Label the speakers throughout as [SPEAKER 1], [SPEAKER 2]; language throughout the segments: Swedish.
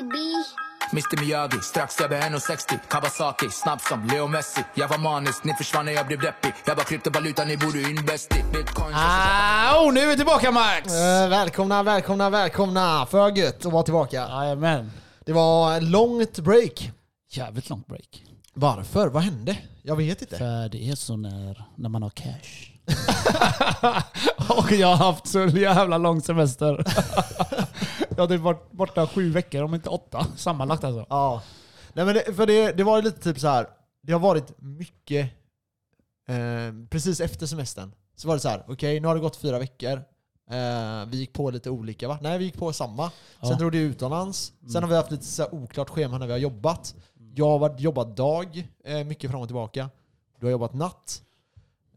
[SPEAKER 1] baby.
[SPEAKER 2] Mr Miyagi, strax över 1,60 Kawasaki, snabb som Leo Messi Jag var manisk, ni försvann när jag blev deppig Jag bara kryptovaluta, ni borde in bäst i bitcoin
[SPEAKER 3] Au, nu är vi tillbaka Max!
[SPEAKER 4] Eh, välkomna, välkomna, välkomna. För gött att vara tillbaka.
[SPEAKER 3] Jajamän.
[SPEAKER 4] Det var ett långt break.
[SPEAKER 3] Jävligt långt break.
[SPEAKER 4] Varför? Vad hände? Jag vet inte.
[SPEAKER 3] För det är så när, när man har cash. och jag har haft så jävla lång semester. jag har typ varit borta sju veckor, om inte åtta sammanlagt alltså.
[SPEAKER 4] Ja. Nej, men det, för det, det var ju lite typ så här. Det har varit mycket eh, precis efter semestern. Så var det så här. okej nu har det gått fyra veckor. Eh, vi gick på lite olika va? Nej vi gick på samma.
[SPEAKER 3] Ja. Mm.
[SPEAKER 4] Sen drog det utomlands. Sen har vi haft lite så här oklart schema när vi har jobbat. Jag har varit- jobbat dag, eh, mycket fram och tillbaka. Du har jobbat natt.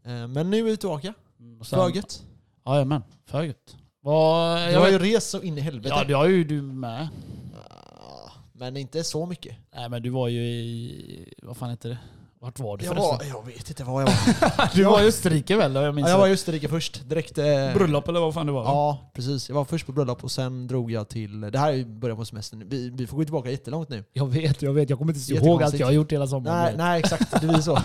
[SPEAKER 4] Eh, men nu är vi tillbaka.
[SPEAKER 3] Och sen-
[SPEAKER 4] Föget.
[SPEAKER 3] Jajamän, för gött. Vad-
[SPEAKER 4] Du
[SPEAKER 3] jag
[SPEAKER 4] har ju
[SPEAKER 3] vet-
[SPEAKER 4] rest så in i helvete.
[SPEAKER 3] Ja, det har ju du med.
[SPEAKER 4] Ah, Men inte så mycket.
[SPEAKER 3] Nej men du var ju i... Vad fan heter det? Vart var du
[SPEAKER 4] Jag,
[SPEAKER 3] förresten?
[SPEAKER 4] var, jag vet inte vad jag var.
[SPEAKER 3] du var i Österrike väl? Jag minns
[SPEAKER 4] Ja, jag var
[SPEAKER 3] det.
[SPEAKER 4] i Österrike först. Direkt... Eh,
[SPEAKER 3] Bröllop eller vad fan det var? va?
[SPEAKER 4] Ja, precis. Jag var först på bröllop och sen drog jag till... Det här är ju början på semestern. Vi, vi får gå tillbaka jättelångt nu.
[SPEAKER 3] Jag vet, jag vet. Jag kommer inte ihåg allt
[SPEAKER 4] Jättekonstigt.
[SPEAKER 3] jag har gjort hela sommaren.
[SPEAKER 4] Nej, nej exakt. Det blir så.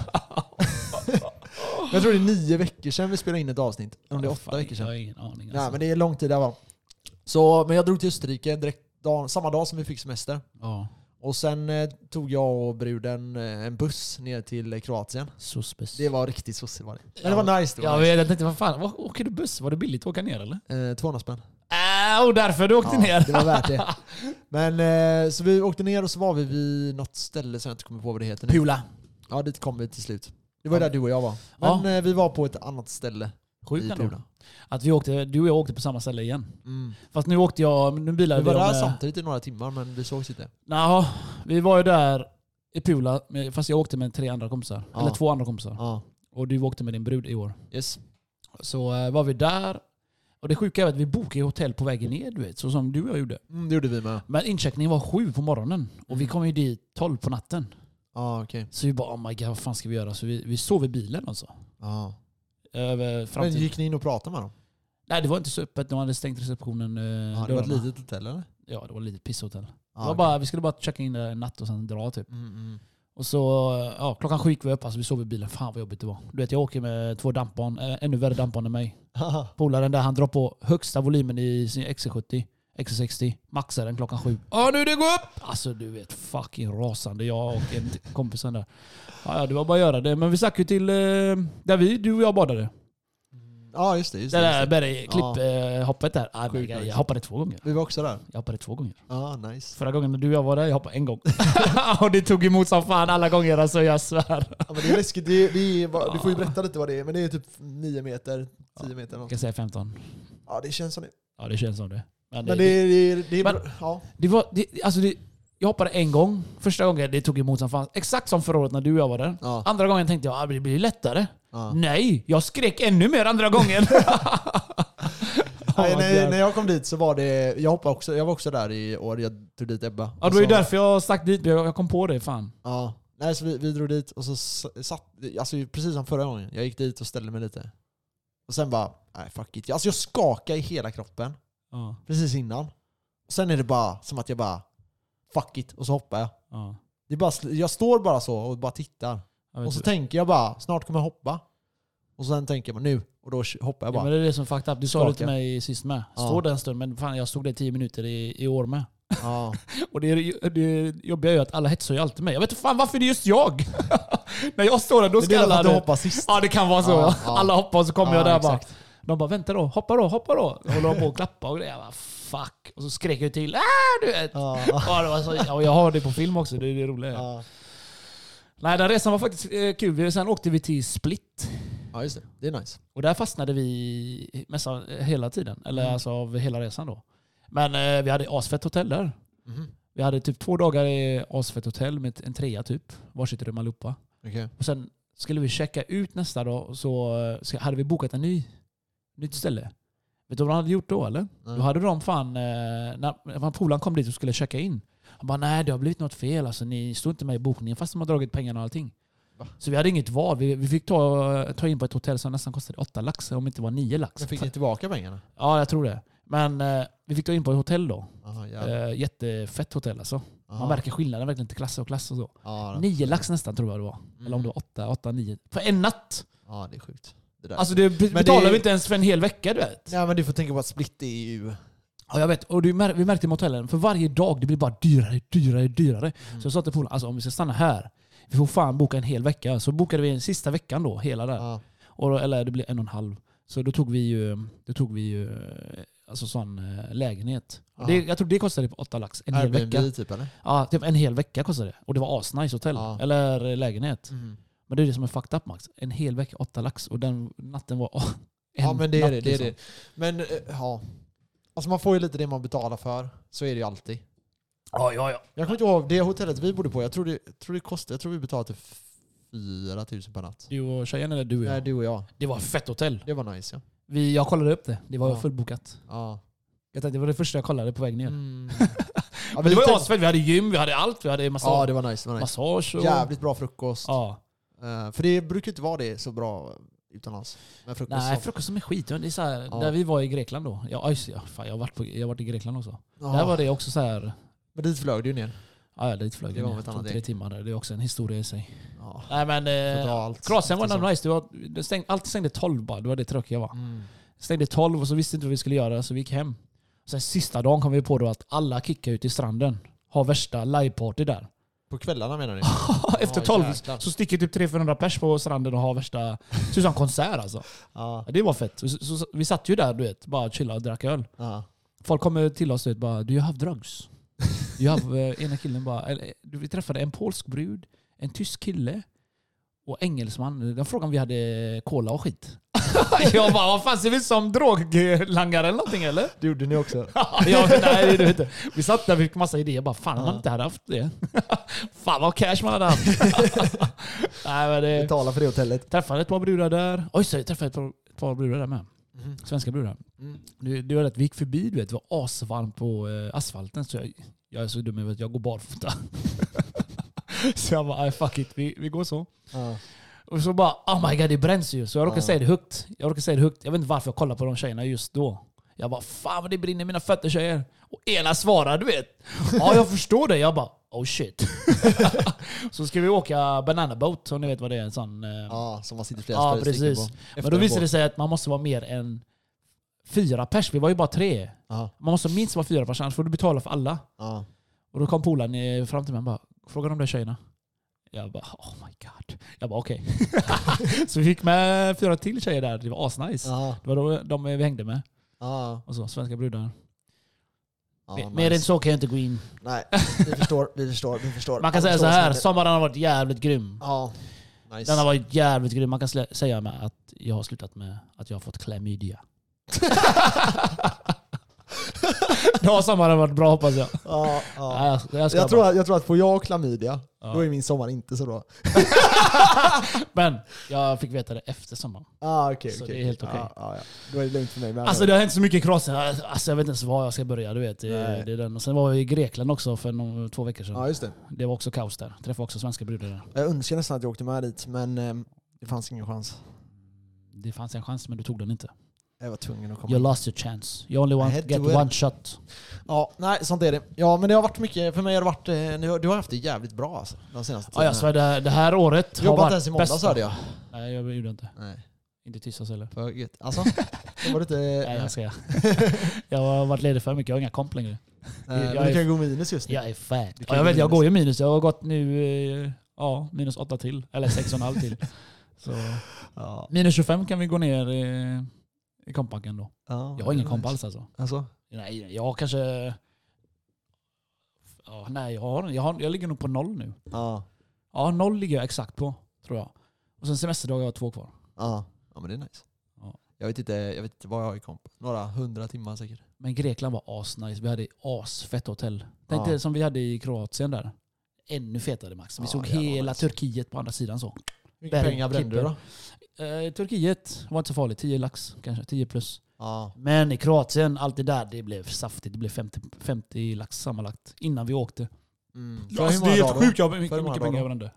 [SPEAKER 4] jag tror det är nio veckor sedan vi spelade in ett avsnitt. Eller Om det är
[SPEAKER 3] Åh,
[SPEAKER 4] åtta
[SPEAKER 3] fan,
[SPEAKER 4] veckor sedan.
[SPEAKER 3] Jag har ingen aning. alltså.
[SPEAKER 4] Nej, men det är lång tid det här var. Så, men jag drog till Österrike direkt dag, samma dag som vi fick semester.
[SPEAKER 3] Ja,
[SPEAKER 4] Och sen eh, tog jag och bruden eh, en buss ner till eh, Kroatien.
[SPEAKER 3] så speciellt.
[SPEAKER 4] Det var riktigt sossigt var det. Men det var nice. Det var
[SPEAKER 3] Jag
[SPEAKER 4] nice.
[SPEAKER 3] vet, jag tänkte, vad fan, vad, åker du buss? Var det billigt att åka ner eller?
[SPEAKER 4] Eh, 200 spänn.
[SPEAKER 3] Äh, och därför du åkte ner?
[SPEAKER 4] det var värt det. Men eh, så vi åkte ner och så var vi vid något ställe som jag inte kommer på vad det heter nu.
[SPEAKER 3] Pula.
[SPEAKER 4] Ja, dit kom vi till slut. Det var där du och jag var.
[SPEAKER 3] Ja.
[SPEAKER 4] Men eh, vi var på ett annat ställe i
[SPEAKER 3] Sjukt ändå.
[SPEAKER 4] Pula.
[SPEAKER 3] Att vi åkte, du och jag åkte på samma ställe igen.
[SPEAKER 4] Mm.
[SPEAKER 3] Fast nu åkte jag, nu bilade
[SPEAKER 4] Vi var
[SPEAKER 3] om,
[SPEAKER 4] där
[SPEAKER 3] eh,
[SPEAKER 4] samtidigt i några timmar men vi sågs inte.
[SPEAKER 3] Naha, vi var ju där i Pula, men- fast jag åkte med tre andra kompisar.
[SPEAKER 4] Ja.
[SPEAKER 3] Eller två andra kompisar.
[SPEAKER 4] Ja.
[SPEAKER 3] Och du åkte med din brud i år.
[SPEAKER 4] Yes.
[SPEAKER 3] Så eh, var vi där. Och det sjuka är att vi bokade ju hotell på vägen ner, du vet. Så som du och jag gjorde.
[SPEAKER 4] Mm, det gjorde vi med.
[SPEAKER 3] Men incheckningen var sju på morgonen. Och
[SPEAKER 4] Mm.
[SPEAKER 3] vi kom ju dit tolv på natten.
[SPEAKER 4] Ja, okej.
[SPEAKER 3] Så vi bara oh my god, vad fan ska vi göra? Så vi, vi sov i bilen alltså.
[SPEAKER 4] Ja.
[SPEAKER 3] Över fram
[SPEAKER 4] Men
[SPEAKER 3] till...
[SPEAKER 4] gick ni in och pratade med dem?
[SPEAKER 3] Nej det var inte så öppet, de hade stängt receptionen. Eh,
[SPEAKER 4] Ja, det var ett litet hotell eller?
[SPEAKER 3] Ja det var ett litet pisshotell.
[SPEAKER 4] Ja,
[SPEAKER 3] det var
[SPEAKER 4] okej.
[SPEAKER 3] bara, vi skulle bara checka in där en natt och sen dra typ.
[SPEAKER 4] Mm, mm.
[SPEAKER 3] Och så, eh, ja, klockan sju gick vi upp, alltså vi sov i bilen. Fan vad jobbigt det var. Du vet jag åker med två dampbarn, eh, ännu värre dampbarn än mig. Polaren där han drar på högsta volymen i sin XC70, XC60, maxar den klockan sju. Ja nu det går upp! Alltså du vet fucking rasande jag och en till- kompisen där. Ja, ja det var bara att göra det. Men vi stack ju till eh, där vi, du och jag badade.
[SPEAKER 4] Ja, just det. Just
[SPEAKER 3] Det
[SPEAKER 4] det,
[SPEAKER 3] där
[SPEAKER 4] just det.
[SPEAKER 3] bergklipphoppet där. Ah, men
[SPEAKER 4] Sjukt
[SPEAKER 3] jag
[SPEAKER 4] nice.
[SPEAKER 3] hoppade två gånger.
[SPEAKER 4] Vi var också där.
[SPEAKER 3] Jag hoppade två gånger.
[SPEAKER 4] Ja, nice.
[SPEAKER 3] Förra gången när du och jag var där, jag hoppade en gång. och det tog emot som fan alla gånger alltså, jag svär.
[SPEAKER 4] Ja, men det är läskigt. Det är, det är, vad- du får ju berätta lite vad det är, men det är typ 9 meter, 10 meter
[SPEAKER 3] Jag
[SPEAKER 4] något.
[SPEAKER 3] kan säga 15.
[SPEAKER 4] Ja, det känns som det.
[SPEAKER 3] Ja, det känns som det. Men det,
[SPEAKER 4] Men det
[SPEAKER 3] det,
[SPEAKER 4] är... Det är, det är
[SPEAKER 3] Men-
[SPEAKER 4] bra- ja.
[SPEAKER 3] var, det, alltså det, jag hoppade en gång. Första gången det tog emot som fan. Exakt som förra året när du och jag var där.
[SPEAKER 4] Ja.
[SPEAKER 3] Andra gången tänkte jag att det blir lättare.
[SPEAKER 4] Ja.
[SPEAKER 3] Nej, jag skrek ännu mer andra gången.
[SPEAKER 4] Nej,
[SPEAKER 3] my
[SPEAKER 4] när,
[SPEAKER 3] God.
[SPEAKER 4] när jag kom dit så var det... Jag, hoppade också, jag var också där i år. Jag tog dit Ebba.
[SPEAKER 3] ja, det
[SPEAKER 4] Och
[SPEAKER 3] var ju
[SPEAKER 4] så-
[SPEAKER 3] därför jag stack dit. Jag jag kom på det fan.
[SPEAKER 4] Ja. Nej, så vi, vi drog dit och så s- satt... Alltså precis som förra gången. Jag gick dit och ställde mig lite. Och sen bara... Nej, fuck it. Alltså jag skakade i hela kroppen
[SPEAKER 3] Ja,
[SPEAKER 4] precis innan. Och sen är det bara som att jag bara... Fuck it. Och så hoppar jag.
[SPEAKER 3] ja.
[SPEAKER 4] Det är bara, sl- jag står bara så och bara tittar.
[SPEAKER 3] Jag vet
[SPEAKER 4] Och så
[SPEAKER 3] inte.
[SPEAKER 4] tänker jag bara, snart kommer jag hoppa. Och sen tänker jag nu, och då hoppar jag
[SPEAKER 3] Ja,
[SPEAKER 4] bara.
[SPEAKER 3] men det är det som fucked up. Du sa det till
[SPEAKER 4] Skaka.
[SPEAKER 3] mig sist med.
[SPEAKER 4] Ja.
[SPEAKER 3] Stå där en stund, men fan jag stod där i 10 minuter i, i år med.
[SPEAKER 4] Ja.
[SPEAKER 3] Och det, är- det jobbiga är ju att alla hetsar ju alltid mig. Jag vet inte fan varför det är just jag. När jag står där då
[SPEAKER 4] Men det
[SPEAKER 3] ska
[SPEAKER 4] är därför
[SPEAKER 3] alla...
[SPEAKER 4] att du hoppar sist.
[SPEAKER 3] Ja det kan vara så.
[SPEAKER 4] Ja, ja.
[SPEAKER 3] Alla hoppar och så kommer
[SPEAKER 4] Ja,
[SPEAKER 3] jag där bara.
[SPEAKER 4] exakt.
[SPEAKER 3] De bara vänta då, hoppa då, hoppa då. Och håller de på och klappa och grejer. Jag bara, fuck. Och så skrek jag till. Ah, du vet. Ja.
[SPEAKER 4] Ja.
[SPEAKER 3] det var så, ja, och jag har det på film också, det är det roliga.
[SPEAKER 4] Ja.
[SPEAKER 3] Nej, den resan var faktiskt eh, kul. Vi- Sen åkte vi till Split.
[SPEAKER 4] ja, just det. Det är nice.
[SPEAKER 3] Och där fastnade vi nästan hela tiden. Eller alltså av hela resan då. Men eh, vi hade asfett hotell där.
[SPEAKER 4] Mhm.
[SPEAKER 3] Vi hade typ två dagar i asfett hotell med en trea typ. Varsitt rum allihopa.
[SPEAKER 4] Okej.
[SPEAKER 3] Och sen skulle vi checka ut nästa dag och så eh, ska- hade vi bokat en ny, nytt ställe. Vet du vad de hade gjort då eller?
[SPEAKER 4] Nej.
[SPEAKER 3] Då hade de fan, eh, när när polaren kom dit och skulle checka in. Han bara nej det har blivit något fel alltså. Ni stod inte med i bokningen fast de har dragit pengarna och allting.
[SPEAKER 4] Va?
[SPEAKER 3] Så vi hade inget val. Vi, vi fick ta, ta in på ett hotell som nästan kostade åtta lax om det inte var nio lax.
[SPEAKER 4] Men fick ni tillbaka pengarna?
[SPEAKER 3] Ja jag tror det. Men eh, vi fick ta in på ett hotell då.
[SPEAKER 4] Aha, jävlar.
[SPEAKER 3] Eh, jättefett hotell alltså.
[SPEAKER 4] Ja.
[SPEAKER 3] Man märker skillnaden verkligen till klass och klass och så.
[SPEAKER 4] Ja, det-
[SPEAKER 3] Nio lax nästan tror jag det var. Eller om det var åtta, åtta, nio. För en natt!
[SPEAKER 4] ja, det är sjukt. Det där.
[SPEAKER 3] Alltså det betalar
[SPEAKER 4] det-
[SPEAKER 3] vi inte ens för en hel vecka du vet.
[SPEAKER 4] Nej men du får tänka på att split är ju...
[SPEAKER 3] Ja, jag vet. Och du, mär- vi märkte med hotellen, för varje dag det blir bara dyrare, dyrare, dyrare. Så jag sa till polaren, alltså om vi ska stanna här, vi får fan boka en hel vecka. Så bokade vi en sista veckan då, hela där.
[SPEAKER 4] Ja.
[SPEAKER 3] Och då, eller det blev en och en halv. Så då tog vi ju, då tog vi ju eh, alltså sån eh, lägenhet.
[SPEAKER 4] Ja.
[SPEAKER 3] Det, jag tror det kostade typ åtta lax. En hel vecka.
[SPEAKER 4] Airbnb typ eller?
[SPEAKER 3] Ja, typ en hel vecka kostade det. Och det var asnice hotell.
[SPEAKER 4] Ja.
[SPEAKER 3] Eller eh, lägenhet.
[SPEAKER 4] Mm.
[SPEAKER 3] Men det är det som är fucked up Max. En hel vecka, åtta lax. Och den natten var åh, en
[SPEAKER 4] Ja men det är
[SPEAKER 3] natt,
[SPEAKER 4] det. det, är
[SPEAKER 3] liksom.
[SPEAKER 4] det. Men eh, ja. Alltså man får ju lite det man betalar för. Så är det ju alltid.
[SPEAKER 3] Ja, ja, ja.
[SPEAKER 4] Jag kommer inte ihåg, det hotellet vi bodde på, jag tror det, jag tror det kostade, jag tror vi betalade typ 4 000 per natt.
[SPEAKER 3] Du och tjejen eller du och jag?
[SPEAKER 4] Nej, du och jag.
[SPEAKER 3] Det var ett fett hotell.
[SPEAKER 4] Det var nice ja.
[SPEAKER 3] Vi, jag kollade upp det. Det var
[SPEAKER 4] Ja.
[SPEAKER 3] fullbokat.
[SPEAKER 4] Ja.
[SPEAKER 3] Jag tänkte, det var det första jag kollade på väg ner.
[SPEAKER 4] Mm.
[SPEAKER 3] Men det var ju
[SPEAKER 4] lite-
[SPEAKER 3] asfett. Vi hade gym, vi hade allt. Vi hade massa,
[SPEAKER 4] Ja, det var nice. Det var nice.
[SPEAKER 3] massage och...
[SPEAKER 4] Jävligt bra frukost.
[SPEAKER 3] Alltså, Ja.
[SPEAKER 4] Eh, för det brukar inte vara det så bra utomlands. Men frukost
[SPEAKER 3] Nej,
[SPEAKER 4] som-
[SPEAKER 3] frukost som är skit. Det är så här,
[SPEAKER 4] Ja.
[SPEAKER 3] Där vi var i Grekland då. Ja, just, ja, fan, jag, har varit på, jag har varit i Grekland också.
[SPEAKER 4] Ja.
[SPEAKER 3] Där var det också så här...
[SPEAKER 4] Men dit flög du ju ner.
[SPEAKER 3] Ja, ja, dit flög
[SPEAKER 4] Det
[SPEAKER 3] vi
[SPEAKER 4] var
[SPEAKER 3] ner.
[SPEAKER 4] ett
[SPEAKER 3] Tog
[SPEAKER 4] annat
[SPEAKER 3] Tre
[SPEAKER 4] grej.
[SPEAKER 3] timmar där. Det är också en historia i sig.
[SPEAKER 4] Ja.
[SPEAKER 3] Nej men...
[SPEAKER 4] Så bra
[SPEAKER 3] Eh,
[SPEAKER 4] allt.
[SPEAKER 3] Kroatien var
[SPEAKER 4] Eftersom.
[SPEAKER 3] ändå nice. Det var, det stäng, alltid stängde 12 bara. Det var det tråkiga var.
[SPEAKER 4] Mm.
[SPEAKER 3] Stängde 12 och så visste inte vad vi skulle göra så vi gick hem. Sen sista dagen kom vi på då att alla kickar ut i stranden. Har värsta liveparty där.
[SPEAKER 4] På kvällarna menar ni?
[SPEAKER 3] Efter
[SPEAKER 4] Ja,
[SPEAKER 3] 12
[SPEAKER 4] jäklar.
[SPEAKER 3] så sticker typ 300-400 pers på stranden och har värsta... Ser ut som en konsert alltså.
[SPEAKER 4] ja.
[SPEAKER 3] Ja, Det var fett. Så, så, så, vi satt ju där du vet, bara chillade och drack öl.
[SPEAKER 4] ja.
[SPEAKER 3] Folk kommer till oss och bara “Do you have drugs?” you have, eh, Ena killen bara... Eller, eh, vi träffade en polsk brud, en tysk kille och engelsman. De frågade om vi hade cola och skit. jag bara “Vad fan, ser vi ut som droglangare eller någonting eller?”
[SPEAKER 4] Det gjorde ni också?
[SPEAKER 3] jag, nej, det är det inte. Vi satt där och fick massa idéer. Bara, fan om man inte hade haft det. fan vad cash man hade haft. nej, men det,
[SPEAKER 4] Betala för det hotellet.
[SPEAKER 3] Träffade ett par brudar där. Oj, så jag träffade ett par, ett par brudar där med. Svenska brudar.
[SPEAKER 4] Mm.
[SPEAKER 3] Det, det var rätt, vi gick förbi, du vet, det var asvarmt på eh, asfalten. Så jag, jag är så dum i huvudet, jag går barfota. så jag bara, "Aj, fuck it, vi, vi går så.
[SPEAKER 4] Ja.
[SPEAKER 3] Och så bara, oh my god det bränns ju. Så jag råkade
[SPEAKER 4] Ja.
[SPEAKER 3] säga det högt. Jag råkade säga det högt. Jag vet inte varför jag kollade på de tjejerna just då. Jag bara, fan vad det brinner i mina fötter tjejer. Och ena svarar, du vet. Ja, jag förstår det. Jag bara, oh shit. så ska vi åka banana boat, om ni vet vad det är. En sån, eh,
[SPEAKER 4] ja, som man sitter flera
[SPEAKER 3] Ja,
[SPEAKER 4] spelare
[SPEAKER 3] precis.
[SPEAKER 4] stycken på.
[SPEAKER 3] Men
[SPEAKER 4] Efter
[SPEAKER 3] då
[SPEAKER 4] en
[SPEAKER 3] visade
[SPEAKER 4] båt.
[SPEAKER 3] det sig att man måste vara mer än fyra pers. Vi var ju bara tre.
[SPEAKER 4] Ja.
[SPEAKER 3] Man måste minst vara fyra pers, annars får du betala för alla.
[SPEAKER 4] Ja.
[SPEAKER 3] Och då kom polaren eh, fram till mig och bara “Fråga de där tjejerna”. Jag bara “Oh my god”. Jag bara “Okej”. så vi fick med fyra till tjejer där. Det var asnice.
[SPEAKER 4] Ja.
[SPEAKER 3] Det var då de vi hängde med.
[SPEAKER 4] Ja.
[SPEAKER 3] Och så, svenska brudar.
[SPEAKER 4] Ja,
[SPEAKER 3] Mer-
[SPEAKER 4] nice.
[SPEAKER 3] Mer än så kan jag inte gå in.
[SPEAKER 4] Nej, vi förstår, vi förstår, vi förstår.
[SPEAKER 3] Man
[SPEAKER 4] Alla
[SPEAKER 3] kan säga så
[SPEAKER 4] förstår vad som
[SPEAKER 3] här,
[SPEAKER 4] händer.
[SPEAKER 3] sommaren har varit jävligt grym.
[SPEAKER 4] Ja, nice.
[SPEAKER 3] Den har varit jävligt grym. Man kan slä- säga med att jag har slutat med att jag har fått klamydia. Då har sommaren varit bra hoppas jag.
[SPEAKER 4] ja, ja.
[SPEAKER 3] Nej, jag, jag, skojar
[SPEAKER 4] Jag, tror
[SPEAKER 3] bara.
[SPEAKER 4] att, jag tror att får jag klamydia,
[SPEAKER 3] Ja.
[SPEAKER 4] då är min sommar inte så bra.
[SPEAKER 3] Men jag fick veta det efter sommaren.
[SPEAKER 4] Ah, okay,
[SPEAKER 3] Så det är helt okej.
[SPEAKER 4] Ja, ja, ja. Då är det lugnt för mig med.
[SPEAKER 3] Alltså det har hänt så mycket i Kroatien. Alltså, jag vet inte ens var jag ska börja. Du vet. Det,
[SPEAKER 4] Nej.
[SPEAKER 3] det är den. Och sen var vi i Grekland också för någon, två veckor sedan.
[SPEAKER 4] ja, just det.
[SPEAKER 3] Det var också kaos där. Träffade också svenska brudar där.
[SPEAKER 4] Jag önskar nästan att jag åkte med dit, men ehm, det fanns ingen chans.
[SPEAKER 3] Det fanns en chans men du tog den inte.
[SPEAKER 4] Jag var tvungen att komma.
[SPEAKER 3] You lost your chance. You only
[SPEAKER 4] I had
[SPEAKER 3] want
[SPEAKER 4] to
[SPEAKER 3] get
[SPEAKER 4] win.
[SPEAKER 3] one shot.
[SPEAKER 4] Ja, nej, sånt är det. Ja, men det har varit mycket, för mig har det varit, eh, nu har- du har haft det jävligt bra alltså, de senaste
[SPEAKER 3] Ja, jag svär, det, det här året har
[SPEAKER 4] Jobbat
[SPEAKER 3] varit
[SPEAKER 4] inte ens i måndags
[SPEAKER 3] bästa.
[SPEAKER 4] hörde jag.
[SPEAKER 3] Nej, jag gjorde inte.
[SPEAKER 4] Nej,
[SPEAKER 3] Inte i tisdags heller.
[SPEAKER 4] för gött. Alltså, då var det inte... eh,
[SPEAKER 3] Nej, jag ska. jag har varit ledig för mycket. Jag har inga komp längre.
[SPEAKER 4] nej, eh, men
[SPEAKER 3] jag
[SPEAKER 4] du
[SPEAKER 3] är-
[SPEAKER 4] kan gå minus just nu.
[SPEAKER 3] Jag är fat.
[SPEAKER 4] Du kan
[SPEAKER 3] Ja, jag
[SPEAKER 4] gå
[SPEAKER 3] vet, jag
[SPEAKER 4] minus.
[SPEAKER 3] går ju minus. Jag har gått nu eh, ja, minus åtta till. Eller sex och en halv till. Så.
[SPEAKER 4] Ja.
[SPEAKER 3] Minus 25 kan vi gå ner eh, i kompacken då.
[SPEAKER 4] Ja,
[SPEAKER 3] Jag har ingen
[SPEAKER 4] nice.
[SPEAKER 3] komp alls alltså.
[SPEAKER 4] Alltså?
[SPEAKER 3] Nej, jag har kanske... Ja, nej, jag, har, jag, har, jag ligger nog på noll nu.
[SPEAKER 4] Ja.
[SPEAKER 3] Ja, noll ligger jag exakt på, tror jag. Och sen semesterdagar har jag två kvar.
[SPEAKER 4] Ja, ja men det är nice.
[SPEAKER 3] Ja.
[SPEAKER 4] Jag, vet inte, jag vet inte vad jag har i komp. Några hundra timmar säkert.
[SPEAKER 3] Men Grekland var asnice. Vi hade asfett hotell. Tänk
[SPEAKER 4] Ja.
[SPEAKER 3] dig som vi hade i Kroatien där. Ännu fetare Max. Vi
[SPEAKER 4] Ja,
[SPEAKER 3] såg
[SPEAKER 4] jävlar vad
[SPEAKER 3] hela
[SPEAKER 4] nice.
[SPEAKER 3] Turkiet på andra sidan så.
[SPEAKER 4] Hur
[SPEAKER 3] mycket
[SPEAKER 4] pengar brände du då?
[SPEAKER 3] Eh, Turkiet var inte så farligt. 10 lax kanske. 10 plus.
[SPEAKER 4] Ja.
[SPEAKER 3] Men i Kroatien, allt det där, det blev saftigt. Det blev 50, 50 lax sammanlagt innan vi åkte.
[SPEAKER 4] Mm.
[SPEAKER 3] Ja, alltså, det är helt sjukt. Jag har mycket,
[SPEAKER 4] För hur många
[SPEAKER 3] mycket pengar
[SPEAKER 4] dagar?
[SPEAKER 3] jag brände.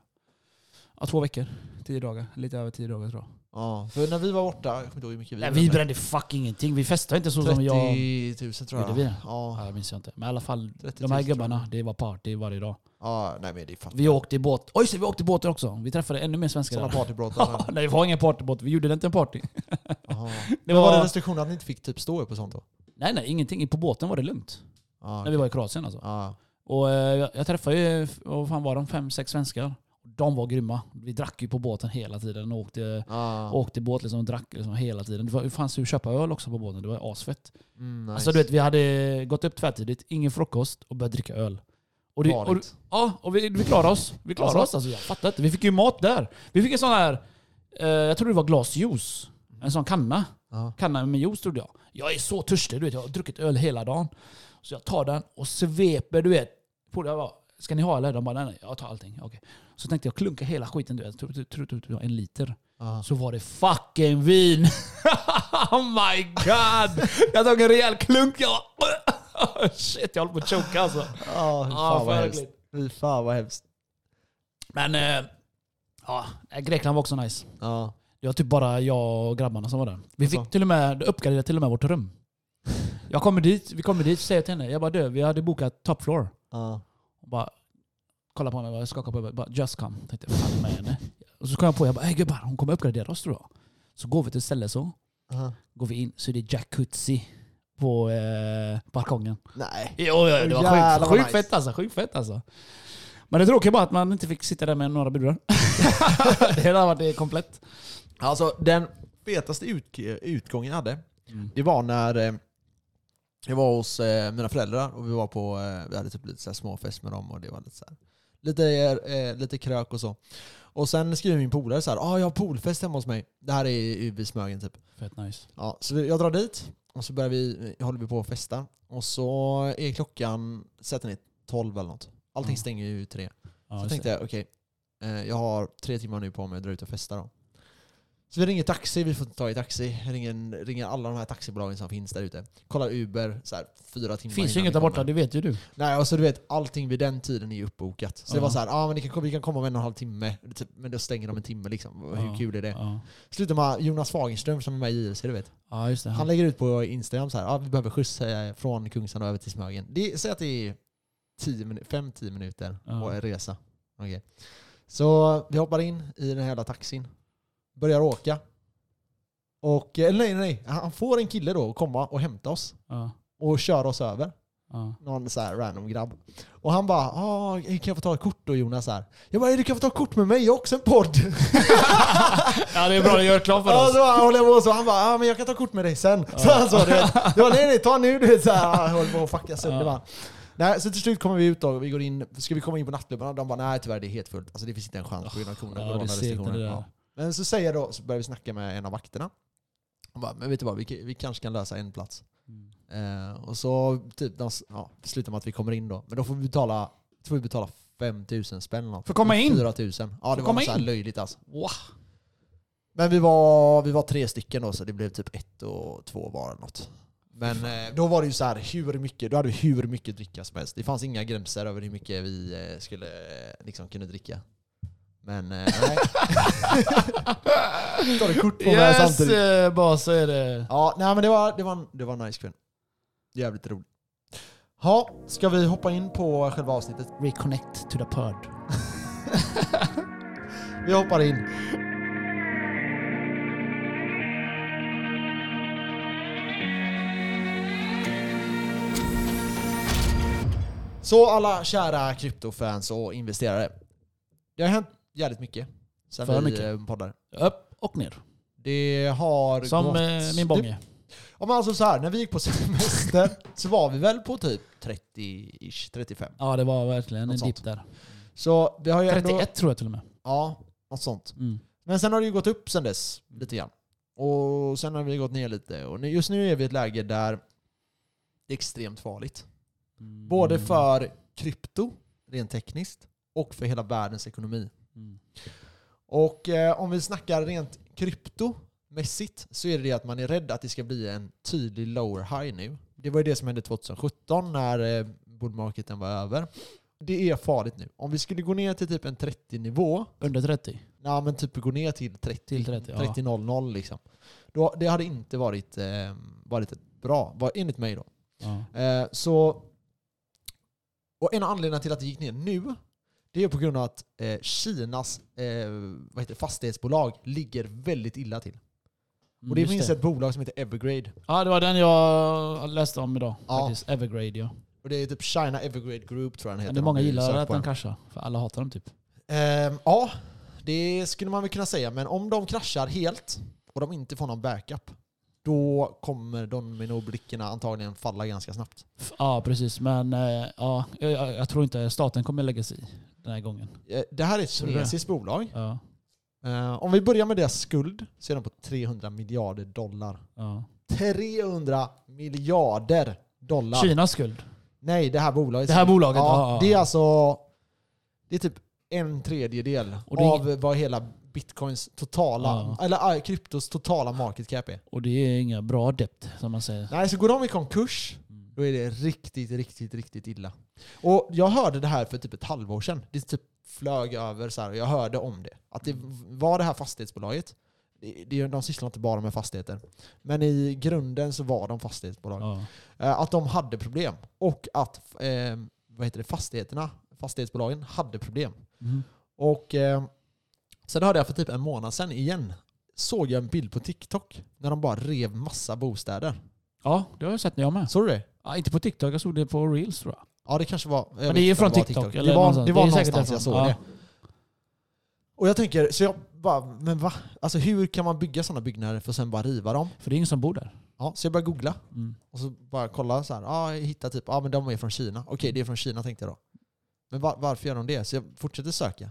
[SPEAKER 3] Ja, två veckor. Tio dagar. Lite över tio dagar tror jag.
[SPEAKER 4] Ja, för när vi var borta, jag kommer inte ihåg hur mycket vi
[SPEAKER 3] Nej, vi brände fuck ingenting. Vi festade inte så som jag...
[SPEAKER 4] 30 000 tror jag.
[SPEAKER 3] Gjorde vi det?
[SPEAKER 4] Ja.
[SPEAKER 3] Ja, jag minns jag inte. Men i alla fall,
[SPEAKER 4] 30 000
[SPEAKER 3] de här
[SPEAKER 4] tror jag.
[SPEAKER 3] gubbarna, det var party varje dag.
[SPEAKER 4] ja, nej men det är fan
[SPEAKER 3] Vi åkte i båt. Oj, så vi åkte i båten också. Vi träffade ännu mer svenskar.
[SPEAKER 4] sådana
[SPEAKER 3] där.
[SPEAKER 4] partybrottare.
[SPEAKER 3] Nej, det var ingen partybåt. Vi gjorde det inte en party.
[SPEAKER 4] Jaha.
[SPEAKER 3] Det
[SPEAKER 4] Men Var det
[SPEAKER 3] var...
[SPEAKER 4] restriktioner att ni inte fick typ stå upp och sånt då?
[SPEAKER 3] Nej, nej, ingenting. På båten var det lugnt.
[SPEAKER 4] Ja,
[SPEAKER 3] När vi var i Kroatien alltså.
[SPEAKER 4] ja.
[SPEAKER 3] Och eh, jag, jag träffade ju, vad fan var de? Fem, sex svenskar. De var grymma. Vi drack ju på båten hela tiden och åkte,
[SPEAKER 4] ja.
[SPEAKER 3] åkte båt liksom och drack liksom hela tiden. Det, var, det fanns ju att köpa öl också på båten. Det var asfett.
[SPEAKER 4] Mm, nice.
[SPEAKER 3] Alltså du vet, vi hade gått upp tvärtidigt, ingen frukost och börjat dricka öl. Och det, och,
[SPEAKER 4] Farligt.
[SPEAKER 3] ja, och vi, vi klarade oss. Vi klarade
[SPEAKER 4] Alltså?
[SPEAKER 3] oss. Alltså, jag fattar inte. Vi fick ju mat där. Vi fick en sån här, eh, jag tror det var glasjuice. En sån kanna.
[SPEAKER 4] Ja.
[SPEAKER 3] Kanna med juice trodde jag. Jag är så törstig, du vet. Jag har druckit öl hela dagen. Så jag tar den och sveper, du vet. På jag bara, ska ni ha eller? De bara, nej, nej jag tar allting. Okej. Så tänkte jag klunka hela skiten, du vet. Tror- tror- tror- tror- tror- En liter.
[SPEAKER 4] Ja.
[SPEAKER 3] Så var det fucking vin! oh my god! Jag tog en rejäl klunk, jag bara, Shit, jag håller på att choka alltså.
[SPEAKER 4] Ja, fy fan
[SPEAKER 3] Ja,
[SPEAKER 4] vad
[SPEAKER 3] fan
[SPEAKER 4] hemskt. Fy fan vad hemskt.
[SPEAKER 3] Men, eh, ja, eh, Grekland var också nice.
[SPEAKER 4] Ja.
[SPEAKER 3] Det var typ bara jag och grabbarna som var där. Vi
[SPEAKER 4] Alltså.
[SPEAKER 3] fick till och med, uppgraderade till och med vårt rum. Jag kommer dit, vi kommer dit, säger till henne, jag bara du, vi hade bokat top floor.
[SPEAKER 4] Ja.
[SPEAKER 3] Och bara kolla på mig, bara skaka på mig, bara just come. Tänkte, vad fan är det med henne? Och så kom jag på, jag bara, "Ey, gubbar, hon kommer uppgradera oss tror jag. Så går vi till ett ställe så,
[SPEAKER 4] Ja.
[SPEAKER 3] går vi in så är det jacuzzi på eh, balkongen.
[SPEAKER 4] Nej.
[SPEAKER 3] Jo, jo, det var
[SPEAKER 4] Jävlar
[SPEAKER 3] sjukt
[SPEAKER 4] vad
[SPEAKER 3] sjukt
[SPEAKER 4] nice.
[SPEAKER 3] fett alltså. Sjukt fett alltså. Men det tråkiga är bara att man inte fick sitta där med några brudar. det hade varit eh, komplett.
[SPEAKER 4] Alltså den fetaste ut- utgången jag hade, det var när eh, jag var hos eh, mina föräldrar och vi var på, eh, vi hade typ lite så här småfest med dem och det var lite så här, lite, eh, lite krök och så. Och sen skriver min polare så här, ah, jag har poolfest hemma hos mig. Det här är i- vid Smögen typ.
[SPEAKER 3] Fett nice.
[SPEAKER 4] Ja, så vi- jag drar dit och så börjar vi, håller vi på att festa. Och så är klockan, sätter ni 12 eller något. Allting
[SPEAKER 3] Mm.
[SPEAKER 4] stänger ju tre. Så
[SPEAKER 3] Ja, just
[SPEAKER 4] tänkte
[SPEAKER 3] det.
[SPEAKER 4] jag, okej, eh, jag har tre timmar nu på mig att dra ut och festa då. Så vi ringer taxi, vi får inte ta i taxi. Jag Ringer, ringer alla de här taxibolagen som finns där ute. Kollar Uber, så här, fyra timmar
[SPEAKER 3] finns ju
[SPEAKER 4] innan
[SPEAKER 3] inget
[SPEAKER 4] vi
[SPEAKER 3] där borta,
[SPEAKER 4] kommer.
[SPEAKER 3] det vet ju du.
[SPEAKER 4] Nej, och så du vet, allting vid den tiden är ju uppbokat. Så det var
[SPEAKER 3] Ja.
[SPEAKER 4] så här, ah, men ni kan, vi kan komma om en och en halv timme. Typ, Men då stänger de en timme liksom. Hur
[SPEAKER 3] Ja.
[SPEAKER 4] kul är det?
[SPEAKER 3] Ja,
[SPEAKER 4] Slutar med Jonas Fagerström som är med i JLC, du vet.
[SPEAKER 3] ja just det.
[SPEAKER 4] Han lägger ut på Instagram så här, ah, vi behöver skjuts eh, från Kungsan och över till Smögen. Det, säg att det är 5-10 minu- fem, tio minuter
[SPEAKER 3] Ja.
[SPEAKER 4] och en resa. Okej. Så vi hoppar in i den här jävla taxin. Börjar åka. Och, eller nej, nej, nej. Han får en kille då att komma och hämta oss.
[SPEAKER 3] Ja,
[SPEAKER 4] Och köra oss över.
[SPEAKER 3] ja.
[SPEAKER 4] Någon så här random grabb. Och han bara ah, kan jag få ta ett kort då Jonas? Så här. Jag bara, "Ja, du kan få ta ett kort med mig, jag har också en podd.
[SPEAKER 3] ja, det är bra. Du gör klart för
[SPEAKER 4] Ja,
[SPEAKER 3] oss.
[SPEAKER 4] så bara, håller jag på så. Han bara, ah, men jag kan ta kort med dig sen. Så han sa, du vet. Jag bara, nej nej, ta nu. Du vet, så här, ah, håller på att fucka sönder
[SPEAKER 3] Ja.
[SPEAKER 4] bara. Nej, så till slut kommer vi ut då, vi går in, ska vi komma in på nattklubbarna? De bara, nej tyvärr det är helt fullt. Alltså det finns inte en chans på grund av corona-
[SPEAKER 3] Ja, det är segt det
[SPEAKER 4] coronarestriktioner.
[SPEAKER 3] där.
[SPEAKER 4] Ja. Men så säger jag då, så börjar vi snacka med en av vakterna. Han bara, men vet du vad, vi, vi kanske kan lösa en plats.
[SPEAKER 3] Mm.
[SPEAKER 4] Eh, och så typ, de, ja, slutar med att vi kommer in då. Men då får vi betala, tror vi betala 5000 spänn eller något.
[SPEAKER 3] För att komma in?
[SPEAKER 4] 4000. Ja, det var
[SPEAKER 3] komma
[SPEAKER 4] något så här
[SPEAKER 3] in?
[SPEAKER 4] löjligt alltså.
[SPEAKER 3] Wow.
[SPEAKER 4] Men vi var, vi var tre stycken då, så det blev typ ett och två var eller något. Men eh, då var det ju så här, hur mycket, då hade vi hur mycket dricka som helst. Det fanns inga gränser över hur mycket vi eh, skulle eh, liksom kunna dricka. Men eh, nej. Tar du kort på mig
[SPEAKER 3] Yes,
[SPEAKER 4] samtidigt?
[SPEAKER 3] eh, bara så är det.
[SPEAKER 4] Ja, nej men det var, det var, en, det var en nice kväll. Jävligt roligt. Ja, ska vi hoppa in på själva avsnittet?
[SPEAKER 3] Reconnect to the pod.
[SPEAKER 4] Vi hoppar in. Så alla kära kryptofans och investerare. Det har hänt jävligt mycket sen
[SPEAKER 3] För
[SPEAKER 4] vi
[SPEAKER 3] mycket.
[SPEAKER 4] mycket. poddade.
[SPEAKER 3] Upp och ner.
[SPEAKER 4] Det har
[SPEAKER 3] Som
[SPEAKER 4] gått...
[SPEAKER 3] eh, min
[SPEAKER 4] Det-
[SPEAKER 3] bånge.
[SPEAKER 4] Ja, men alltså så här, när vi gick på semester så var vi väl på typ 30-ish, 35.
[SPEAKER 3] Ja, det var verkligen en
[SPEAKER 4] Något sånt.
[SPEAKER 3] dipp där.
[SPEAKER 4] Så det har ju ändå...
[SPEAKER 3] 31 tror jag till och med.
[SPEAKER 4] Ja, något sånt.
[SPEAKER 3] Mm.
[SPEAKER 4] Men sen har det ju gått upp sen dess, lite grann. Och sen har vi gått ner lite. Och nu- just nu är vi i ett läge där det är extremt farligt. Både
[SPEAKER 3] Mm.
[SPEAKER 4] för krypto, rent tekniskt, och för hela världens ekonomi.
[SPEAKER 3] Mm.
[SPEAKER 4] Och eh, om vi snackar rent kryptomässigt så är det det att man är rädd att det ska bli en tydlig lower high nu. Det var ju det som hände 2017 när eh, bull marketen var över. Det är farligt nu. Om vi skulle gå ner till typ en 30-nivå,
[SPEAKER 3] Under 30?
[SPEAKER 4] ja men typ gå ner till 30,
[SPEAKER 3] Till 30, ja.
[SPEAKER 4] 30-00 liksom. Då, det hade inte varit, eh, varit ett bra, var- enligt mig då.
[SPEAKER 3] Ja.
[SPEAKER 4] Eh, så... Och en av anledningarna till att det gick ner nu, det är på grund av att eh, Kinas eh, vad heter det, fastighetsbolag ligger väldigt illa till. Och det
[SPEAKER 3] Mm, Just
[SPEAKER 4] finns ett bolag som heter Evergrade.
[SPEAKER 3] Ja, det var den jag läste om idag.
[SPEAKER 4] Ja.
[SPEAKER 3] Faktiskt. Evergrade ja.
[SPEAKER 4] Och det är typ China Evergrade Group tror jag den heter.
[SPEAKER 3] Men det är
[SPEAKER 4] om
[SPEAKER 3] många
[SPEAKER 4] du
[SPEAKER 3] gillar
[SPEAKER 4] söker
[SPEAKER 3] att
[SPEAKER 4] på
[SPEAKER 3] den kraschar. För alla hatar den typ.
[SPEAKER 4] Ehm, ja, det skulle man väl kunna säga. Men om de kraschar helt och de inte får någon backup, då kommer dominobrickorna antagligen falla ganska snabbt.
[SPEAKER 3] F- Ja, precis. Men eh, ja, jag, jag, jag tror inte staten kommer lägga sig i den här gången.
[SPEAKER 4] Eh, Det här är ett
[SPEAKER 3] Så det-
[SPEAKER 4] kinesiskt bolag.
[SPEAKER 3] Ja,
[SPEAKER 4] Eh, om vi börjar med deras skuld så är den på 300 miljarder dollar.
[SPEAKER 3] ja.
[SPEAKER 4] 300 miljarder dollar!
[SPEAKER 3] Kinas skuld.
[SPEAKER 4] Nej, det här bolaget.
[SPEAKER 3] Det här bolaget, ja,
[SPEAKER 4] Ja,
[SPEAKER 3] ja,
[SPEAKER 4] det är
[SPEAKER 3] ja.
[SPEAKER 4] alltså... Det är typ en tredjedel
[SPEAKER 3] Och det är-
[SPEAKER 4] av vad hela bitcoins totala, eller ah, kryptos totala market cap är.
[SPEAKER 3] Och det är inga bra dept som man säger.
[SPEAKER 4] Nej, så går de i konkurs, då är det riktigt, riktigt, riktigt illa. Och jag hörde det här för typ ett halvår sedan. Det typ flög över så här, och jag hörde om det. Att det var det här fastighetsbolaget. Det- det- De sysslar inte bara med fastigheter. Men i grunden så var de fastighetsbolag.
[SPEAKER 3] Ja.
[SPEAKER 4] Eh, Att de hade problem. Och att eh, vad heter det, fastigheterna, fastighetsbolagen hade problem.
[SPEAKER 3] Mhm.
[SPEAKER 4] Och eh, sen hörde jag för typ en månad sedan igen. Såg jag en bild på TikTok när de bara rev massa bostäder.
[SPEAKER 3] ja, det har jag sett när jag med.
[SPEAKER 4] Såg du det?
[SPEAKER 3] Ja, inte på TikTok, jag såg det på Reels tror jag.
[SPEAKER 4] Ja det kanske var... jag vet
[SPEAKER 3] det är ju
[SPEAKER 4] inte om
[SPEAKER 3] från
[SPEAKER 4] var
[SPEAKER 3] TikTok, eller
[SPEAKER 4] Det var,
[SPEAKER 3] någonstans.
[SPEAKER 4] det var
[SPEAKER 3] Det är säkert
[SPEAKER 4] någonstans jag såg
[SPEAKER 3] därifrån.
[SPEAKER 4] det. Och jag tänker, så jag bara, men va? Alltså hur kan man bygga sådana byggnader för att sen bara riva dem?
[SPEAKER 3] För det är ingen som bor där.
[SPEAKER 4] Ja, så jag började googla
[SPEAKER 3] Mm.
[SPEAKER 4] och så bara kolla så här. Ja, jag hittade typ, ja men de är från Kina. Okej, det är från Kina tänkte jag då. Men va- varför gör de det? Så jag fortsätter söka.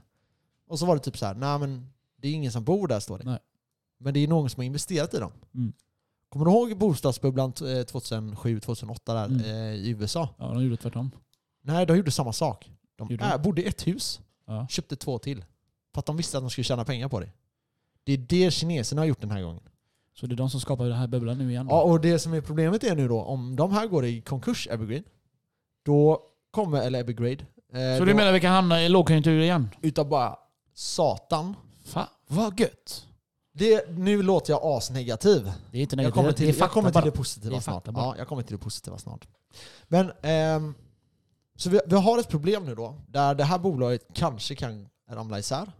[SPEAKER 4] Och så var det typ så här, nej men det är ingen som bor där står det.
[SPEAKER 3] Nej.
[SPEAKER 4] Men det är någon som har investerat i dem.
[SPEAKER 3] Mm.
[SPEAKER 4] Kommer du ihåg bostadsbubblan eh, 2007-2008 där
[SPEAKER 3] Mm.
[SPEAKER 4] eh, i USA?
[SPEAKER 3] Ja, de gjorde tvärtom.
[SPEAKER 4] Nej, de gjorde samma sak. De
[SPEAKER 3] Gjorde
[SPEAKER 4] äh, bodde i ett hus,
[SPEAKER 3] Ja.
[SPEAKER 4] köpte två till. För att de visste att de skulle tjäna pengar på det. Det är det kineserna har gjort den här gången.
[SPEAKER 3] Mm. Så det är de som skapar den här bubblan nu igen. då.
[SPEAKER 4] Ja, och det som är problemet är nu då, om de här går i konkurs, Evergreen, då kommer, eller Evergrade, eh,
[SPEAKER 3] Så
[SPEAKER 4] då,
[SPEAKER 3] du menar vi kan hamna i lågkonjunktur igen?
[SPEAKER 4] utav bara satan.
[SPEAKER 3] Fan, vad gött.
[SPEAKER 4] Det, nu låter jag asnegativ.
[SPEAKER 3] Det är inte
[SPEAKER 4] Jag
[SPEAKER 3] negativt.
[SPEAKER 4] kommer till,
[SPEAKER 3] det är
[SPEAKER 4] jag
[SPEAKER 3] fakta
[SPEAKER 4] kommer till
[SPEAKER 3] bara.
[SPEAKER 4] det positiva
[SPEAKER 3] Det är
[SPEAKER 4] snart.
[SPEAKER 3] fakta bara.
[SPEAKER 4] Ja, jag kommer till det positiva snart. Men, ehm, så vi, vi har ett problem nu då, där det här bolaget kanske kan ramla isär.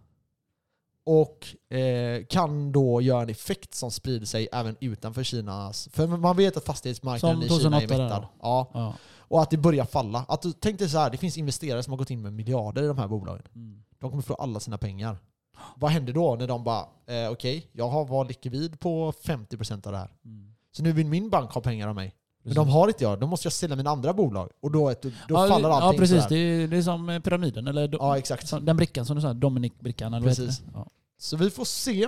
[SPEAKER 4] Och eh, kan då göra en effekt som sprider sig även utanför Kinas... För man vet att fastighetsmarknaden
[SPEAKER 3] Som
[SPEAKER 4] i Kina är
[SPEAKER 3] 2008 där
[SPEAKER 4] mättad.
[SPEAKER 3] då.
[SPEAKER 4] Ja.
[SPEAKER 3] Ja.
[SPEAKER 4] Och att det börjar falla. Att, du- tänk dig så här, det finns investerare som har gått in med miljarder i de här bolagen.
[SPEAKER 3] Mm.
[SPEAKER 4] De kommer få alla sina pengar. Vad händer då när de bara, eh, okej, jag har var likvid på 50% av det här.
[SPEAKER 3] Mm.
[SPEAKER 4] Så nu vill min bank ha pengar av mig. Men
[SPEAKER 3] Precis.
[SPEAKER 4] de har inte jag, då måste jag sälja mina andra bolag. Och då, är- då
[SPEAKER 3] ja,
[SPEAKER 4] faller
[SPEAKER 3] det-
[SPEAKER 4] allting
[SPEAKER 3] Ja, precis.
[SPEAKER 4] sådär.
[SPEAKER 3] Det är, det är som eh, pyramiden. Eller do,
[SPEAKER 4] Ja, exakt.
[SPEAKER 3] som- den brickan som du sa, Dominic-brickan. Eller vad heter
[SPEAKER 4] Precis.
[SPEAKER 3] det? Ja.
[SPEAKER 4] Så vi får se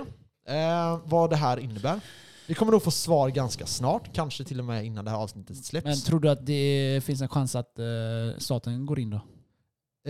[SPEAKER 4] eh, vad det här innebär. Vi kommer nog få svar ganska snart, kanske till och med innan det här avsnittet släpps.
[SPEAKER 3] Men tror du att det finns en chans att eh, staten går in då?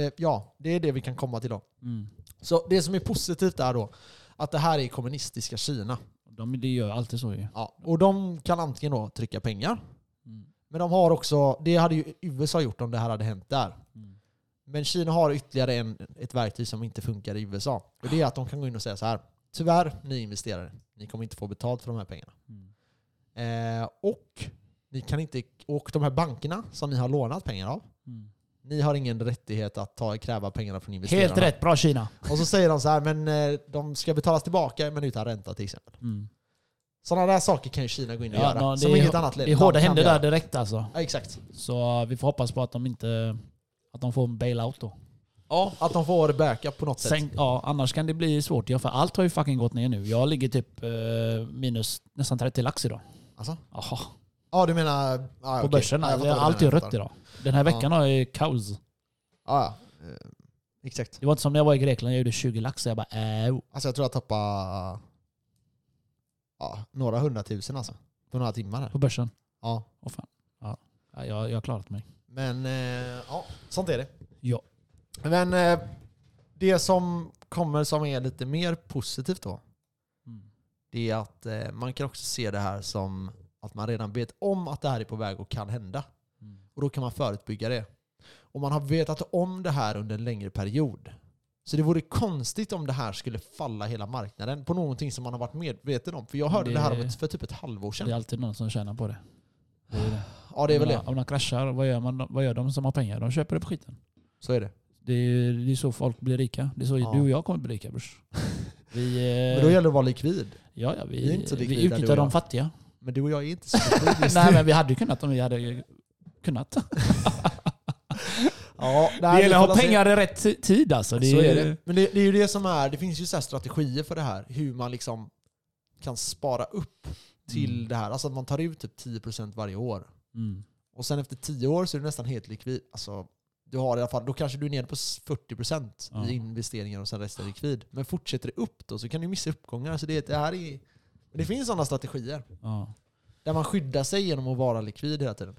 [SPEAKER 4] eh, ja, det är det vi kan komma till då.
[SPEAKER 3] Mm.
[SPEAKER 4] Så det som är positivt är då att det här är kommunistiska Kina.
[SPEAKER 3] De, det gör alltid så ju.
[SPEAKER 4] Ja, och de kan antingen då trycka pengar,
[SPEAKER 3] Mm.
[SPEAKER 4] men de har också, det hade ju USA gjort om det här hade hänt där.
[SPEAKER 3] Mm.
[SPEAKER 4] Men Kina har ytterligare en, ett verktyg som inte funkar i USA. Och det är att de kan gå in och säga så här, tyvärr ni investerare, ni kommer inte få betalt för de här pengarna.
[SPEAKER 3] Mm.
[SPEAKER 4] Eh, och, ni kan inte, och de här bankerna som ni har lånat pengar av,
[SPEAKER 3] Mm.
[SPEAKER 4] ni har ingen rättighet att ta, kräva pengarna från investerarna.
[SPEAKER 3] Helt rätt, bra Kina.
[SPEAKER 4] Och så säger de så här, men eh, de ska betalas tillbaka men utan ränta till exempel.
[SPEAKER 3] Mm.
[SPEAKER 4] Sådana där saker kan ju Kina gå in och göra.
[SPEAKER 3] nå,
[SPEAKER 4] som
[SPEAKER 3] är,
[SPEAKER 4] inget annat land
[SPEAKER 3] det är hårda
[SPEAKER 4] kan
[SPEAKER 3] händer
[SPEAKER 4] göra.
[SPEAKER 3] där direkt alltså.
[SPEAKER 4] Ja, exakt.
[SPEAKER 3] Så eh, vi får hoppas på att de inte att de får en bailout då.
[SPEAKER 4] Ja. Att de får backup på något sätt.
[SPEAKER 3] Sen, ja, annars kan det bli svårt. Ja, för allt har ju fucking gått ner nu. Jag ligger typ eh, minus nästan 30 lax idag.
[SPEAKER 4] Alltså?
[SPEAKER 3] Jaha, på
[SPEAKER 4] Ja, du menar... Ja, Ah, okej.
[SPEAKER 3] börsen.
[SPEAKER 4] Ja, jag fattar vad du
[SPEAKER 3] allt är
[SPEAKER 4] menar, jag
[SPEAKER 3] rött
[SPEAKER 4] fattar.
[SPEAKER 3] idag. Den här veckan har jag ju kaos.
[SPEAKER 4] Ja, ja. Eh, Exakt.
[SPEAKER 3] Det var inte som när jag var i Grekland. Jag gjorde 20 lax. Jag bara äh,
[SPEAKER 4] Alltså jag tror jag tappade ja, några hundratusen alltså. På några timmar här.
[SPEAKER 3] på börsen.
[SPEAKER 4] Ja.
[SPEAKER 3] Åh fan. Ja. Ja, jag, jag har klarat mig.
[SPEAKER 4] Men eh, ja, sånt är det.
[SPEAKER 3] Ja.
[SPEAKER 4] Men eh, det som kommer som är lite mer positivt då.
[SPEAKER 3] Mm.
[SPEAKER 4] Det är att eh, man kan också se det här som att man redan vet om att det här är på väg och kan hända.
[SPEAKER 3] Mm.
[SPEAKER 4] Och då kan man förutbygga det. Och man har vetat om det här under en längre period. Så det vore konstigt om det här skulle falla hela marknaden på någonting som man har varit medveten om. För jag hörde det,
[SPEAKER 3] Det-
[SPEAKER 4] här om ett, för typ ett halvår
[SPEAKER 3] Det är
[SPEAKER 4] sedan.
[SPEAKER 3] alltid någon som tjänar på det. det, är det.
[SPEAKER 4] Ja, det är väl
[SPEAKER 3] om,
[SPEAKER 4] det.
[SPEAKER 3] de- om de kraschar, vad gör, man, vad gör de som har pengar? De köper det på skiten.
[SPEAKER 4] Så är det.
[SPEAKER 3] Det är, ju- det är så folk blir rika. Det är så
[SPEAKER 4] Ja.
[SPEAKER 3] du och jag kommer bli rika brors. Vi,
[SPEAKER 4] Men då
[SPEAKER 3] eh,
[SPEAKER 4] gäller det att vara likvid.
[SPEAKER 3] ja, ja, vi,
[SPEAKER 4] vi är inte så likvida, du
[SPEAKER 3] vi
[SPEAKER 4] och
[SPEAKER 3] utnyttjar de
[SPEAKER 4] jag.
[SPEAKER 3] fattiga.
[SPEAKER 4] Men du och jag är inte så likvid just
[SPEAKER 3] Nej
[SPEAKER 4] nu.
[SPEAKER 3] men vi hade ju kunnat om vi hade ju kunnat.
[SPEAKER 4] Ja, nej,
[SPEAKER 3] det
[SPEAKER 4] vi
[SPEAKER 3] gäller att
[SPEAKER 4] får
[SPEAKER 3] ha
[SPEAKER 4] se.
[SPEAKER 3] pengar i rätt ti- tid alltså. Det
[SPEAKER 4] så
[SPEAKER 3] är-
[SPEAKER 4] är det. Men det, det är ju det som är, det finns ju så här strategier för det här. Hur man liksom kan spara upp till
[SPEAKER 3] Mm.
[SPEAKER 4] det här. Alltså att man tar ut typ 10% varje år.
[SPEAKER 3] Mm.
[SPEAKER 4] Och sen efter 10 år så är du nästan helt likvid. Alltså, du har i alla fall, då kanske du är nere på 40%
[SPEAKER 3] Ja.
[SPEAKER 4] i investeringar och sen resten är likvid. Men fortsätter det upp då så kan du missa uppgångar. Så det, det, här är, det finns sådana strategier.
[SPEAKER 3] Ja.
[SPEAKER 4] Där man skyddar sig genom att vara likvid hela tiden.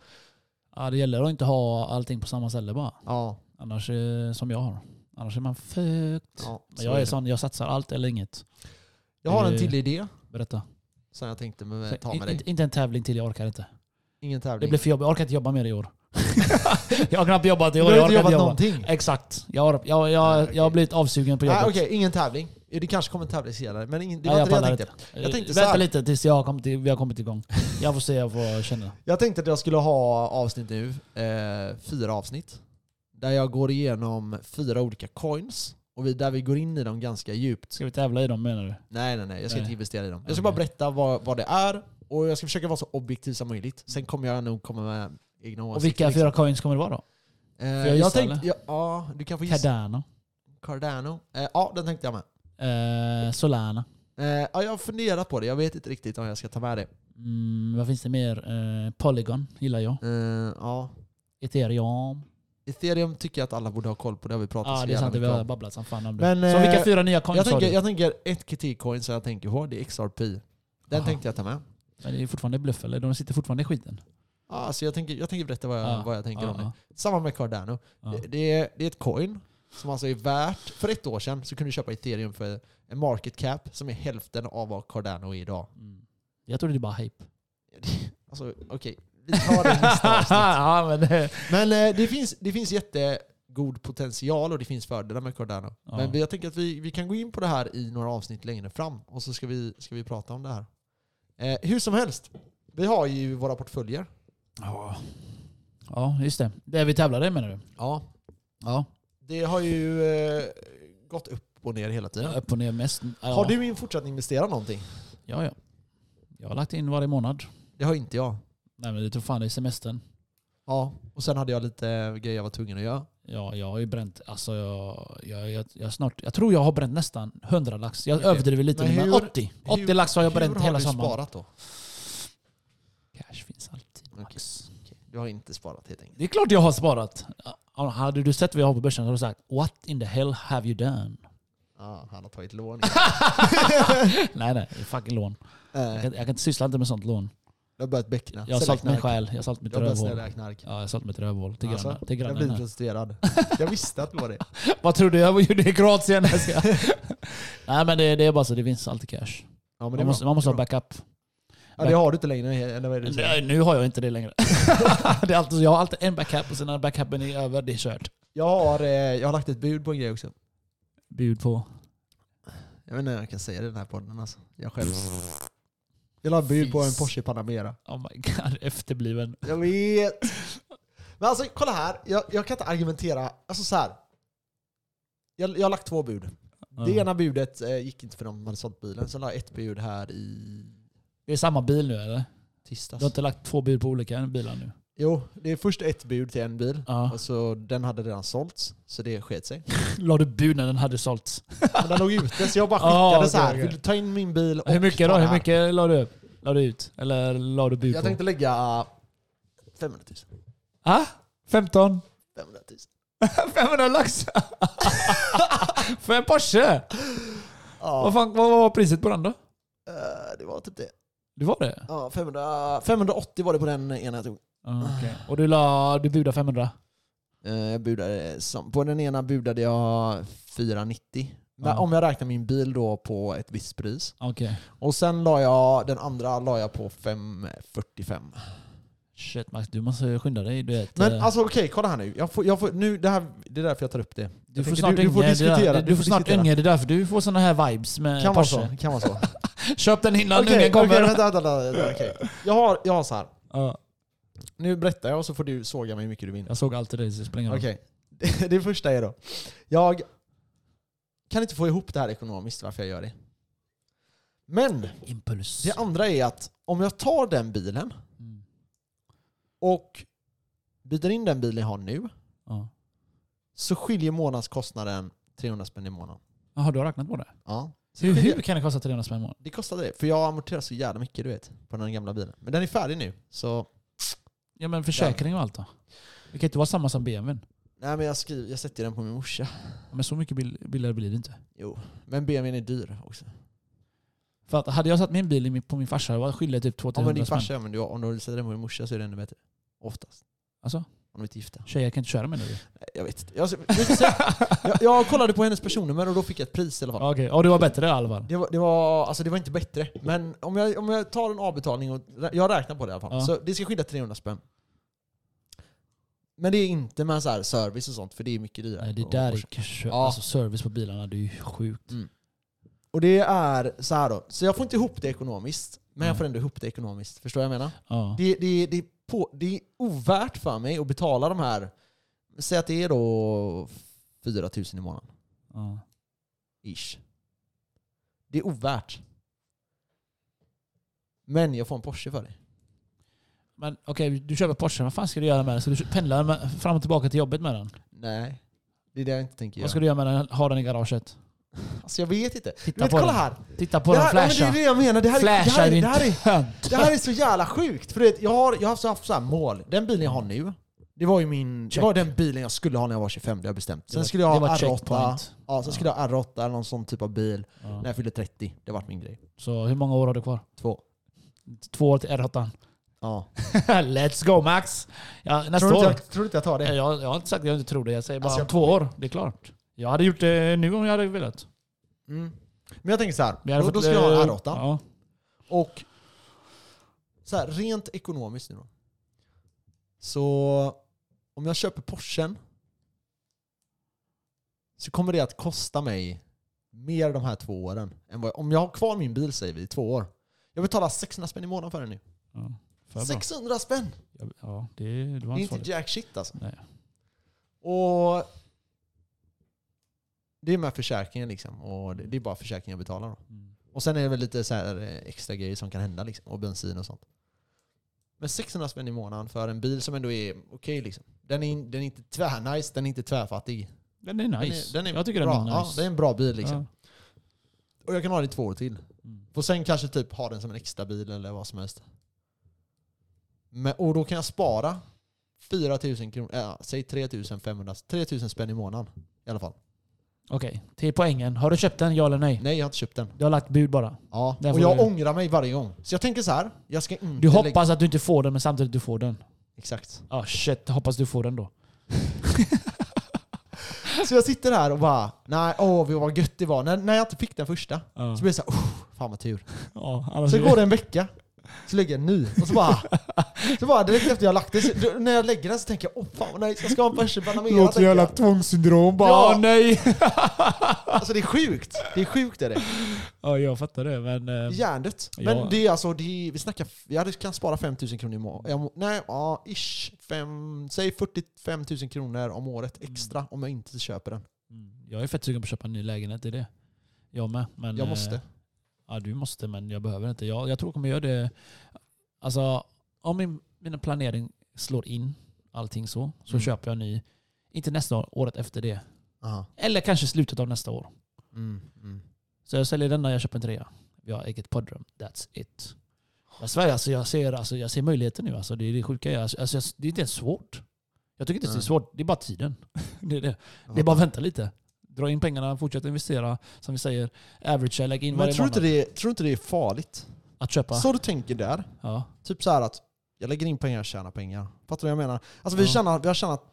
[SPEAKER 3] ja, det gäller att inte ha allting på samma ställe bara.
[SPEAKER 4] Ja,
[SPEAKER 3] Annars, eh, som jag har. Annars är man fucked.
[SPEAKER 4] ja
[SPEAKER 3] Men
[SPEAKER 4] så
[SPEAKER 3] jag
[SPEAKER 4] är
[SPEAKER 3] är
[SPEAKER 4] det.
[SPEAKER 3] sån, Eh, jag satsar allt eller inget.
[SPEAKER 4] jag har en till idé
[SPEAKER 3] Berätta.
[SPEAKER 4] som jag tänkte men, Eh, ta
[SPEAKER 3] In-
[SPEAKER 4] med dig.
[SPEAKER 3] inte- inte en tävling till, jag orkar inte.
[SPEAKER 4] Ingen
[SPEAKER 3] Det
[SPEAKER 4] tävling.
[SPEAKER 3] blir för jobbigt, jag orkar inte jobba mer i år. jag har knappt jobbat i
[SPEAKER 4] Du
[SPEAKER 3] år,
[SPEAKER 4] har
[SPEAKER 3] jag
[SPEAKER 4] inte
[SPEAKER 3] orkar
[SPEAKER 4] jobbat
[SPEAKER 3] inte jobba.
[SPEAKER 4] någonting.
[SPEAKER 3] Exakt. Jag har, jag, jag, jag har blivit avsugen på jobbet.
[SPEAKER 4] Nej, Ah, okej, ingen tävling. Jo, Det kanske kommer en tävling senare, men ingen, det var
[SPEAKER 3] Nej,
[SPEAKER 4] inte det jag
[SPEAKER 3] pallar
[SPEAKER 4] tänkte.
[SPEAKER 3] inte.
[SPEAKER 4] Jag tänkte
[SPEAKER 3] Eh,
[SPEAKER 4] så
[SPEAKER 3] Vänta
[SPEAKER 4] här.
[SPEAKER 3] lite tills jag har kommit, i- vi har kommit igång. Jag får se vad jag känner.
[SPEAKER 4] Jag tänkte att jag skulle ha avsnitt nu, eh, fyra avsnitt. Där jag går igenom fyra olika coins, och vi, där vi går in i dem ganska djupt.
[SPEAKER 3] Ska vi tävla i dem menar du?
[SPEAKER 4] Nej, nej, nej. Jag ska
[SPEAKER 3] Nej.
[SPEAKER 4] inte investera i dem. Jag ska
[SPEAKER 3] Okej.
[SPEAKER 4] bara berätta vad, vad det är, och jag ska försöka vara så objektiv som möjligt. Sen kommer jag nog komma med egna åsikter.
[SPEAKER 3] Och vilka
[SPEAKER 4] liksom.
[SPEAKER 3] fyra coins kommer det vara då?
[SPEAKER 4] Eh,
[SPEAKER 3] jag gissa,
[SPEAKER 4] jag tänkte,
[SPEAKER 3] eller?
[SPEAKER 4] ja, ja, du kan få gissa.
[SPEAKER 3] Cardano,
[SPEAKER 4] Cardano. Eh, ja, den tänkte jag med.
[SPEAKER 3] eh, Solana.
[SPEAKER 4] Eh, ja, jag har funderat på det. Jag vet inte riktigt om jag ska ta med det.
[SPEAKER 3] Mm, vad finns det mer? Eh, Polygon gillar jag.
[SPEAKER 4] Eh, ja.
[SPEAKER 3] Ethereum.
[SPEAKER 4] Ethereum tycker jag att alla borde ha koll på. Det har vi pratat
[SPEAKER 3] Ja,
[SPEAKER 4] så
[SPEAKER 3] det är
[SPEAKER 4] jävla
[SPEAKER 3] sant. Vi
[SPEAKER 4] mycket
[SPEAKER 3] har
[SPEAKER 4] om.
[SPEAKER 3] babblat som fan om det.
[SPEAKER 4] Men,
[SPEAKER 3] så vilka
[SPEAKER 4] eh,
[SPEAKER 3] fyra nya coins
[SPEAKER 4] Jag
[SPEAKER 3] har du?
[SPEAKER 4] tänker, jag tänker ett kritikcoin som jag tänker på, det är XRP. Den
[SPEAKER 3] Aha.
[SPEAKER 4] tänkte jag ta med.
[SPEAKER 3] Men det är fortfarande bluff eller? De sitter fortfarande i skiten.
[SPEAKER 4] Ja, så jag, tänker, jag tänker berätta vad jag,
[SPEAKER 3] Ja,
[SPEAKER 4] vad jag tänker
[SPEAKER 3] ja,
[SPEAKER 4] om det.
[SPEAKER 3] ja,
[SPEAKER 4] Samma med Cardano.
[SPEAKER 3] ja.
[SPEAKER 4] Det, det, är, det är ett coin som alltså är värt... För ett år sedan så kunde du köpa ethereum för en market cap som är hälften av vad Cardano är idag.
[SPEAKER 3] Mm. Jag trodde det bara hype.
[SPEAKER 4] Alltså okej, vi tar det i nästa avsnitt.
[SPEAKER 3] ja, men, eh,
[SPEAKER 4] Men eh, det, finns, det finns jättegod potential och det finns fördelar med Cardano.
[SPEAKER 3] Ja.
[SPEAKER 4] Men vi- jag tänker att vi, vi kan gå in på det här i några avsnitt längre fram och så ska vi, ska vi prata om det här. Eh, hur som helst, vi har ju våra portföljer.
[SPEAKER 3] ja. ja, just det. Det vi tävlade menar du?
[SPEAKER 4] Ja.
[SPEAKER 3] Ja.
[SPEAKER 4] Det har ju eh, gått upp och ner hela tiden.
[SPEAKER 3] Upp och ner mest. Ja.
[SPEAKER 4] Har du in- fortsatt investera någonting?
[SPEAKER 3] Ja, ja. Jag har lagt in varje månad.
[SPEAKER 4] Det har inte jag.
[SPEAKER 3] Nej men det tror fan det är semestern.
[SPEAKER 4] Ja, och sen hade jag lite eh, grejer jag var tvungen att göra.
[SPEAKER 3] Ja, jag har ju bränt, alltså jag, jag, jag, jag, snart, jag tror jag har bränt nästan 100 lax. Jag
[SPEAKER 4] Okej.
[SPEAKER 3] överdriver lite
[SPEAKER 4] Men
[SPEAKER 3] men,
[SPEAKER 4] hur-
[SPEAKER 3] 80.
[SPEAKER 4] hur-
[SPEAKER 3] 80 lax har jag bränt
[SPEAKER 4] Hur har
[SPEAKER 3] hela
[SPEAKER 4] du
[SPEAKER 3] sommaren.
[SPEAKER 4] sparat då?
[SPEAKER 3] Cash finns alltid max.
[SPEAKER 4] Okej, Du har inte sparat helt enkelt.
[SPEAKER 3] Det är klart jag har sparat. Ja, Hade du sett vad jag har på börsen hade du sagt What in the hell have you done?
[SPEAKER 4] Ja, han har tagit lån.
[SPEAKER 3] nej nej, det är fucking lån. Jag
[SPEAKER 4] Eh,
[SPEAKER 3] kan, jag kan inte syssla inte med sånt lån.
[SPEAKER 4] Jag har börjat beckna.
[SPEAKER 3] Jag har
[SPEAKER 4] Sälja
[SPEAKER 3] sålt min
[SPEAKER 4] knark.
[SPEAKER 3] själ, jag har sålt mitt
[SPEAKER 4] Jag har börjat
[SPEAKER 3] rövhål.
[SPEAKER 4] sälja knark.
[SPEAKER 3] Ja, jag har sålt mitt rövhål till
[SPEAKER 4] Alltså,
[SPEAKER 3] grannen.
[SPEAKER 4] jag
[SPEAKER 3] Till grannen
[SPEAKER 4] blir
[SPEAKER 3] här.
[SPEAKER 4] protesterad. Jag visste att det var det.
[SPEAKER 3] Vad tror du jag gjorde i Kroatien? Nej, jag skojar. Nej men det, det är bara så, det finns alltid cash.
[SPEAKER 4] Ja, men det är
[SPEAKER 3] Man måste,
[SPEAKER 4] bra.
[SPEAKER 3] man måste
[SPEAKER 4] Det
[SPEAKER 3] ha
[SPEAKER 4] är bra.
[SPEAKER 3] backup.
[SPEAKER 4] Ja, det har du inte längre. Eller vad är det du säger?
[SPEAKER 3] Nej, nu har jag inte det längre. det är alltid, jag har alltid en backup och sen när backupen är över, det är kört.
[SPEAKER 4] Jag har, eh, jag har lagt ett bud på en grej också.
[SPEAKER 3] Bud på.
[SPEAKER 4] Jag vet inte om jag kan säga det i den här podden alltså. Jag skäms. Jag la bud på en
[SPEAKER 3] Fis.
[SPEAKER 4] Porsche Panamera.
[SPEAKER 3] Oh my god, efterbliven.
[SPEAKER 4] Jag vet. Men alltså kolla här. Jag, jag kan inte argumentera. Alltså så här. Jag, jag har lagt två bud. Det ena budet eh, gick inte för de hade sålt bilen. Sen la jag ett bud här i
[SPEAKER 3] Det är samma bil nu eller? Du
[SPEAKER 4] tisdags.
[SPEAKER 3] har inte lagt två bud på olika bilar nu?
[SPEAKER 4] Jo, det är först ett bud till en bil.
[SPEAKER 3] Ja.
[SPEAKER 4] Och så den hade redan sålts, så det sket sig.
[SPEAKER 3] La du bud när den hade sålts?
[SPEAKER 4] Men den låg ute, så jag bara skickade
[SPEAKER 3] Ja, okej,
[SPEAKER 4] så här.
[SPEAKER 3] okej.
[SPEAKER 4] Vill du ta in min bil och
[SPEAKER 3] Hur
[SPEAKER 4] ta
[SPEAKER 3] mycket då?
[SPEAKER 4] det
[SPEAKER 3] Hur
[SPEAKER 4] här?"
[SPEAKER 3] mycket la du upp? La du ut? Eller la du bud
[SPEAKER 4] Jag
[SPEAKER 3] på?
[SPEAKER 4] tänkte lägga ah, 500 000.
[SPEAKER 3] Ah? 15?
[SPEAKER 4] 500 000.
[SPEAKER 3] 500 lax? För en Porsche?
[SPEAKER 4] Ja,
[SPEAKER 3] Vad, fan, vad var priset på den då?
[SPEAKER 4] eh, det var typ det.
[SPEAKER 3] Det var det?
[SPEAKER 4] Ja, 500, 580 var det på den ena jag tog.
[SPEAKER 3] Ah, okej. Och du, la, du budade 500?
[SPEAKER 4] Eh, Jag budade, som, på den ena budade jag 490. Men
[SPEAKER 3] Ja.
[SPEAKER 4] Om jag räknar min bil då på ett visst pris.
[SPEAKER 3] Okej.
[SPEAKER 4] Och sen la jag, den andra la jag på 545.
[SPEAKER 3] Shit Max, du måste skynda dig. Du, vet,
[SPEAKER 4] Men
[SPEAKER 3] eh,
[SPEAKER 4] alltså okej, kolla här nu. Jag får, jag får, nu det, här, det är därför jag tar upp det. jag
[SPEAKER 3] du, får
[SPEAKER 4] tänker,
[SPEAKER 3] snart
[SPEAKER 4] du- du får
[SPEAKER 3] yngre, det är där-
[SPEAKER 4] diskutera,
[SPEAKER 3] Du,
[SPEAKER 4] du
[SPEAKER 3] du
[SPEAKER 4] får
[SPEAKER 3] får snart
[SPEAKER 4] diskutera.
[SPEAKER 3] yngre, det är därför du får sådana här vibes med
[SPEAKER 4] Kan vara så.
[SPEAKER 3] Porsche.
[SPEAKER 4] Kan vara så. Okej,
[SPEAKER 3] Köp den innan nu, den
[SPEAKER 4] okej,
[SPEAKER 3] kommer.
[SPEAKER 4] vänta, vänta, vänta, vänta, okej. Jag har, jag har så här.
[SPEAKER 3] Ja,
[SPEAKER 4] Nu berättar jag och så får du såga mig hur mycket du vill.
[SPEAKER 3] jag såg alltid dig, så det spelar ingen roll.
[SPEAKER 4] Okej. Det första är då. Jag kan inte få ihop det här ekonomiskt varför jag gör det. Men
[SPEAKER 3] Impuls.
[SPEAKER 4] det andra är att om jag tar den bilen
[SPEAKER 3] Mm.
[SPEAKER 4] och byter in den bilen jag har nu
[SPEAKER 3] Ja.
[SPEAKER 4] så skiljer månadskostnaden 300 spänn i månaden.
[SPEAKER 3] Jaha, du har räknat på det?
[SPEAKER 4] Ja. Så
[SPEAKER 3] Hur,
[SPEAKER 4] skiljer-
[SPEAKER 3] hur kan det kosta 300 spänn i månaden?
[SPEAKER 4] Det kostade det. För jag amorterar så jävla mycket du vet. På den gamla bilen. Men den är färdig nu. Så
[SPEAKER 3] Ja men försäkring och allt då? Det kan inte vara samma som BMWn.
[SPEAKER 4] nej men jag, skriver, jag sätter den på min morsa.
[SPEAKER 3] Ja, Men så mycket bil- billigare blir det inte.
[SPEAKER 4] Jo. Men BMWn är dyr också.
[SPEAKER 3] För att hade jag satt min bil i min- på min farsa, vad skiljer typ
[SPEAKER 4] Ja
[SPEAKER 3] 200
[SPEAKER 4] men din
[SPEAKER 3] spänn?
[SPEAKER 4] farsa, ja, men du, om du sätter den på din morsa så är det ännu bättre. Oftast.
[SPEAKER 3] Alltså,
[SPEAKER 4] Om de inte är gifta.
[SPEAKER 3] tjejer kan inte köra med det.
[SPEAKER 4] Nej, Jag vet inte. Jag, jag, jag kollade på hennes personnummer och då fick jag ett pris i alla fall.
[SPEAKER 3] Okej, ja du var bättre i alla fall.
[SPEAKER 4] Det var, det, var, alltså det var inte bättre, men om jag, om jag tar en avbetalning och rä- jag räknar på det i alla fall.
[SPEAKER 3] Ja.
[SPEAKER 4] Så det ska skilja 300 spänn. Men det är inte med så här service och sånt, för det är mycket dyrare.
[SPEAKER 3] Nej, det
[SPEAKER 4] på
[SPEAKER 3] där är
[SPEAKER 4] Porsche.
[SPEAKER 3] kö-
[SPEAKER 4] Ja.
[SPEAKER 3] alltså service på bilarna, det är ju sjukt.
[SPEAKER 4] Och det är så här då. Så jag får inte ihop det ekonomiskt, men jag
[SPEAKER 3] Nej.
[SPEAKER 4] får ändå ihop det ekonomiskt. Förstår jag vad jag menar?
[SPEAKER 3] Mm. Ja.
[SPEAKER 4] Det, det, det, är på, det är ovärt för mig att betala de här, säg att det är då 4000 i månaden.
[SPEAKER 3] Ja.
[SPEAKER 4] Ish. Det är ovärt. Men jag får en Porsche för det.
[SPEAKER 3] Men okej, du köper Porsche, vad fan ska du göra med den? Ska du pendla med, fram och tillbaka till jobbet med den?
[SPEAKER 4] Nej. Det är det jag inte tänker göra.
[SPEAKER 3] Vad ska du göra med den? Ha den i garaget?
[SPEAKER 4] Alltså jag vet inte.
[SPEAKER 3] Titta
[SPEAKER 4] Du vet,
[SPEAKER 3] på
[SPEAKER 4] kolla
[SPEAKER 3] den.
[SPEAKER 4] här.
[SPEAKER 3] Titta på
[SPEAKER 4] det,
[SPEAKER 3] den,
[SPEAKER 4] här nej, men det
[SPEAKER 3] flasha.
[SPEAKER 4] är det jag menar. Det här, är- det
[SPEAKER 3] Flasha
[SPEAKER 4] här,
[SPEAKER 3] är
[SPEAKER 4] är-
[SPEAKER 3] din
[SPEAKER 4] det här, är,
[SPEAKER 3] tönt.
[SPEAKER 4] det här är så jävla sjukt. För du vet, jag har, jag har haft så här mål. Den bilen jag har nu, det var ju min... Det
[SPEAKER 3] Check.
[SPEAKER 4] var den bilen jag skulle ha när jag var 25, det har jag bestämt.
[SPEAKER 3] Det
[SPEAKER 4] Sen
[SPEAKER 3] var-
[SPEAKER 4] skulle jag
[SPEAKER 3] det var
[SPEAKER 4] ha R8.
[SPEAKER 3] checkpoint.
[SPEAKER 4] Ja, sen skulle jag ha R8 eller någon sån typ av bil
[SPEAKER 3] Ja.
[SPEAKER 4] när jag fyllde 30. Det vart min grej.
[SPEAKER 3] Så hur många år har du kvar?
[SPEAKER 4] Två.
[SPEAKER 3] Två år till R8.
[SPEAKER 4] Ja.
[SPEAKER 3] Let's go Max! Ja, nästa
[SPEAKER 4] Tror du
[SPEAKER 3] år.
[SPEAKER 4] inte jag, tror du inte jag tar det?
[SPEAKER 3] Jag, jag, jag har inte sagt att jag inte tror det. Jag säger bara
[SPEAKER 4] Alltså,
[SPEAKER 3] om
[SPEAKER 4] jag-
[SPEAKER 3] två år. Det är klart. Jag hade gjort det nu om jag hade velat.
[SPEAKER 4] Mm. Men jag tänker så här.
[SPEAKER 3] Men jag hade
[SPEAKER 4] Då, då
[SPEAKER 3] fått,
[SPEAKER 4] ska jag ha en
[SPEAKER 3] eh,
[SPEAKER 4] R8.
[SPEAKER 3] Ja.
[SPEAKER 4] Och så här, rent ekonomiskt nu då. Så om jag köper Porschen så kommer det att kosta mig mer de här två åren. Än vad, om jag har kvar min bil säger vi i två år. Jag betalar 600 spänn i månaden för den nu.
[SPEAKER 3] ja. För bra.
[SPEAKER 4] 600 spänn!
[SPEAKER 3] Ja, Ja, det, det
[SPEAKER 4] Det
[SPEAKER 3] var
[SPEAKER 4] är
[SPEAKER 3] inte
[SPEAKER 4] inte
[SPEAKER 3] farligt.
[SPEAKER 4] jack shit alltså.
[SPEAKER 3] Nej.
[SPEAKER 4] Och det är med försäkringen liksom. Och det, det är bara försäkringen jag betalar då.
[SPEAKER 3] Mm.
[SPEAKER 4] Och sen är det väl lite så här eh, extra grejer som kan hända liksom, och bensin och sånt. Men 600 spänn i månaden för en bil som ändå är okej liksom. Den är, den är inte tvärnice, den är inte tvärfattig.
[SPEAKER 3] Den är nice.
[SPEAKER 4] Den är, den är
[SPEAKER 3] jag tycker
[SPEAKER 4] bra.
[SPEAKER 3] den är nice.
[SPEAKER 4] Ja, det är en bra bil liksom.
[SPEAKER 3] Ja.
[SPEAKER 4] Och jag kan ha den i två år till.
[SPEAKER 3] Mm.
[SPEAKER 4] Och sen kanske typ ha den som en extra bil eller vad som helst. Men, och då kan jag spara 4000 kronor, äh, säg 3500, 3000 spänn i månaden i alla fall.
[SPEAKER 3] Okej, till poängen. Har du köpt den, ja eller nej?
[SPEAKER 4] Nej, jag har inte köpt den.
[SPEAKER 3] Du har lagt bud bara.
[SPEAKER 4] Ja.
[SPEAKER 3] Där
[SPEAKER 4] Och
[SPEAKER 3] får
[SPEAKER 4] jag
[SPEAKER 3] du-
[SPEAKER 4] ångrar mig varje gång. Så jag tänker så här, jag ska inte...
[SPEAKER 3] Du
[SPEAKER 4] lägga-
[SPEAKER 3] hoppas att du inte får den, men samtidigt du får den.
[SPEAKER 4] Exakt.
[SPEAKER 3] Ja, shit. Hoppas du får den då.
[SPEAKER 4] Så jag sitter här och bara, nej, åh vad gött det var. När, när jag inte fick den första
[SPEAKER 3] Ja.
[SPEAKER 4] så blev jag såhär, oh, fan vad tur.
[SPEAKER 3] Ja, annars
[SPEAKER 4] Så går det en vecka, så lägger jag en ny. Och så bara, så bara direkt efter jag har lagt det, så, då- när jag lägger den så tänker jag, åh fan vad nice, jag ska ha en Porsche Panamera. tänker jag.
[SPEAKER 3] tvångssyndrom bara.
[SPEAKER 4] Ja.
[SPEAKER 3] Ja. nej!
[SPEAKER 4] Alltså det är sjukt. Det är sjukt är det.
[SPEAKER 3] Ja, jag fattar det, men...
[SPEAKER 4] Det är
[SPEAKER 3] eh,
[SPEAKER 4] Hjärndött. Men
[SPEAKER 3] Ja.
[SPEAKER 4] det är alltså, det är, vi snackar, jag hade- kan spara 5000 kronor i månaden. Nej, ja, ish. Fem, säg 45 000 kronor om året extra om jag inte köper den.
[SPEAKER 3] mm, Jag är fett sugen på att köpa en ny lägenhet, det är det. Jag med. Men,
[SPEAKER 4] Jag
[SPEAKER 3] eh,
[SPEAKER 4] måste.
[SPEAKER 3] Ja, du måste, men jag behöver inte. Jag, jag tror jag kommer göra det... Alltså, om min, mina planering slår in allting så, så
[SPEAKER 4] Mm.
[SPEAKER 3] köper jag en ny. Inte nästa år, året efter det.
[SPEAKER 4] Aha.
[SPEAKER 3] Eller kanske slutet av nästa år.
[SPEAKER 4] Mm, mm.
[SPEAKER 3] Så jag säljer denna, jag köper en trea. Vi har eget poddrum. That's it. Jag svär, alltså, jag ser, alltså, jag ser möjligheter nu. Alltså, det är det sjuka. jag- Alltså, jag- det är inte ens svårt. Jag tycker inte ens det är
[SPEAKER 4] Nej.
[SPEAKER 3] svårt. Det är bara tiden. Det är, det. det är
[SPEAKER 4] Ja.
[SPEAKER 3] bara att vänta lite. Dra in pengarna, fortsätta investera. Som vi säger, average, lägg in
[SPEAKER 4] Men
[SPEAKER 3] varje
[SPEAKER 4] tror du inte
[SPEAKER 3] månad.
[SPEAKER 4] det, tror du inte det är farligt?
[SPEAKER 3] Att köpa.
[SPEAKER 4] Så du tänker där.
[SPEAKER 3] Ja.
[SPEAKER 4] Typ så här att jag lägger in pengar, jag tjänar pengar. Fattar du vad jag menar? Alltså vi,
[SPEAKER 3] Ja.
[SPEAKER 4] tjänar, vi har tjänat,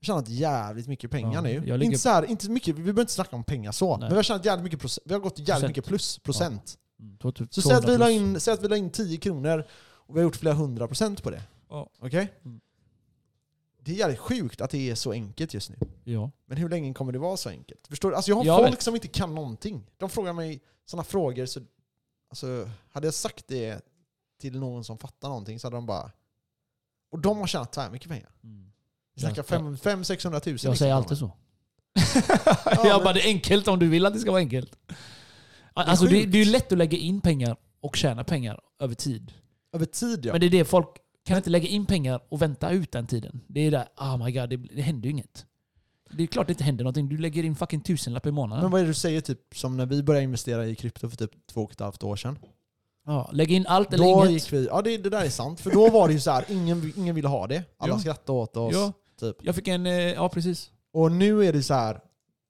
[SPEAKER 4] vi har tjänat jävligt mycket pengar
[SPEAKER 3] Ja,
[SPEAKER 4] nu.
[SPEAKER 3] jag ligger-
[SPEAKER 4] Inte så här, inte så mycket, vi behöver inte snacka om pengar så. Men vi har tjänat jävligt mycket proce- Vi har gått jävligt
[SPEAKER 3] Procent.
[SPEAKER 4] mycket plus procent.
[SPEAKER 3] Mm, två-
[SPEAKER 4] Så säg att, vi
[SPEAKER 3] 200
[SPEAKER 4] la
[SPEAKER 3] plus.
[SPEAKER 4] in, säg att vi la in 10 kronor och vi har gjort flera hundra procent på det.
[SPEAKER 3] Ja.
[SPEAKER 4] Okej?
[SPEAKER 3] Mm.
[SPEAKER 4] Det är jävligt sjukt att det är så enkelt just nu.
[SPEAKER 3] Ja.
[SPEAKER 4] Men hur länge kommer det vara så enkelt? Förstår du? Alltså jag har
[SPEAKER 3] Jag
[SPEAKER 4] folk
[SPEAKER 3] vet.
[SPEAKER 4] som inte kan någonting. De frågar mig sådana frågor. Så, alltså, hade jag sagt det till någon som fattar någonting så hade de bara... Och de har tjänat tvärmycket pengar. Vi
[SPEAKER 3] Ja,
[SPEAKER 4] snackar
[SPEAKER 3] ja.
[SPEAKER 4] 500-600 tusen.
[SPEAKER 3] Jag säger alltid så. jag
[SPEAKER 4] men-
[SPEAKER 3] bara, det är enkelt om du vill att det ska vara enkelt. Alltså, det,
[SPEAKER 4] sjukt.
[SPEAKER 3] det är ju lätt att lägga in pengar och tjäna pengar över tid.
[SPEAKER 4] Över tid ja.
[SPEAKER 3] Men det är det folk kan inte lägga in pengar och vänta ut den tiden. Det är där, oh my god, det, det händer ju inget. Det är klart det inte händer någonting. Du lägger in fucking tusenlapp i månaden.
[SPEAKER 4] Men vad är det du säger typ som när vi började investera i krypto för typ två och ett halvt år sedan?
[SPEAKER 3] Ja, lägg in allt eller
[SPEAKER 4] Då
[SPEAKER 3] inget.
[SPEAKER 4] gick vi, ja det, det där är sant. För då var det ju så här, ingen, ingen ville ha det. Alla
[SPEAKER 3] Ja.
[SPEAKER 4] skrattade åt oss.
[SPEAKER 3] Ja.
[SPEAKER 4] Typ.
[SPEAKER 3] Jag fick en, eh, ja precis.
[SPEAKER 4] Och nu är det så här,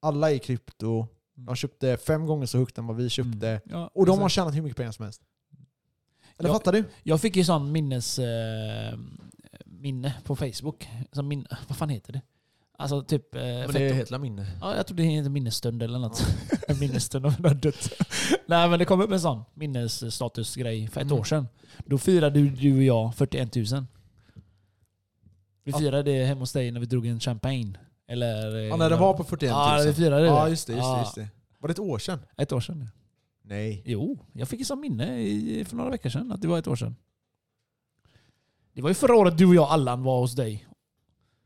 [SPEAKER 4] alla är i krypto.
[SPEAKER 3] Mm.
[SPEAKER 4] De köpte fem gånger så högt än vad vi köpte.
[SPEAKER 3] Ja,
[SPEAKER 4] Typ Och de har
[SPEAKER 3] exakt.
[SPEAKER 4] tjänat hur mycket pengar som helst. Alltså- Eller
[SPEAKER 3] Ja.
[SPEAKER 4] fattar du?
[SPEAKER 3] Jag fick ju sån minnes... Eh, minne på Facebook. Som min, vad fan heter det? Alltså typ... Eh, fetto-
[SPEAKER 4] hela minne.
[SPEAKER 3] Ja, jag tror det heter minnesstund eller något. En minnesstund av en har dött. Nej men det kom upp en sån minnesstatusgrej för ett
[SPEAKER 4] Mm.
[SPEAKER 3] år sedan. Då firade du- du och jag 41 000. Vi
[SPEAKER 4] Ja.
[SPEAKER 3] firade det hemma hos dig när vi drog en champagne. Eller... eh,
[SPEAKER 4] Ja, när det var på 41 000.
[SPEAKER 3] Ja, vi firade det.
[SPEAKER 4] Ja, just det. Just det,
[SPEAKER 3] Ja,
[SPEAKER 4] just det. Var det ett år sedan?
[SPEAKER 3] Ett år sedan.
[SPEAKER 4] Nej.
[SPEAKER 3] Jo, jag fick ett sånt minne i, för några veckor sedan att det var ett år sedan. Det var ju förra året du och jag Allan var hos dig.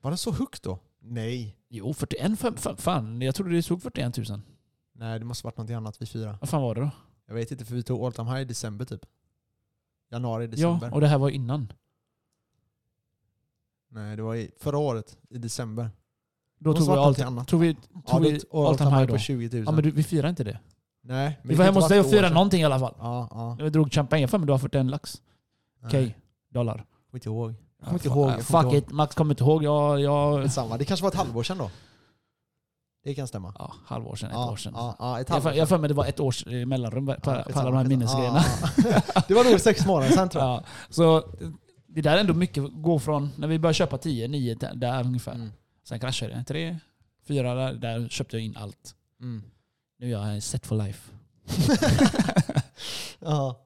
[SPEAKER 4] Var det så högt då? Nej.
[SPEAKER 3] Jo, 41 fan, fan, fan jag trodde det stod 41 000.
[SPEAKER 4] Nej, det måste varit något annat vi firade.
[SPEAKER 3] Vad fan var det då?
[SPEAKER 4] Jag vet inte, för vi tog all time high i december typ. Januari, december.
[SPEAKER 3] Ja, och det här var innan.
[SPEAKER 4] Nej, det var i, förra året, i december.
[SPEAKER 3] Då
[SPEAKER 4] måste
[SPEAKER 3] tog vi
[SPEAKER 4] varit
[SPEAKER 3] allt.
[SPEAKER 4] någonting annat.
[SPEAKER 3] Tog vi,
[SPEAKER 4] Ja,
[SPEAKER 3] tog
[SPEAKER 4] då
[SPEAKER 3] vi
[SPEAKER 4] all,
[SPEAKER 3] all time high då?
[SPEAKER 4] på 20 000.
[SPEAKER 3] Ja, men du, vi firar inte det.
[SPEAKER 4] Nej, men
[SPEAKER 3] Vi
[SPEAKER 4] det kan
[SPEAKER 3] var hemma
[SPEAKER 4] inte
[SPEAKER 3] hos dig
[SPEAKER 4] varit ett
[SPEAKER 3] och
[SPEAKER 4] år
[SPEAKER 3] firade
[SPEAKER 4] sedan.
[SPEAKER 3] någonting i alla fall.
[SPEAKER 4] Ja, ja.
[SPEAKER 3] Vi drog champagne. för mig du har 41 lax. Okej,
[SPEAKER 4] Nej,
[SPEAKER 3] dollar.
[SPEAKER 4] Kommer inte ihåg. Jag kommer inte
[SPEAKER 3] Ja,
[SPEAKER 4] ihåg.
[SPEAKER 3] fa-
[SPEAKER 4] jag kommer
[SPEAKER 3] Fuck
[SPEAKER 4] inte ihåg.
[SPEAKER 3] it, Max kommer inte ihåg. Jag, jag,
[SPEAKER 4] Samma. Det kanske var ett halvår sedan då. Det kan stämma.
[SPEAKER 3] ja, halvår sedan, ett
[SPEAKER 4] ja,
[SPEAKER 3] år sedan.
[SPEAKER 4] Ja, ja, ett
[SPEAKER 3] jag
[SPEAKER 4] halvår
[SPEAKER 3] har jag för mig det var ett års eh, mellanrum på, på
[SPEAKER 4] Ja,
[SPEAKER 3] alla
[SPEAKER 4] skitsamma,
[SPEAKER 3] de här
[SPEAKER 4] skitsamma.
[SPEAKER 3] minnesgrejerna.
[SPEAKER 4] Ja, ja. Det var nog sex månader sen tror jag.
[SPEAKER 3] Ja, så det där är ändå mycket. Gå från när vi började köpa 10, 9 där, där ungefär.
[SPEAKER 4] Mm.
[SPEAKER 3] Sen kraschade det. 3, 4 där, där köpte jag in allt.
[SPEAKER 4] Mm.
[SPEAKER 3] Nu är jag set for life.
[SPEAKER 4] Ja.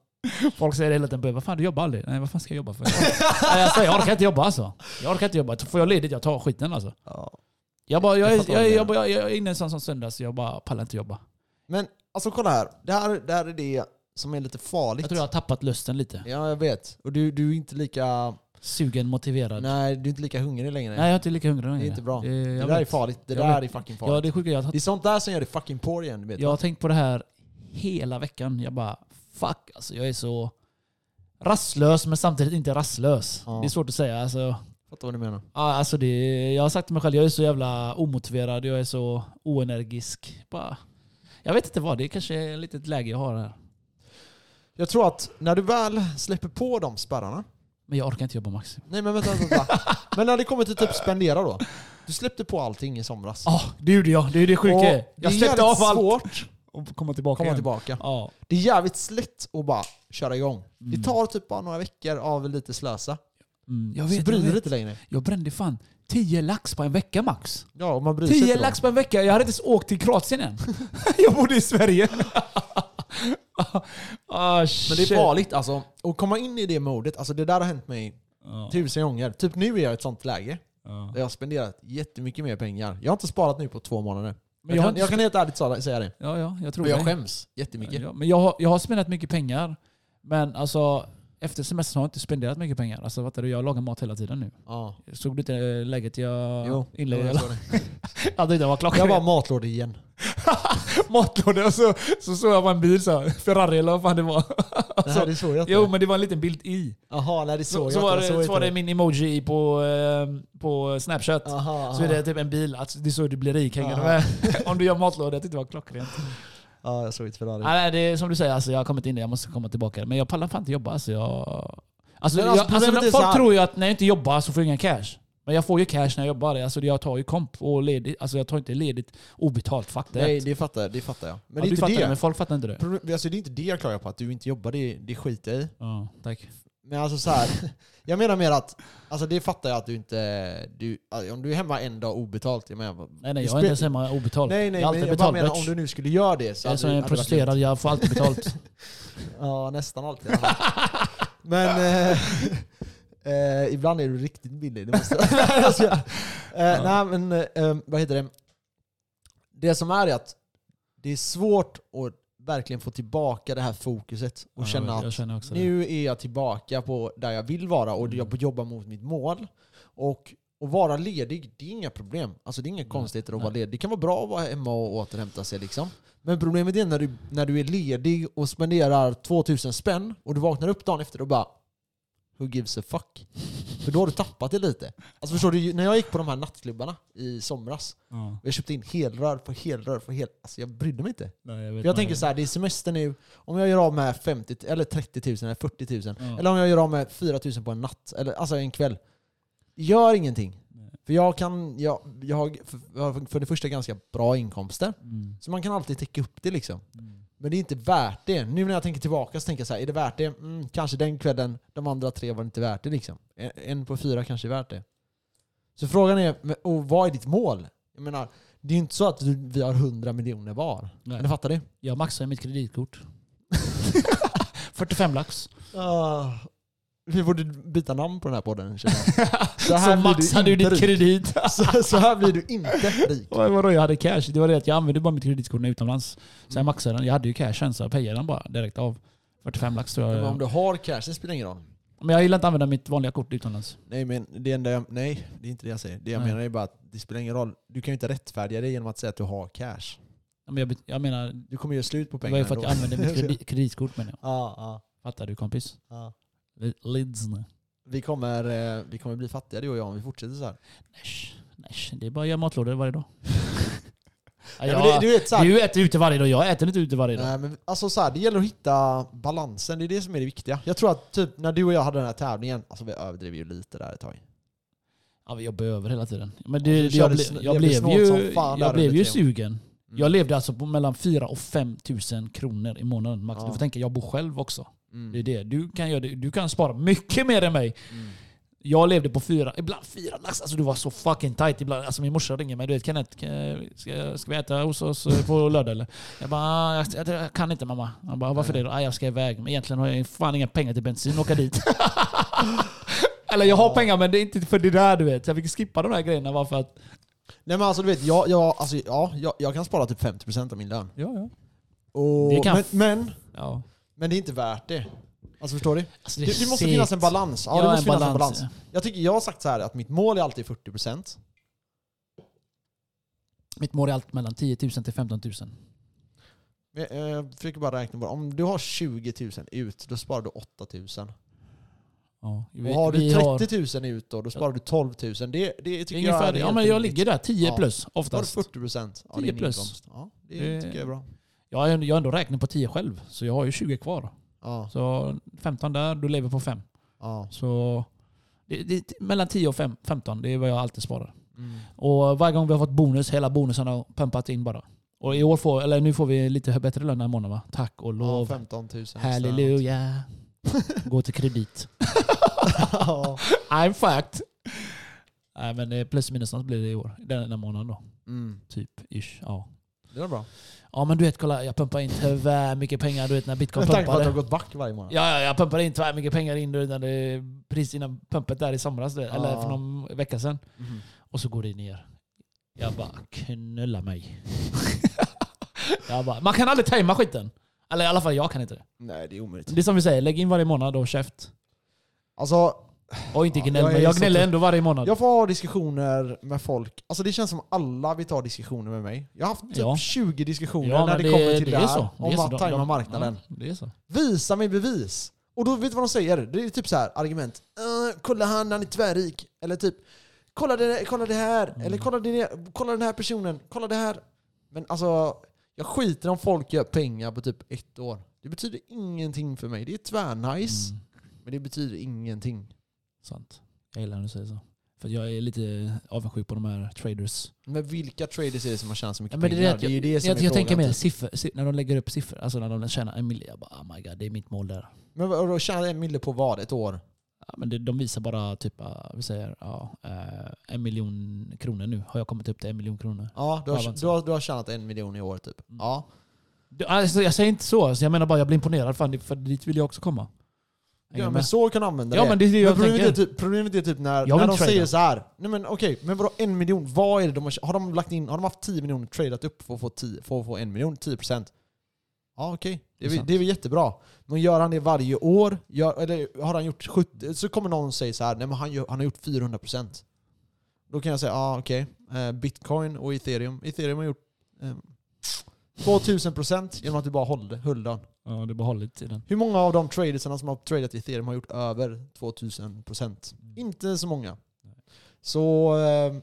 [SPEAKER 3] Folk säger det hela tiden. Vad fan du jobbar aldrig? Nej vad fan ska jag jobba för? Nej, jag, säger, jag orkar inte jobba alltså. Jag orkar inte jobba. Får jag ledigt jag tar skiten alltså.
[SPEAKER 4] Ja.
[SPEAKER 3] Jag, bara, jag,
[SPEAKER 4] Jag
[SPEAKER 3] jag,
[SPEAKER 4] fattar
[SPEAKER 3] jag,
[SPEAKER 4] vad du
[SPEAKER 3] jag, bara- jag, jag är inne i en sån som söndags. Jag bara pallar inte jobba.
[SPEAKER 4] Men alltså kolla här. Det här, det här är det som är lite farligt.
[SPEAKER 3] Jag tror jag har tappat lusten lite.
[SPEAKER 4] Ja, jag vet. Och du, du är inte lika...
[SPEAKER 3] Sugen, motiverad. Nej,
[SPEAKER 4] Nej, du är inte lika hungrig längre.
[SPEAKER 3] jag är inte lika hungrig längre.
[SPEAKER 4] Det är inte bra.
[SPEAKER 3] Eh, jag
[SPEAKER 4] det där
[SPEAKER 3] vet.
[SPEAKER 4] är farligt. Det
[SPEAKER 3] Jag
[SPEAKER 4] där
[SPEAKER 3] vet.
[SPEAKER 4] är fucking farligt.
[SPEAKER 3] Ja det är sjukt. Jag har
[SPEAKER 4] det är sånt där som gör dig fucking poor igen, du vet.
[SPEAKER 3] Jag har tänkt på det här hela veckan. Jag bara, fuck alltså. Jag är så rastlös men samtidigt inte rastlös.
[SPEAKER 4] Ja.
[SPEAKER 3] Det är svårt att säga. Alltså,
[SPEAKER 4] Fattar vad du menar.
[SPEAKER 3] ja, alltså det, jag har sagt till mig själv, jag är så jävla omotiverad. Jag är så oenergisk. Bara, jag vet inte vad, det är kanske är ett litet läge jag har här.
[SPEAKER 4] Jag tror att när du väl släpper på de spärrarna.
[SPEAKER 3] Men jag orkar inte jobba max.
[SPEAKER 4] Nej men vänta, vänta. vänta. men när det kommer till typ spendera då. Du släppte på allting i somras.
[SPEAKER 3] Ja, det gjorde jag. Det är det
[SPEAKER 4] Och
[SPEAKER 3] sjuka.
[SPEAKER 4] det
[SPEAKER 3] Jag
[SPEAKER 4] är
[SPEAKER 3] släppte av
[SPEAKER 4] jävligt
[SPEAKER 3] allt.
[SPEAKER 4] svårt
[SPEAKER 3] Och komma tillbaka
[SPEAKER 4] att komma tillbaka.
[SPEAKER 3] Ja.
[SPEAKER 4] Det är jävligt slätt att bara köra igång.
[SPEAKER 3] Mm.
[SPEAKER 4] Det tar typ bara några veckor av lite slösa.
[SPEAKER 3] Mm, jag,
[SPEAKER 4] så
[SPEAKER 3] vet, jag,
[SPEAKER 4] bryr du dig
[SPEAKER 3] vet.
[SPEAKER 4] inte längre.
[SPEAKER 3] jag brände fan 10 lax på en vecka max.
[SPEAKER 4] Ja, och man bryr sig
[SPEAKER 3] 10
[SPEAKER 4] inte då.
[SPEAKER 3] lax på en vecka. Jag hade inte ens åkt till Kroatien än. jag bodde i Sverige. ah,
[SPEAKER 4] Men det är farligt alltså. Att komma in i det modet, alltså det där har hänt mig tusen gånger. Typ nu är jag i ett sånt läge. Där jag har spenderat jättemycket mer pengar. Jag har inte sparat nu på två månader. Men jag,
[SPEAKER 3] jag har
[SPEAKER 4] kan,
[SPEAKER 3] inte-
[SPEAKER 4] jag kan helt ärligt sa- säga det.
[SPEAKER 3] Ja, ja, jag tror
[SPEAKER 4] Men jag
[SPEAKER 3] det.
[SPEAKER 4] skäms jättemycket.
[SPEAKER 3] Ja, men jag, har, jag har spenderat mycket pengar. Men alltså, efter semestern har jag inte spenderat mycket pengar. Alltså, fattar du? Jag lagar mat hela tiden nu.
[SPEAKER 4] Ja.
[SPEAKER 3] Såg du inte eh, läget jag
[SPEAKER 4] Jo,
[SPEAKER 3] inledde?
[SPEAKER 4] jag
[SPEAKER 3] Jag,
[SPEAKER 4] såg det.
[SPEAKER 3] alltså, jag tyckte det var klockrent.
[SPEAKER 4] Jag var matlåda igen.
[SPEAKER 3] matlåda och så, så såg jag på en bil, så här, Ferrari eller vad fan det var.
[SPEAKER 4] Nej, det såg jag inte.
[SPEAKER 3] Alltså, Jo, men det var en liten bild i.
[SPEAKER 4] Jaha, nej det såg
[SPEAKER 3] Så,
[SPEAKER 4] jag
[SPEAKER 3] så, var,
[SPEAKER 4] inte.
[SPEAKER 3] det,
[SPEAKER 4] Jag såg
[SPEAKER 3] så
[SPEAKER 4] inte
[SPEAKER 3] var det min emoji på, eh, på Snapchat.
[SPEAKER 4] Aha,
[SPEAKER 3] Så är
[SPEAKER 4] aha.
[SPEAKER 3] det typ en bil, alltså, det är så du blir rik. Hänger du
[SPEAKER 4] Ja.
[SPEAKER 3] med? Om du gör matlåda, jag tyckte det var klockrent.
[SPEAKER 4] Ja, jag såg inte Ferrari.
[SPEAKER 3] Nej, nej, det är som du säger, alltså, jag har kommit in där, jag måste komma tillbaka. Men jag pallar fan inte jobba. Alltså, jag... alltså,
[SPEAKER 4] Men
[SPEAKER 3] jag,
[SPEAKER 4] alltså,
[SPEAKER 3] alltså,
[SPEAKER 4] problemet är så
[SPEAKER 3] när- folk
[SPEAKER 4] här-
[SPEAKER 3] tror ju att när jag inte jobbar så får jag ingen cash. Men jag får ju cash när jag jobbar. Alltså, jag tar ju komp och ledigt. Alltså, jag tar inte ledigt obetalt. Fuck
[SPEAKER 4] Nej,
[SPEAKER 3] det.
[SPEAKER 4] det fattar, jag, det fattar jag. Men
[SPEAKER 3] Ja,
[SPEAKER 4] det är
[SPEAKER 3] du
[SPEAKER 4] inte
[SPEAKER 3] fattar
[SPEAKER 4] det.
[SPEAKER 3] det, men folk fattar inte det.
[SPEAKER 4] Problem- Alltså, det är inte det jag klagar på, att du inte jobbar, det, det skiter jag i.
[SPEAKER 3] Ja, tack.
[SPEAKER 4] Men alltså så här, jag menar mer att, alltså det fattar jag att du inte, du, alltså, om du är hemma en dag obetalt, jag menar,
[SPEAKER 3] Nej, nej,
[SPEAKER 4] det
[SPEAKER 3] jag är
[SPEAKER 4] spe-
[SPEAKER 3] inte ens hemma obetalt.
[SPEAKER 4] Nej nej,
[SPEAKER 3] jag har
[SPEAKER 4] men
[SPEAKER 3] alltid
[SPEAKER 4] jag bara
[SPEAKER 3] betalt.
[SPEAKER 4] menar
[SPEAKER 3] bitch. Alltså,
[SPEAKER 4] om du nu skulle göra det så
[SPEAKER 3] jag är som en
[SPEAKER 4] hade det varit
[SPEAKER 3] prostituerad, jag får alltid betalt.
[SPEAKER 4] lugnt. Ja, nästan alltid. i alla fall. men, eh, Eh, ibland är du riktigt billig. Det måste, nej, jag skojar. eh, nej, men eh, vad heter det? Det som är är att det är svårt att verkligen få tillbaka det här fokuset och
[SPEAKER 3] Ja,
[SPEAKER 4] känna
[SPEAKER 3] jag,
[SPEAKER 4] att
[SPEAKER 3] jag känner också det.
[SPEAKER 4] nu är jag tillbaka på där jag vill vara och jag jobbar mot mitt mål. Och att vara ledig, det är inga problem. Alltså det är inga konstigheter att vara ledig. Det kan vara bra att vara hemma och återhämta sig. liksom. Men problemet är när du, när du är ledig och spenderar 2000 spänn och du vaknar upp dagen efter och bara Who gives a fuck? För då har du tappat det lite. Alltså förstår du, när jag gick på de här nattklubbarna i somras
[SPEAKER 3] Ja.
[SPEAKER 4] och jag köpte in helrör på helrör på helrör. Alltså jag brydde mig inte.
[SPEAKER 3] Nej, jag vet
[SPEAKER 4] För jag
[SPEAKER 3] vad
[SPEAKER 4] tänker
[SPEAKER 3] det är.
[SPEAKER 4] så här, det är semester nu. Om jag gör av med 50, eller 30 000 eller 40 000,
[SPEAKER 3] Ja.
[SPEAKER 4] eller om jag gör av med 4 000 på en natt, eller alltså en kväll. Gör ingenting. För jag kan, jag, jag har för- jag har för det första ganska bra inkomster.
[SPEAKER 3] Mm.
[SPEAKER 4] Så man kan alltid täcka upp det liksom. Men det är inte värt det. Nu när jag tänker tillbaka så tänker jag så här, är det värt det? Mm, kanske den kvällen, de andra tre var inte värt det liksom. En- En på fyra kanske är värt det. Så frågan är, men- och vad är ditt mål? Jag menar, det är ju inte så att du- vi har 100 miljoner var.
[SPEAKER 3] Nej.
[SPEAKER 4] Eller fattar du?
[SPEAKER 3] Jag maxar ju mitt kreditkort. 45 lax.
[SPEAKER 4] Ah, vi borde byta namn på den här podden. känner jag.
[SPEAKER 3] Så,
[SPEAKER 4] här blir
[SPEAKER 3] maxar du
[SPEAKER 4] inte
[SPEAKER 3] ditt
[SPEAKER 4] rik.
[SPEAKER 3] kredit.
[SPEAKER 4] Så, så här blir du inte rik.
[SPEAKER 3] Oj, Vadå jag hade cash? Det var det att jag använde bara mitt kreditkort när jag var utomlands. Så
[SPEAKER 4] Mm.
[SPEAKER 3] jag maxade den. Jag hade ju cashen så jag payade den bara direkt av. 45 lax tror
[SPEAKER 4] Men
[SPEAKER 3] jag.
[SPEAKER 4] om du har cash, det spelar ingen roll.
[SPEAKER 3] Men jag gillar inte att använda mitt vanliga kort utomlands.
[SPEAKER 4] Nej, men det enda jag, nej, det är inte det jag säger. Det jag
[SPEAKER 3] Nej.
[SPEAKER 4] menar är bara att det spelar ingen roll. Du kan ju inte rättfärdiga dig genom att säga att du har cash.
[SPEAKER 3] Men jag, bet- jag menar,
[SPEAKER 4] Du kommer göra slut på
[SPEAKER 3] det
[SPEAKER 4] pengarna
[SPEAKER 3] var ju för att
[SPEAKER 4] då.
[SPEAKER 3] jag använde mitt kredi- kreditkort menar jag.
[SPEAKER 4] Ja, ja,
[SPEAKER 3] Fattar du kompis?
[SPEAKER 4] ja.
[SPEAKER 3] Li- Lids. nu.
[SPEAKER 4] Vi kommer, eh, vi kommer bli fattiga du och jag om vi fortsätter så här.
[SPEAKER 3] Näsch, näsch. Det är bara att göra matlådor varje dag. ja,
[SPEAKER 4] Nej, men det,
[SPEAKER 3] jag,
[SPEAKER 4] du vet, så här,
[SPEAKER 3] du äter ute varje dag, jag äter inte ute varje dag.
[SPEAKER 4] Nej, men alltså så här, det gäller att hitta balansen. Det är det som är det viktiga. Jag tror att typ när du och jag hade den här tävlingen, alltså vi överdrev ju lite där ett tag.
[SPEAKER 3] Ja, vi jobbar över hela tiden. Men
[SPEAKER 4] Ja,
[SPEAKER 3] det,
[SPEAKER 4] du
[SPEAKER 3] det,
[SPEAKER 4] körde
[SPEAKER 3] jag, ble,
[SPEAKER 4] sn-
[SPEAKER 3] jag
[SPEAKER 4] det blev
[SPEAKER 3] blev
[SPEAKER 4] snålt
[SPEAKER 3] ju,
[SPEAKER 4] som fan där
[SPEAKER 3] jag blev
[SPEAKER 4] under
[SPEAKER 3] ju
[SPEAKER 4] tre år. Mm.
[SPEAKER 3] sugen. Jag levde alltså på mellan 4 och 5 tusen kronor i månaden max. Du
[SPEAKER 4] Ja.
[SPEAKER 3] får tänka, jag bor själv också.
[SPEAKER 4] Mm.
[SPEAKER 3] Det är det. Du kan, göra det. Du kan spara mycket mer än mig.
[SPEAKER 4] Mm.
[SPEAKER 3] Jag levde på fyra, ibland fyra lax. Alltså du var så fucking tight ibland. Alltså min morsa ringer mig. Du vet Kenneth, kan- ska, ska vi äta hos oss eh, på lördag eller? Jag bara, "Ah, jag, jag, jag kan inte mamma. Jag bara, varför det då? "Ah, Jag ska iväg. Men egentligen har jag fan inga pengar till bensin och åka dit. eller jag har pengar men det är inte för det där du vet. Jag fick skippa de där grejerna bara för att...
[SPEAKER 4] Nej men alltså du vet, jag, jag, alltså, ja, jag, jag kan spara typ 50% av min lön.
[SPEAKER 3] Ja, ja. Det
[SPEAKER 4] Och,
[SPEAKER 3] kan
[SPEAKER 4] men,
[SPEAKER 3] f-
[SPEAKER 4] men,
[SPEAKER 3] ja.
[SPEAKER 4] men det är inte värt det. Alltså förstår du?
[SPEAKER 3] Alltså,
[SPEAKER 4] Det,
[SPEAKER 3] är
[SPEAKER 4] det måste
[SPEAKER 3] segt.
[SPEAKER 4] finnas en balans. Ja,
[SPEAKER 3] Ja,
[SPEAKER 4] det
[SPEAKER 3] en
[SPEAKER 4] måste finnas en
[SPEAKER 3] balans,
[SPEAKER 4] balans. Jag, tycker, jag har sagt så här att mitt mål är alltid 40%.
[SPEAKER 3] Mitt mål är allt mellan 10 000 till 15 000.
[SPEAKER 4] Men, eh, Jag försöker bara räkna bara. Om du har 20 000 ut, då sparar du 8 000.
[SPEAKER 3] Ja.
[SPEAKER 4] Och
[SPEAKER 3] Vi-
[SPEAKER 4] har
[SPEAKER 3] vi har-
[SPEAKER 4] du 30 000 ut då, då sparar du 12 000. Det, det tycker jag
[SPEAKER 3] Ungefär,
[SPEAKER 4] är
[SPEAKER 3] ja,
[SPEAKER 4] helt
[SPEAKER 3] men jag
[SPEAKER 4] rimligt.
[SPEAKER 3] ligger där, 10
[SPEAKER 4] Ja.
[SPEAKER 3] plus
[SPEAKER 4] Då har du
[SPEAKER 3] oftast.
[SPEAKER 4] 40 procent av
[SPEAKER 3] 10
[SPEAKER 4] din
[SPEAKER 3] plus.
[SPEAKER 4] inkomst. Ja, det,
[SPEAKER 3] Det-
[SPEAKER 4] tycker jag är bra.
[SPEAKER 3] Jag har jag har ändå räknat på 10 själv, så jag har ju 20 kvar.
[SPEAKER 4] Ja,
[SPEAKER 3] Så 15 där, du lever på 5.
[SPEAKER 4] ja.
[SPEAKER 3] Så det, det, mellan 10 och 5, 15, det är vad jag alltid sparar.
[SPEAKER 4] Mm.
[SPEAKER 3] Och varje gång vi har fått bonus, hela bonusen har pumpat in bara. Och i år får, eller nu får vi lite bättre lön den här månaden va? Tack och
[SPEAKER 4] ja
[SPEAKER 3] lov.
[SPEAKER 4] 15 000.
[SPEAKER 3] Halleluja. Gå till kredit.
[SPEAKER 4] Ja.
[SPEAKER 3] I'm fucked. Nej men eh, plus minus något blir det i år. Den, den månaden då.
[SPEAKER 4] Mm.
[SPEAKER 3] Typ ish. Ja.
[SPEAKER 4] Det var bra.
[SPEAKER 3] ja men du vet kolla, jag pumpar in tyvärr mycket pengar du vet när bitcoin
[SPEAKER 4] Med tanke på att
[SPEAKER 3] pumpade.
[SPEAKER 4] du har gått back varje månad.
[SPEAKER 3] Ja, ja, jag pumpade in tyvärr mycket pengar in innan det, precis innan pumpet där i somras, du vet, eller
[SPEAKER 4] Ja.
[SPEAKER 3] för någon vecka sedan.
[SPEAKER 4] Mhm.
[SPEAKER 3] Och så går det ner. Jag bara, knulla mig. jag bara, man kan aldrig tajma skiten. Eller i alla fall jag kan inte det.
[SPEAKER 4] Nej, det är omöjligt.
[SPEAKER 3] Det är som vi säger, lägg in varje månad och käft.
[SPEAKER 4] Alltså,
[SPEAKER 3] Och inte
[SPEAKER 4] Ja,
[SPEAKER 3] gnäll,
[SPEAKER 4] jag är
[SPEAKER 3] men jag
[SPEAKER 4] så
[SPEAKER 3] gnäller
[SPEAKER 4] trött.
[SPEAKER 3] ändå varje månad.
[SPEAKER 4] jag får ha diskussioner med folk. Alltså det känns som alla vill ta diskussioner med mig. Jag har haft typ
[SPEAKER 3] Ja.
[SPEAKER 4] 20 diskussioner
[SPEAKER 3] Ja,
[SPEAKER 4] när
[SPEAKER 3] men
[SPEAKER 4] det, kommer till det,
[SPEAKER 3] är
[SPEAKER 4] här.
[SPEAKER 3] så.
[SPEAKER 4] Om
[SPEAKER 3] är så.
[SPEAKER 4] att
[SPEAKER 3] De-
[SPEAKER 4] tajma
[SPEAKER 3] de-
[SPEAKER 4] marknaden.
[SPEAKER 3] Ja, det är så.
[SPEAKER 4] Visa mig bevis. Och då vet du vad de säger? Det är typ så här argument. Eh, kolla han, han är tvärrik. Eller typ, kolla det, kolla det här.
[SPEAKER 3] Mm.
[SPEAKER 4] Eller kolla, det, kolla den här personen. Kolla det här. Men alltså, jag skiter om folk gör pengar på typ ett år. Det betyder ingenting för mig. Det är tvärnice.
[SPEAKER 3] Mm,
[SPEAKER 4] Men det betyder ingenting.
[SPEAKER 3] sant. Jag gillar när du säger så. För jag är lite avundsjuk på de här traders.
[SPEAKER 4] Men vilka traders är det som har tjänat så
[SPEAKER 3] Ja,
[SPEAKER 4] mycket
[SPEAKER 3] men det
[SPEAKER 4] pengar?
[SPEAKER 3] är det att jag,
[SPEAKER 4] ju det som
[SPEAKER 3] jag,
[SPEAKER 4] är
[SPEAKER 3] jag
[SPEAKER 4] frågan,
[SPEAKER 3] tänker mer
[SPEAKER 4] typ.
[SPEAKER 3] siffror, si- när de lägger upp siffror, alltså när de tjänar en miljon. Jag bara oh my god, det är mitt mål där.
[SPEAKER 4] Men vadå, tjänar en mille på vad? Ett år?
[SPEAKER 3] Ja, men det, de visar bara typ, uh, vi säger ja, eh, en miljon kronor nu. Har jag kommit upp till en miljon kronor?
[SPEAKER 4] Ja, du
[SPEAKER 3] Ja,
[SPEAKER 4] har,
[SPEAKER 3] men så. Mm.
[SPEAKER 4] du har, du har tjänat en miljon i år typ. Ja.
[SPEAKER 3] Du, alltså, jag säger inte så, alltså, jag menar bara jag blir imponerad. Fan, det- för dit vill jag också komma. Hänger
[SPEAKER 4] Ja
[SPEAKER 3] du
[SPEAKER 4] men
[SPEAKER 3] med?
[SPEAKER 4] så kan du använda
[SPEAKER 3] Ja,
[SPEAKER 4] det.
[SPEAKER 3] men det är det jag
[SPEAKER 4] problemet, är
[SPEAKER 3] tänker.
[SPEAKER 4] typ, problemet är typ när,
[SPEAKER 3] Jag
[SPEAKER 4] när
[SPEAKER 3] vill
[SPEAKER 4] de
[SPEAKER 3] trada.
[SPEAKER 4] säger så här. Nej men okej, men vadå en miljon? Vad är det de har, har de lagt in? Har de haft 10 miljoner tradat upp för att få, 10, för att få en miljon? 10 procent? Ja okej, det, är
[SPEAKER 3] Det är
[SPEAKER 4] väl-
[SPEAKER 3] sant.
[SPEAKER 4] det är väl jättebra. Men gör han det varje år? Gör, eller har han gjort 70? Så kommer någon säga så här. Nej men han, gör, han har gjort 400 procent. Då kan jag säga, ja ah, okej. Eh, Bitcoin och ethereum. Ethereum har gjort eh, 2000 procent genom att du bara håller, höll den.
[SPEAKER 3] Ja, det är behållit tiden.
[SPEAKER 4] Hur många av de tradersarna som har tradat i ethereum har gjort över 2000 procent? Inte så många. Så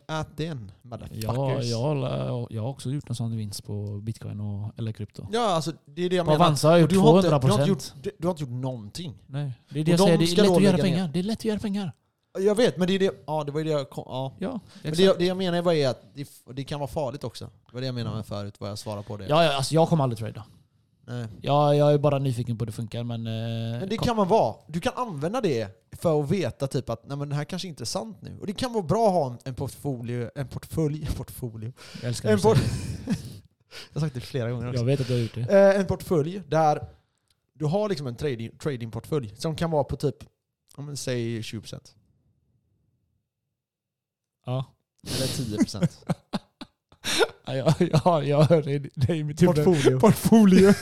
[SPEAKER 4] äh, ät den,
[SPEAKER 3] Jag,
[SPEAKER 4] motherfuckers.
[SPEAKER 3] jag, har- jag har också gjort en sån vinst på bitcoin och, eller krypto.
[SPEAKER 4] ja, alltså det är det jag
[SPEAKER 3] På
[SPEAKER 4] menar.
[SPEAKER 3] Avanza har jag gjort
[SPEAKER 4] Du har, inte,
[SPEAKER 3] 200
[SPEAKER 4] du, har inte
[SPEAKER 3] procent.
[SPEAKER 4] gjort, du, du har inte gjort någonting.
[SPEAKER 3] Nej, det är
[SPEAKER 4] de
[SPEAKER 3] det jag säger. Det
[SPEAKER 4] ska
[SPEAKER 3] är lätt
[SPEAKER 4] då
[SPEAKER 3] att göra
[SPEAKER 4] lägga
[SPEAKER 3] pengar. Det är lätt att göra pengar.
[SPEAKER 4] Jag vet, men det är det, ja, det, var ju det jag kom, ja.
[SPEAKER 3] Ja,
[SPEAKER 4] Men
[SPEAKER 3] exakt.
[SPEAKER 4] det, jag- det jag menar var ju att det, det kan vara farligt också. Det var det jag menade med förut, vad jag svarade på det.
[SPEAKER 3] ja, ja, alltså jag kommer aldrig trada.
[SPEAKER 4] Nej.
[SPEAKER 3] Jag, jag är bara nyfiken på hur det funkar. Men, eh,
[SPEAKER 4] Men det
[SPEAKER 3] kom-
[SPEAKER 4] kan man vara. Du kan använda det för att veta typ att nej, men det här kanske inte är sant nu. Och det kan vara bra att ha en, en portfolio, en portfolio, portfolio,
[SPEAKER 3] jag älskar
[SPEAKER 4] En
[SPEAKER 3] att du
[SPEAKER 4] port-
[SPEAKER 3] säger
[SPEAKER 4] jag har sagt det flera gånger
[SPEAKER 3] det.
[SPEAKER 4] också.
[SPEAKER 3] Jag vet att du har gjort det.
[SPEAKER 4] Eh, en portfölj där du har liksom en trading, tradingportfölj som kan vara på typ, ja, men säg 20%
[SPEAKER 3] Ja.
[SPEAKER 4] eller 10%.
[SPEAKER 3] Ja, jag, jag, jag hör det, det är i
[SPEAKER 4] Typ
[SPEAKER 3] mitt huvud.
[SPEAKER 4] portfolio.
[SPEAKER 3] Portfolio.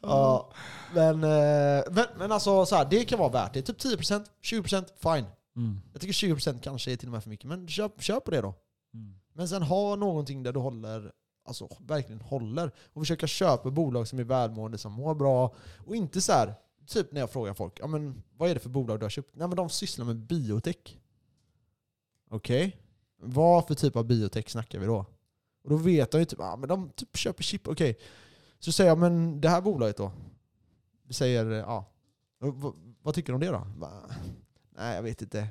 [SPEAKER 4] ja, men, eh, men, men alltså så här, det kan vara värt det. Typ 10%, 20%, fine.
[SPEAKER 3] Mm.
[SPEAKER 4] Jag tycker 20% kanske är till och med för mycket, men köp, köp på det då.
[SPEAKER 3] Mm.
[SPEAKER 4] Men sen ha någonting där du håller, alltså verkligen håller. Och försöka köpa bolag som är välmående, som mår bra. Och inte så här, typ när jag frågar folk, ja men vad är det för bolag du har köpt? Nej men de sysslar med biotech. Okej. Vad för typ av biotech snackar vi då? Och då vet de ju typ, ah, men de typ köper chip, okej. Så säger jag, men det här bolaget då? Vi säger, eh, ja. Och Vad, vad tycker du om det då? Va? Nej, jag vet inte.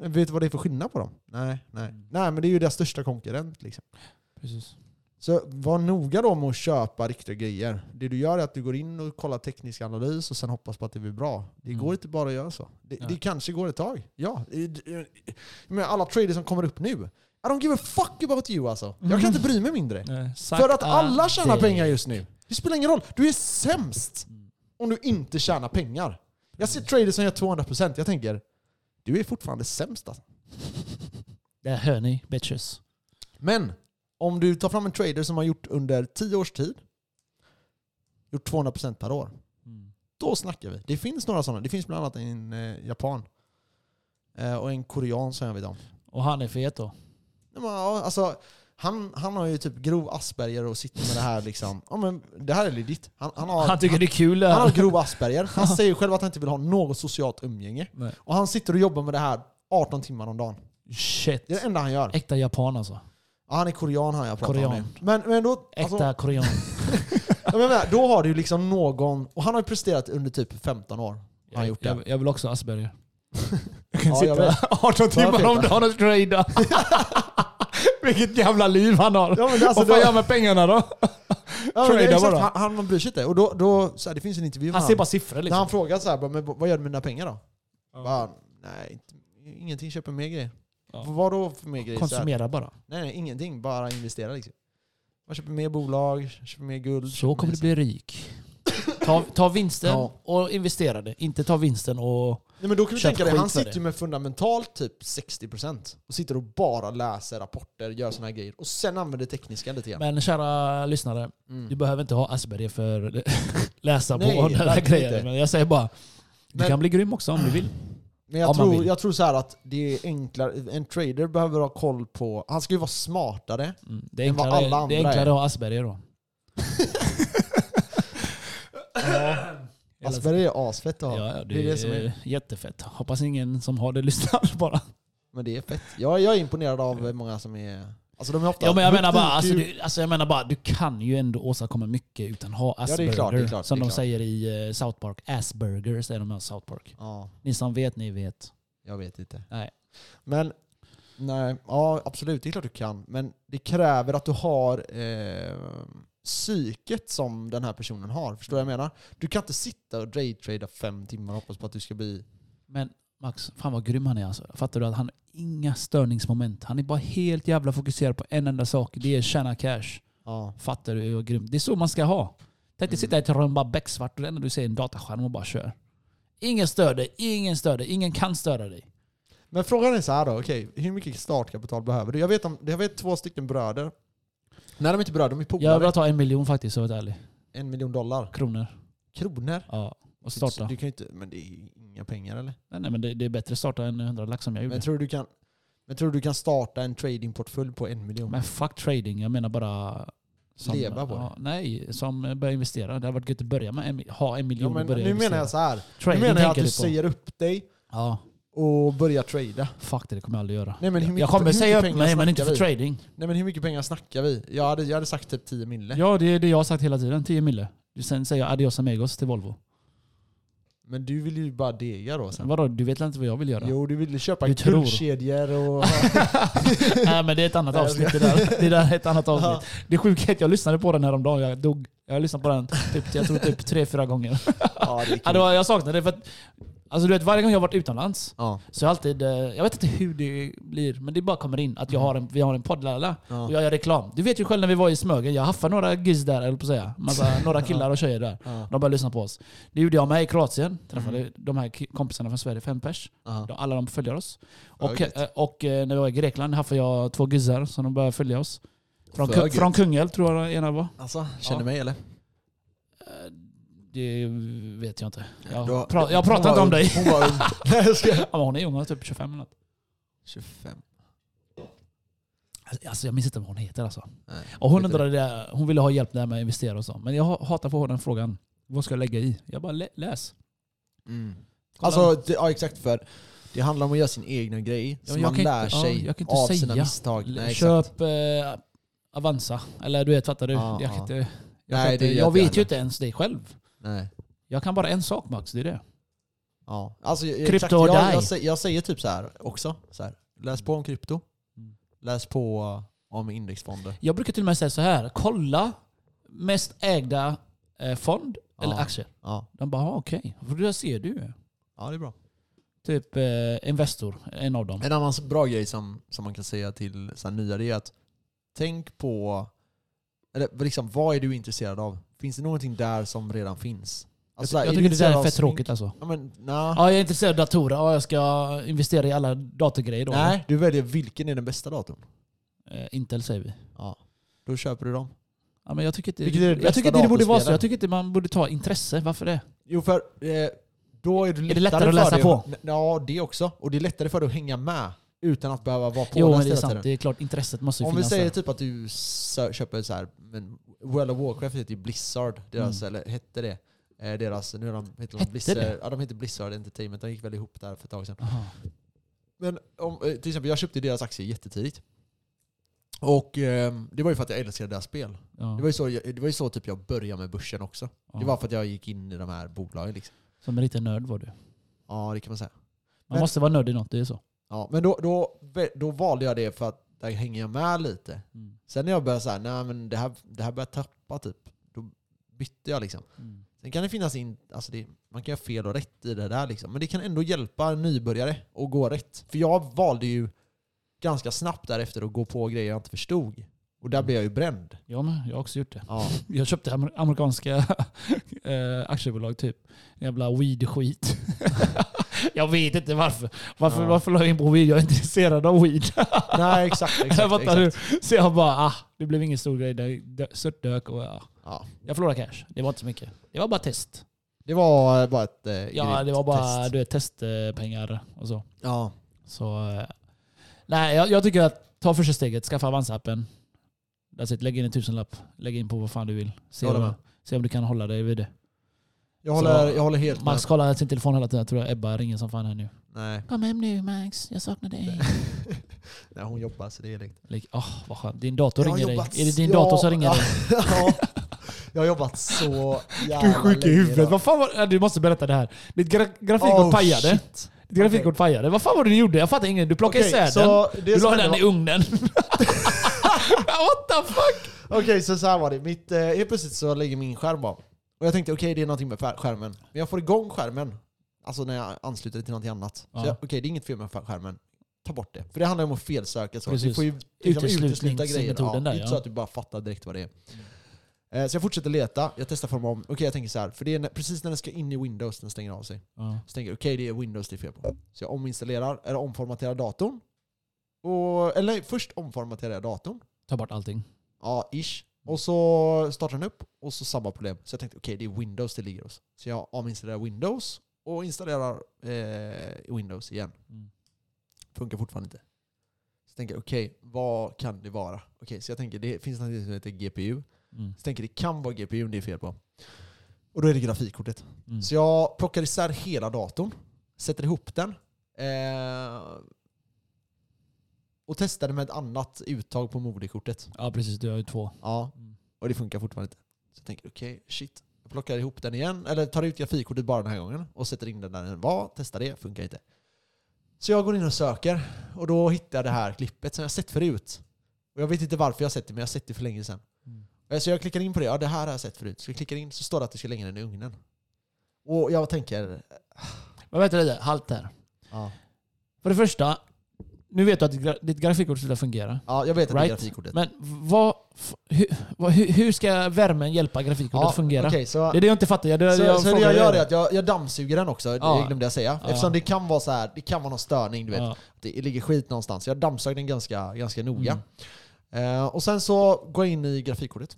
[SPEAKER 4] Vet du vad det är för skillnad på dem? Nej, nej.
[SPEAKER 3] Mm.
[SPEAKER 4] Nej, men det är ju deras största konkurrent. Liksom.
[SPEAKER 3] Precis.
[SPEAKER 4] Så var noga då med att köpa riktiga grejer. Det du gör är att du går in och kollar teknisk analys och sen hoppas på att det blir bra. Det
[SPEAKER 3] Mm.
[SPEAKER 4] går inte bara att göra så. Det,
[SPEAKER 3] Nej.
[SPEAKER 4] det kanske går ett tag. Ja. Men alla traders som kommer upp nu. I don't give a fuck about you alltså. Jag kan inte bry mig mindre.
[SPEAKER 3] Eh,
[SPEAKER 4] För
[SPEAKER 3] sagt
[SPEAKER 4] att alla tjänar
[SPEAKER 3] det-
[SPEAKER 4] pengar just nu. Det spelar ingen roll. Du är sämst
[SPEAKER 3] Mm.
[SPEAKER 4] om du inte tjänar pengar. Jag ser traders som gör 200%. Jag tänker, du är fortfarande sämst alltså.
[SPEAKER 3] Där hör ni bitches.
[SPEAKER 4] Men om du tar fram en trader som har gjort under 10 års tid, gjort 200% per år, då snackar vi. Det finns några sådana. Det finns bland annat en eh, japan. Eh, och en korean som jag vet om.
[SPEAKER 3] Och han är fet då.
[SPEAKER 4] Nej, men, ja, alltså, han, han har ju typ grov asperger och sitter med det här liksom. Ja, men, det här är legit. Han, han, har,
[SPEAKER 3] Han tycker det är kul.
[SPEAKER 4] han har grov asperger. Han säger själv att han inte vill ha något socialt umgänge.
[SPEAKER 3] Nej.
[SPEAKER 4] Och han sitter och jobbar med det här 18 timmar om dagen.
[SPEAKER 3] Shit.
[SPEAKER 4] Det är det enda han gör.
[SPEAKER 3] Äkta japan alltså.
[SPEAKER 4] Ja, han är korean han jag pratar om
[SPEAKER 3] Korean.
[SPEAKER 4] nu. Men, men då...
[SPEAKER 3] Äkta
[SPEAKER 4] alltså-
[SPEAKER 3] korean.
[SPEAKER 4] Ja, men, men, då har du ju liksom någon, och han har ju presterat under typ 15 år. Har han gjort det.
[SPEAKER 3] jag, jag vill också ha Asperger. Jag
[SPEAKER 4] Ja, jag vet.
[SPEAKER 3] 18 timmar om
[SPEAKER 4] feta.
[SPEAKER 3] dagen och trada. Vilket jävla liv han har.
[SPEAKER 4] Ja, men alltså,
[SPEAKER 3] Vad fan
[SPEAKER 4] då-
[SPEAKER 3] gör jag med pengarna då?
[SPEAKER 4] Ja, men det är
[SPEAKER 3] Trada
[SPEAKER 4] exakt,
[SPEAKER 3] bara.
[SPEAKER 4] han, han man bryr sig inte. Och då, då, så här, det finns en intervju med
[SPEAKER 3] Han ser bara siffror
[SPEAKER 4] När
[SPEAKER 3] liksom.
[SPEAKER 4] han frågar så här, bara, men vad gör du med dina pengar då?
[SPEAKER 3] Ja.
[SPEAKER 4] Bara, nej, inte, ingenting. Köper mer grejer.
[SPEAKER 3] Ja.
[SPEAKER 4] Vad då för mer grejer? Så här,
[SPEAKER 3] Konsumera bara.
[SPEAKER 4] nej, nej, ingenting. Bara investera liksom. Man köper mer bolag, köper mer guld.
[SPEAKER 3] Så
[SPEAKER 4] köper
[SPEAKER 3] kommer
[SPEAKER 4] mer-
[SPEAKER 3] du bli rik. Ta, ta vinsten
[SPEAKER 4] Ja.
[SPEAKER 3] och investera det. Inte ta vinsten och...
[SPEAKER 4] Nej, men då kan du
[SPEAKER 3] Köp
[SPEAKER 4] tänka dig,
[SPEAKER 3] skit
[SPEAKER 4] han
[SPEAKER 3] för
[SPEAKER 4] sitter
[SPEAKER 3] det.
[SPEAKER 4] ju med fundamentalt typ 60% och sitter och bara läser rapporter, gör såna här grejer. Och sen använder tekniska lite grann.
[SPEAKER 3] Men kära lyssnare,
[SPEAKER 4] Mm.
[SPEAKER 3] du behöver inte ha Asperger för läsa på
[SPEAKER 4] Nej,
[SPEAKER 3] den här
[SPEAKER 4] verkligen
[SPEAKER 3] grejen.
[SPEAKER 4] inte.
[SPEAKER 3] Men jag säger bara, du
[SPEAKER 4] Men-
[SPEAKER 3] kan bli grym också om du vill.
[SPEAKER 4] Men jag,
[SPEAKER 3] Om man
[SPEAKER 4] tror,
[SPEAKER 3] vill.
[SPEAKER 4] jag tror så här att det är enklare. En trader behöver ha koll på... Han ska ju vara smartare.
[SPEAKER 3] Mm. Det, är
[SPEAKER 4] Än vad
[SPEAKER 3] enklare,
[SPEAKER 4] alla
[SPEAKER 3] det är
[SPEAKER 4] andra
[SPEAKER 3] enklare
[SPEAKER 4] är.
[SPEAKER 3] att ha Asperger då. Hela-
[SPEAKER 4] Asperger Alltså, är asfett att ha.
[SPEAKER 3] Ja, ja, det,
[SPEAKER 4] det, är det som är.
[SPEAKER 3] jättefett. Hoppas ingen som har det lyssnar bara.
[SPEAKER 4] Men det är fett. Jag, jag är imponerad av många som är... Alltså de är ofta...
[SPEAKER 3] Ja, men jag, menar bara,
[SPEAKER 4] Du-
[SPEAKER 3] alltså,
[SPEAKER 4] du-
[SPEAKER 3] du, alltså, jag menar bara, du kan ju ändå åstadkomma mycket utan att ha
[SPEAKER 4] det är
[SPEAKER 3] Asperger.
[SPEAKER 4] klart, det är klart,
[SPEAKER 3] som
[SPEAKER 4] det är
[SPEAKER 3] de
[SPEAKER 4] klart.
[SPEAKER 3] säger i eh, South Park. Asperger säger de i South Park.
[SPEAKER 4] Ja,
[SPEAKER 3] Ni som vet, ni vet.
[SPEAKER 4] jag vet inte.
[SPEAKER 3] Nej.
[SPEAKER 4] Men... Nej, ja absolut. Det är klart du kan. Men det kräver att du har eh, psyket som den här personen har. Förstår du vad jag menar? Du kan inte sitta och daytrada fem timmar och hoppas på att du ska bli...
[SPEAKER 3] Men Max, fan vad grym han är alltså. Fattar du att han har inga störningsmoment. Han är bara helt jävla fokuserad på en enda sak. Det är tjäna cash.
[SPEAKER 4] Ja.
[SPEAKER 3] Fattar du hur grymt? Det är så man ska ha. Tänk dig sitta i ett rum bara becksvart och det enda du ser är en dataskärm och bara kör. Ingen stör dig, ingen stör dig, ingen kan störa dig.
[SPEAKER 4] Men frågan är så här då, okej, hur mycket startkapital behöver du? Jag vet, om, jag vet två stycken bröder. Nej, de är inte bröder, de är
[SPEAKER 3] Jag
[SPEAKER 4] polare.
[SPEAKER 3] vill ta en miljon faktiskt, så jag är ärlig.
[SPEAKER 4] En miljon dollar.
[SPEAKER 3] Kronor.
[SPEAKER 4] Kronor?
[SPEAKER 3] Ja. Och starta.
[SPEAKER 4] Du kan ju inte, men det är ju inga pengar eller?
[SPEAKER 3] Nej, nej men det, det är bättre att starta än 100 lax som jag gjorde.
[SPEAKER 4] Men
[SPEAKER 3] Men,
[SPEAKER 4] tror du du kan, men tror du du kan starta en tradingportfölj på en miljon?
[SPEAKER 3] fuck trading, jag menar bara...
[SPEAKER 4] Leva på
[SPEAKER 3] ja, Nej, som eh, börja investera. Det hade varit gött att börja med en, ha en
[SPEAKER 4] ja,
[SPEAKER 3] miljon
[SPEAKER 4] men,
[SPEAKER 3] och börja
[SPEAKER 4] nu
[SPEAKER 3] investera.
[SPEAKER 4] menar jag så här.
[SPEAKER 3] Trading
[SPEAKER 4] nu menar jag att
[SPEAKER 3] tänker
[SPEAKER 4] du
[SPEAKER 3] på.
[SPEAKER 4] säger upp dig
[SPEAKER 3] Ja,
[SPEAKER 4] och börjar trada.
[SPEAKER 3] fuck det, det kommer jag aldrig göra.
[SPEAKER 4] Nej, men hur mycket,
[SPEAKER 3] jag kommer
[SPEAKER 4] hur
[SPEAKER 3] säga
[SPEAKER 4] mycket
[SPEAKER 3] upp
[SPEAKER 4] pengar
[SPEAKER 3] mig men inte
[SPEAKER 4] snackar
[SPEAKER 3] för
[SPEAKER 4] vi?
[SPEAKER 3] trading.
[SPEAKER 4] Nej men hur mycket pengar snackar vi? Jag hade, jag hade sagt typ 10 mille.
[SPEAKER 3] Ja, det är det jag har sagt hela tiden. 10 mille. Sen säger jag adios amigos till Volvo.
[SPEAKER 4] Men du vill ju bara dega då sen.
[SPEAKER 3] Vadå, du vet väl inte vad jag vill göra?
[SPEAKER 4] Jo, du ville köpa
[SPEAKER 3] Du tror.
[SPEAKER 4] guldkedjor och...
[SPEAKER 3] Nej men det är ett annat
[SPEAKER 4] Nej,
[SPEAKER 3] avsnitt. Det, där. det där är ett annat avsnitt. Det är sjukt, jag lyssnade på den häromdagen. Jag dog. Jag har lyssnat på den typ, jag tror typ tre, fyra gånger.
[SPEAKER 4] ja, det är
[SPEAKER 3] Ja,
[SPEAKER 4] kul.
[SPEAKER 3] det var, jag saknade det för att alltså, du vet, varje gång jag har varit utomlands
[SPEAKER 4] Ja.
[SPEAKER 3] så har jag alltid, eh, jag vet inte hur det blir, men det bara kommer in att jag har en, vi har en podd lala,
[SPEAKER 4] Ja.
[SPEAKER 3] och jag gör reklam. Du vet ju själv när vi var i Smögen, jag haffade några giz där, eller på att säga. Massa, några killar och tjejer där.
[SPEAKER 4] Ja.
[SPEAKER 3] De började lyssna på oss. Det gjorde jag med i Kroatien. Träffade
[SPEAKER 4] Mm.
[SPEAKER 3] de här ki- kompisarna från Sverige, fem pers.
[SPEAKER 4] Aha.
[SPEAKER 3] De- Alla de följer oss.
[SPEAKER 4] Ja,
[SPEAKER 3] Och,
[SPEAKER 4] gött.
[SPEAKER 3] eh, och eh, när vi var i Grekland haffade jag två guzzar som de började följa oss. Från,
[SPEAKER 4] För
[SPEAKER 3] Ku-
[SPEAKER 4] gött.
[SPEAKER 3] från Kungälv tror jag den ena var.
[SPEAKER 4] Alltså, känner
[SPEAKER 3] Ja.
[SPEAKER 4] mig eller?
[SPEAKER 3] Det vet jag inte. Jag,
[SPEAKER 4] Du har-
[SPEAKER 3] pra- jag
[SPEAKER 4] hon
[SPEAKER 3] pratar inte
[SPEAKER 4] var
[SPEAKER 3] om
[SPEAKER 4] ung.
[SPEAKER 3] dig.
[SPEAKER 4] Hon var ung. Nej, jag skojar.
[SPEAKER 3] Ja, men hon är ung, hon är typ 25 eller något. Mm.
[SPEAKER 4] 25.
[SPEAKER 3] Alltså jag minns inte vad hon heter alltså.
[SPEAKER 4] Nej,
[SPEAKER 3] Och hon,
[SPEAKER 4] skit i det.
[SPEAKER 3] undrade det, hon ville ha hjälp där med att investera och så. Men jag ha- hatar att få den frågan. Vad ska jag lägga i? Jag bara lä- läs.
[SPEAKER 4] Mm.
[SPEAKER 3] Kolla.
[SPEAKER 4] Alltså, det, ja exakt för det handlar om att göra sin egna grej.
[SPEAKER 3] Ja,
[SPEAKER 4] Så
[SPEAKER 3] jag
[SPEAKER 4] man
[SPEAKER 3] kan inte-
[SPEAKER 4] lär
[SPEAKER 3] ja,
[SPEAKER 4] sig
[SPEAKER 3] jag kan inte
[SPEAKER 4] av sina
[SPEAKER 3] säga.
[SPEAKER 4] misstag.
[SPEAKER 3] L-
[SPEAKER 4] Nej, exakt.
[SPEAKER 3] Köp eh, Avanza. Eller du vet, fattar du?
[SPEAKER 4] Ja,
[SPEAKER 3] jag kan
[SPEAKER 4] ja.
[SPEAKER 3] inte, jag, kan
[SPEAKER 4] Nej,
[SPEAKER 3] inte,
[SPEAKER 4] det gör
[SPEAKER 3] jag
[SPEAKER 4] inte jag
[SPEAKER 3] vet ju inte ens det själv.
[SPEAKER 4] Nej.
[SPEAKER 3] Jag kan bara en sak Max, det är det.
[SPEAKER 4] Ja. Alltså, jag,
[SPEAKER 3] Krypto
[SPEAKER 4] exakt,
[SPEAKER 3] och
[SPEAKER 4] jag,
[SPEAKER 3] dig.
[SPEAKER 4] jag, säger, jag säger typ så här också. Så här. Läs på om krypto.
[SPEAKER 3] Mm.
[SPEAKER 4] Läs på uh, om indexfonder.
[SPEAKER 3] Jag brukar till och med säga så här. kolla mest ägda eh, fond eller
[SPEAKER 4] Ja.
[SPEAKER 3] aktier.
[SPEAKER 4] Ja,
[SPEAKER 3] De bara, ah, okej. För det ser du.
[SPEAKER 4] ja det är bra.
[SPEAKER 3] Typ eh, Investor, en av dem.
[SPEAKER 4] En annan så bra grej som, som man kan säga till så här nya det är att tänk på eller, liksom, vad är du intresserad av? Finns det någonting där som redan finns? Alltså, så här,
[SPEAKER 3] jag
[SPEAKER 4] är
[SPEAKER 3] tycker
[SPEAKER 4] du
[SPEAKER 3] det där
[SPEAKER 4] intresserad
[SPEAKER 3] är
[SPEAKER 4] av
[SPEAKER 3] fett
[SPEAKER 4] smink?
[SPEAKER 3] tråkigt alltså.
[SPEAKER 4] Ja, men, nah.
[SPEAKER 3] Ja, jag är intresserad av datorer. Ja, jag ska investera i alla datorgrejer då.
[SPEAKER 4] Nej, du väljer vilken är den bästa datorn.
[SPEAKER 3] Eh, Intel säger vi.
[SPEAKER 4] Ja. Då köper du dem.
[SPEAKER 3] Ja, men jag tycker inte,
[SPEAKER 4] Vilket är det
[SPEAKER 3] jag
[SPEAKER 4] bästa
[SPEAKER 3] tycker inte det borde vara så.
[SPEAKER 4] datorspelaren?
[SPEAKER 3] Jag tycker inte man borde ta intresse. Varför det?
[SPEAKER 4] Jo, för eh, då är, du
[SPEAKER 3] det lättare att läsa
[SPEAKER 4] för dig-
[SPEAKER 3] på?
[SPEAKER 4] N- Ja, det också. Och det är lättare för dig att hänga med utan att behöva vara på
[SPEAKER 3] Jo,
[SPEAKER 4] den
[SPEAKER 3] men det är
[SPEAKER 4] hela
[SPEAKER 3] sant. Det
[SPEAKER 4] tiden.
[SPEAKER 3] är klart, intresset måste ju
[SPEAKER 4] Om vi
[SPEAKER 3] finnas
[SPEAKER 4] säger
[SPEAKER 3] där.
[SPEAKER 4] typ att du sö- köper så här, men World of Warcraft heter ju Blizzard, deras, eller hette det. Eh, deras, nu är de, heter de
[SPEAKER 3] Mm. Hette
[SPEAKER 4] Blizzard,
[SPEAKER 3] det?
[SPEAKER 4] Ja, de heter Blizzard Entertainment, de gick väl ihop där för ett tag sedan.
[SPEAKER 3] Aha.
[SPEAKER 4] Men om, eh, till exempel, jag köpte deras aktier jättetidigt. Och ehm, det var ju för att jag älskade deras spel.
[SPEAKER 3] Ja.
[SPEAKER 4] Det var ju så, jag- det var ju så typ jag började med börsen också.
[SPEAKER 3] Ja.
[SPEAKER 4] Det var för att jag gick in i de här bolagen. Liksom.
[SPEAKER 3] Som en liten nörd var du. Man
[SPEAKER 4] Ja, det kan man säga. Men-
[SPEAKER 3] måste vara nörd i något, det är så.
[SPEAKER 4] Ja, men då, då, då valde jag det för att där hänger jag med lite.
[SPEAKER 3] Mm.
[SPEAKER 4] Sen när jag började så här, nej men det här, det här börjar tappa typ. Då bytte jag liksom.
[SPEAKER 3] Mm.
[SPEAKER 4] Sen kan det finnas in, alltså det, man kan göra fel och rätt i det där liksom. Men det kan ändå hjälpa en nybörjare att gå rätt. För jag valde ju ganska snabbt därefter att gå på grejer jag inte förstod. Och
[SPEAKER 3] Mm.
[SPEAKER 4] där blev jag ju bränd.
[SPEAKER 3] Jag med, jag har också gjort det.
[SPEAKER 4] Ja.
[SPEAKER 3] Jag köpte amer- amerikanska eh, aktiebolag typ. Jävla weed-skit. jag vet inte varför. Varför,
[SPEAKER 4] Ja.
[SPEAKER 3] varför la jag in på weed? Jag är intresserad av weed.
[SPEAKER 4] Nej exakt, exakt.
[SPEAKER 3] Fattar
[SPEAKER 4] exakt.
[SPEAKER 3] du? Så jag bara, ah, det blev ingen stor grej. Det- det- Störtdök och ah.
[SPEAKER 4] Ja.
[SPEAKER 3] Jag förlorade cash. Det var inte så mycket. Det var bara test.
[SPEAKER 4] Det var bara ett eh,
[SPEAKER 3] Ja,
[SPEAKER 4] grymt
[SPEAKER 3] det var bara
[SPEAKER 4] test.
[SPEAKER 3] du vet, testpengar och så.
[SPEAKER 4] Ja.
[SPEAKER 3] så eh, nej, jag, jag tycker att ta första steget. Skaffa Avanza-appen. That's it. Lägg in en tusenlapp. Lägg in på vad fan du vill. Se,
[SPEAKER 4] Jag håller
[SPEAKER 3] om,
[SPEAKER 4] med.
[SPEAKER 3] se om du kan hålla dig vid det.
[SPEAKER 4] Jag håller,
[SPEAKER 3] Så-
[SPEAKER 4] jag håller helt
[SPEAKER 3] Max kollar sin telefon hela tiden. Jag tror jag Ebba ringer som fan här nu.
[SPEAKER 4] med. Nej.
[SPEAKER 3] Kom hem nu Max, jag saknar dig.
[SPEAKER 4] Nej, hon jobbar så det är lugnt.
[SPEAKER 3] Like, oh, vad skönt. Din dator
[SPEAKER 4] Jag har
[SPEAKER 3] ringer dig.
[SPEAKER 4] jobbat-
[SPEAKER 3] Är det din
[SPEAKER 4] ja,
[SPEAKER 3] dator som ringer
[SPEAKER 4] ja,
[SPEAKER 3] dig?
[SPEAKER 4] ja. Jag har jobbat så jävla
[SPEAKER 3] Du är sjuk i
[SPEAKER 4] länge
[SPEAKER 3] huvudet.
[SPEAKER 4] idag.
[SPEAKER 3] Vad fan var, ja, du måste berätta det här. Ditt gra grafikkort
[SPEAKER 4] Oh,
[SPEAKER 3] pajade.
[SPEAKER 4] shit.
[SPEAKER 3] Ditt grafikkort
[SPEAKER 4] Okej.
[SPEAKER 3] pajade. Vad fan var det du gjorde? Jag fattar ingenting. Du plockade
[SPEAKER 4] Okej,
[SPEAKER 3] isär den.
[SPEAKER 4] så det
[SPEAKER 3] Du
[SPEAKER 4] som
[SPEAKER 3] la
[SPEAKER 4] hände
[SPEAKER 3] den
[SPEAKER 4] var-
[SPEAKER 3] i ugnen. What the fuck?
[SPEAKER 4] Okej, så, så här var det. Mitt, eh, helt plötsligt så lägger min skärm av. Och jag tänkte okej, det är någonting med skär- skärmen. Men jag får igång skärmen. Alltså när jag ansluter det till någonting annat. Så
[SPEAKER 3] Ja.
[SPEAKER 4] jag- Okej, det är inget fel med skärmen. Ta bort det. För det handlar ju om att felsöka. Så. Du
[SPEAKER 3] Precis.
[SPEAKER 4] får ju liksom, utesluta grejer.
[SPEAKER 3] Uteslutningsmetoden
[SPEAKER 4] Ja,
[SPEAKER 3] där,
[SPEAKER 4] inte
[SPEAKER 3] ja.
[SPEAKER 4] så att du bara fattar direkt vad det är. Eh, Så jag fortsätter leta, jag testar forma om. Okej, jag tänker så här. För det är när, precis när den ska in i Windows, den stänger av sig.
[SPEAKER 3] Ja.
[SPEAKER 4] Så tänker jag, okej det är Windows det är fel på. Så jag ominstallerar, eller omformaterar datorn. Och, eller nej, först omformaterar jag datorn.
[SPEAKER 3] Ta bort allting.
[SPEAKER 4] Ja, ish. Och så startar den upp och så samma problem. Så jag tänkte, okej det är Windows det ligger hos. Så jag ominstallerar Windows och installerar eh, Windows igen.
[SPEAKER 3] Mm.
[SPEAKER 4] Funkar fortfarande inte. Så tänker jag, okej vad kan det vara? Okej, så jag tänker, det finns något som heter GPU.
[SPEAKER 3] Mm.
[SPEAKER 4] Så tänker jag, det kan vara GPU det är fel på. Och då är det grafikkortet.
[SPEAKER 3] Mm.
[SPEAKER 4] Så jag plockar isär hela datorn, sätter ihop den eh, och testade med ett annat uttag på moderkortet.
[SPEAKER 3] Ja precis, du har ju två.
[SPEAKER 4] Ja,
[SPEAKER 3] Mm.
[SPEAKER 4] och det funkar fortfarande inte. Så jag tänker okej, shit. Jag plockar ihop den igen, eller tar ut grafikkortet bara den här gången och sätter in den där den var, testar det, funkar inte. Så jag går in och söker och då hittar jag det här klippet som jag sett förut. Och jag vet inte varför jag har sett det, men jag har sett det för länge sedan.
[SPEAKER 3] Mm.
[SPEAKER 4] Eh, Så jag klickar in på det. Ja, det här har jag sett förut. Så jag klickar in så står det att du ska lägga den i ugnen. Och jag tänker...
[SPEAKER 3] Men vänta lite, halt där.
[SPEAKER 4] Ja,
[SPEAKER 3] För det första, nu vet du att ditt gra- ditt grafikkort slutar fungera.
[SPEAKER 4] ja jag vet att det är
[SPEAKER 3] Right.
[SPEAKER 4] grafikkortet.
[SPEAKER 3] Men vad, f- hur, vad, hur, hur ska värmen hjälpa grafikkortet
[SPEAKER 4] ja,
[SPEAKER 3] att fungera?
[SPEAKER 4] okej, så,
[SPEAKER 3] Det är det jag inte fattar. Jag, jag,
[SPEAKER 4] så,
[SPEAKER 3] jag
[SPEAKER 4] så det
[SPEAKER 3] frågar
[SPEAKER 4] jag gör
[SPEAKER 3] dig.
[SPEAKER 4] är att jag, jag dammsuger den också.
[SPEAKER 3] Ja.
[SPEAKER 4] Det glömde jag säga.
[SPEAKER 3] Ja.
[SPEAKER 4] Eftersom det kan vara så här, det kan vara någon störning. Du vet.
[SPEAKER 3] Ja.
[SPEAKER 4] Det ligger skit någonstans. Jag dammsög den ganska, ganska noga.
[SPEAKER 3] Mm.
[SPEAKER 4] Eh, och sen så går jag in i grafikkortet.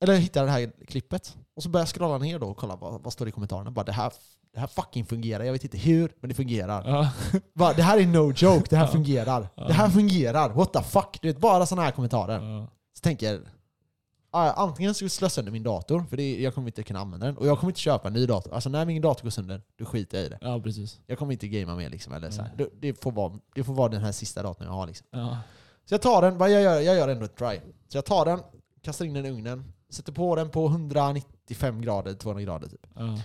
[SPEAKER 4] Eller hittar det här klippet. Och så börjar jag scrolla ner då och kolla vad, vad står det i kommentarerna. Bara, det, här, det här fucking fungerar. Jag vet inte hur, men det fungerar.
[SPEAKER 3] Ja.
[SPEAKER 4] Bara, det här är no joke. Det här
[SPEAKER 3] Ja.
[SPEAKER 4] fungerar.
[SPEAKER 3] Ja.
[SPEAKER 4] Det här fungerar. What the fuck? Du vet, bara sådana här kommentarer.
[SPEAKER 3] Ja.
[SPEAKER 4] Så tänker jag, ah, antingen ska jag slå sönder min dator, för det, jag kommer inte kunna använda den. Och jag kommer inte köpa en ny dator. Alltså när min dator går sönder, då skiter jag i det.
[SPEAKER 3] ja, precis.
[SPEAKER 4] Jag kommer inte gamea mer liksom. Eller så här.
[SPEAKER 3] Mm.
[SPEAKER 4] Det, det, får vara, det får vara den här sista datorn jag har liksom.
[SPEAKER 3] Ja.
[SPEAKER 4] Så jag tar den, vad jag gör, jag gör ändå ett try. Så jag tar den, kastar in den i ugnen, sätter på den på 195 grader, 200 grader typ.
[SPEAKER 3] Ja.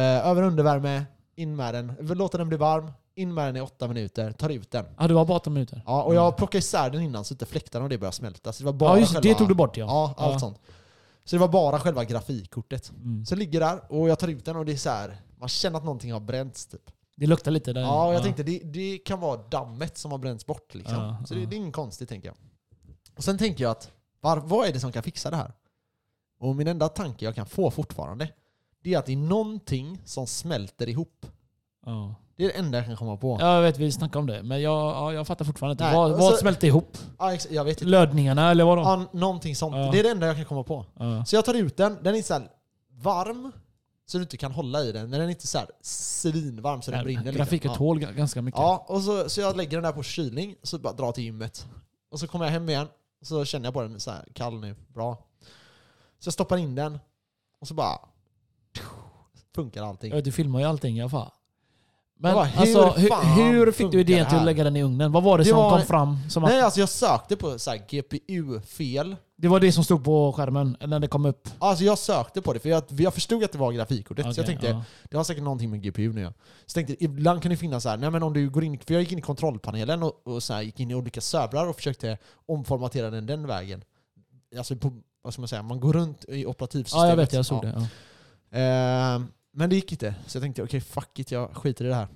[SPEAKER 4] Eh, över och undervärme, in med den, låter den bli varm, in med den i 8 minuter, tar ut den.
[SPEAKER 3] Ah, du var bara 18 minuter?
[SPEAKER 4] Ja, och jag plockade isär den innan så inte fläktarna och det började smälta. Så det var bara
[SPEAKER 3] Mm. ja, just det.
[SPEAKER 4] själva,
[SPEAKER 3] Det tog du bort ja.
[SPEAKER 4] Ja, allt sånt. Så det var bara själva grafikkortet.
[SPEAKER 3] Mm.
[SPEAKER 4] Så jag ligger där och jag tar ut den och det är så här. man känner att någonting har bränts typ.
[SPEAKER 3] Det luktar lite där.
[SPEAKER 4] Ja, och jag tänkte det, det kan vara dammet som har bränts bort liksom.
[SPEAKER 3] Ja,
[SPEAKER 4] så det,
[SPEAKER 3] ja.
[SPEAKER 4] det är inget konstigt tänker jag. Och sen tänker jag att var, vad är det som kan fixa det här? Och min enda tanke jag kan få fortfarande, det är att det är någonting som smälter ihop.
[SPEAKER 3] Ja.
[SPEAKER 4] Det är det enda jag kan komma på. Ja.
[SPEAKER 3] Ja, jag vet, vi snackade om det. Men jag, ja, jag fattar fortfarande inte.
[SPEAKER 4] Nej,
[SPEAKER 3] vad
[SPEAKER 4] och
[SPEAKER 3] vad
[SPEAKER 4] så-
[SPEAKER 3] smälte ihop?
[SPEAKER 4] ex- jag vet inte.
[SPEAKER 3] Lödningarna eller vadå?
[SPEAKER 4] Ja, någonting sånt.
[SPEAKER 3] Ja.
[SPEAKER 4] Det är det enda jag kan komma på.
[SPEAKER 3] Ja.
[SPEAKER 4] Så jag tar ut den. Den är så här varm, så du inte kan hålla i den. Men den är inte så här svinvarm så den
[SPEAKER 3] Ja,
[SPEAKER 4] brinner.
[SPEAKER 3] Grafiken
[SPEAKER 4] liksom.
[SPEAKER 3] tål g- ganska mycket.
[SPEAKER 4] Ja, och så, så jag lägger den där på kylning, så bara drar till gymmet. Och så kommer jag hem igen, och så känner jag på den så här, kall nu, bra. Så jag stoppar in den, och så bara... Funkar allting.
[SPEAKER 3] Jag vet, du filmar ju allting i alla fall. Men
[SPEAKER 4] Jag bara, hur
[SPEAKER 3] alltså,
[SPEAKER 4] fan
[SPEAKER 3] hur, hur fick du
[SPEAKER 4] funkar
[SPEAKER 3] idén
[SPEAKER 4] det
[SPEAKER 3] till att
[SPEAKER 4] här?
[SPEAKER 3] lägga den i ugnen? Vad var det,
[SPEAKER 4] Det
[SPEAKER 3] som
[SPEAKER 4] var-
[SPEAKER 3] kom fram? Som att,
[SPEAKER 4] Nej, alltså jag sökte på så här GPU-fel.
[SPEAKER 3] det var det som stod på skärmen när det kom upp?
[SPEAKER 4] Alltså jag sökte på det, för jag, jag förstod att det var grafikkortet. så
[SPEAKER 3] Okej,
[SPEAKER 4] jag tänkte,
[SPEAKER 3] ja.
[SPEAKER 4] det har säkert någonting med GPU nu ja. Så tänkte jag, ibland kan det finnas så här, nej men om du går in, för jag gick in i kontrollpanelen och, och så här, gick in i olika servrar och försökte omformatera den den vägen. Alltså på, vad ska man säga, man går runt i operativsystemet.
[SPEAKER 3] ja, jag vet. Jag såg
[SPEAKER 4] Ja.
[SPEAKER 3] det. Ja.
[SPEAKER 4] Ehm, men det gick inte. Så jag tänkte, okej fuck it, jag skiter i det här.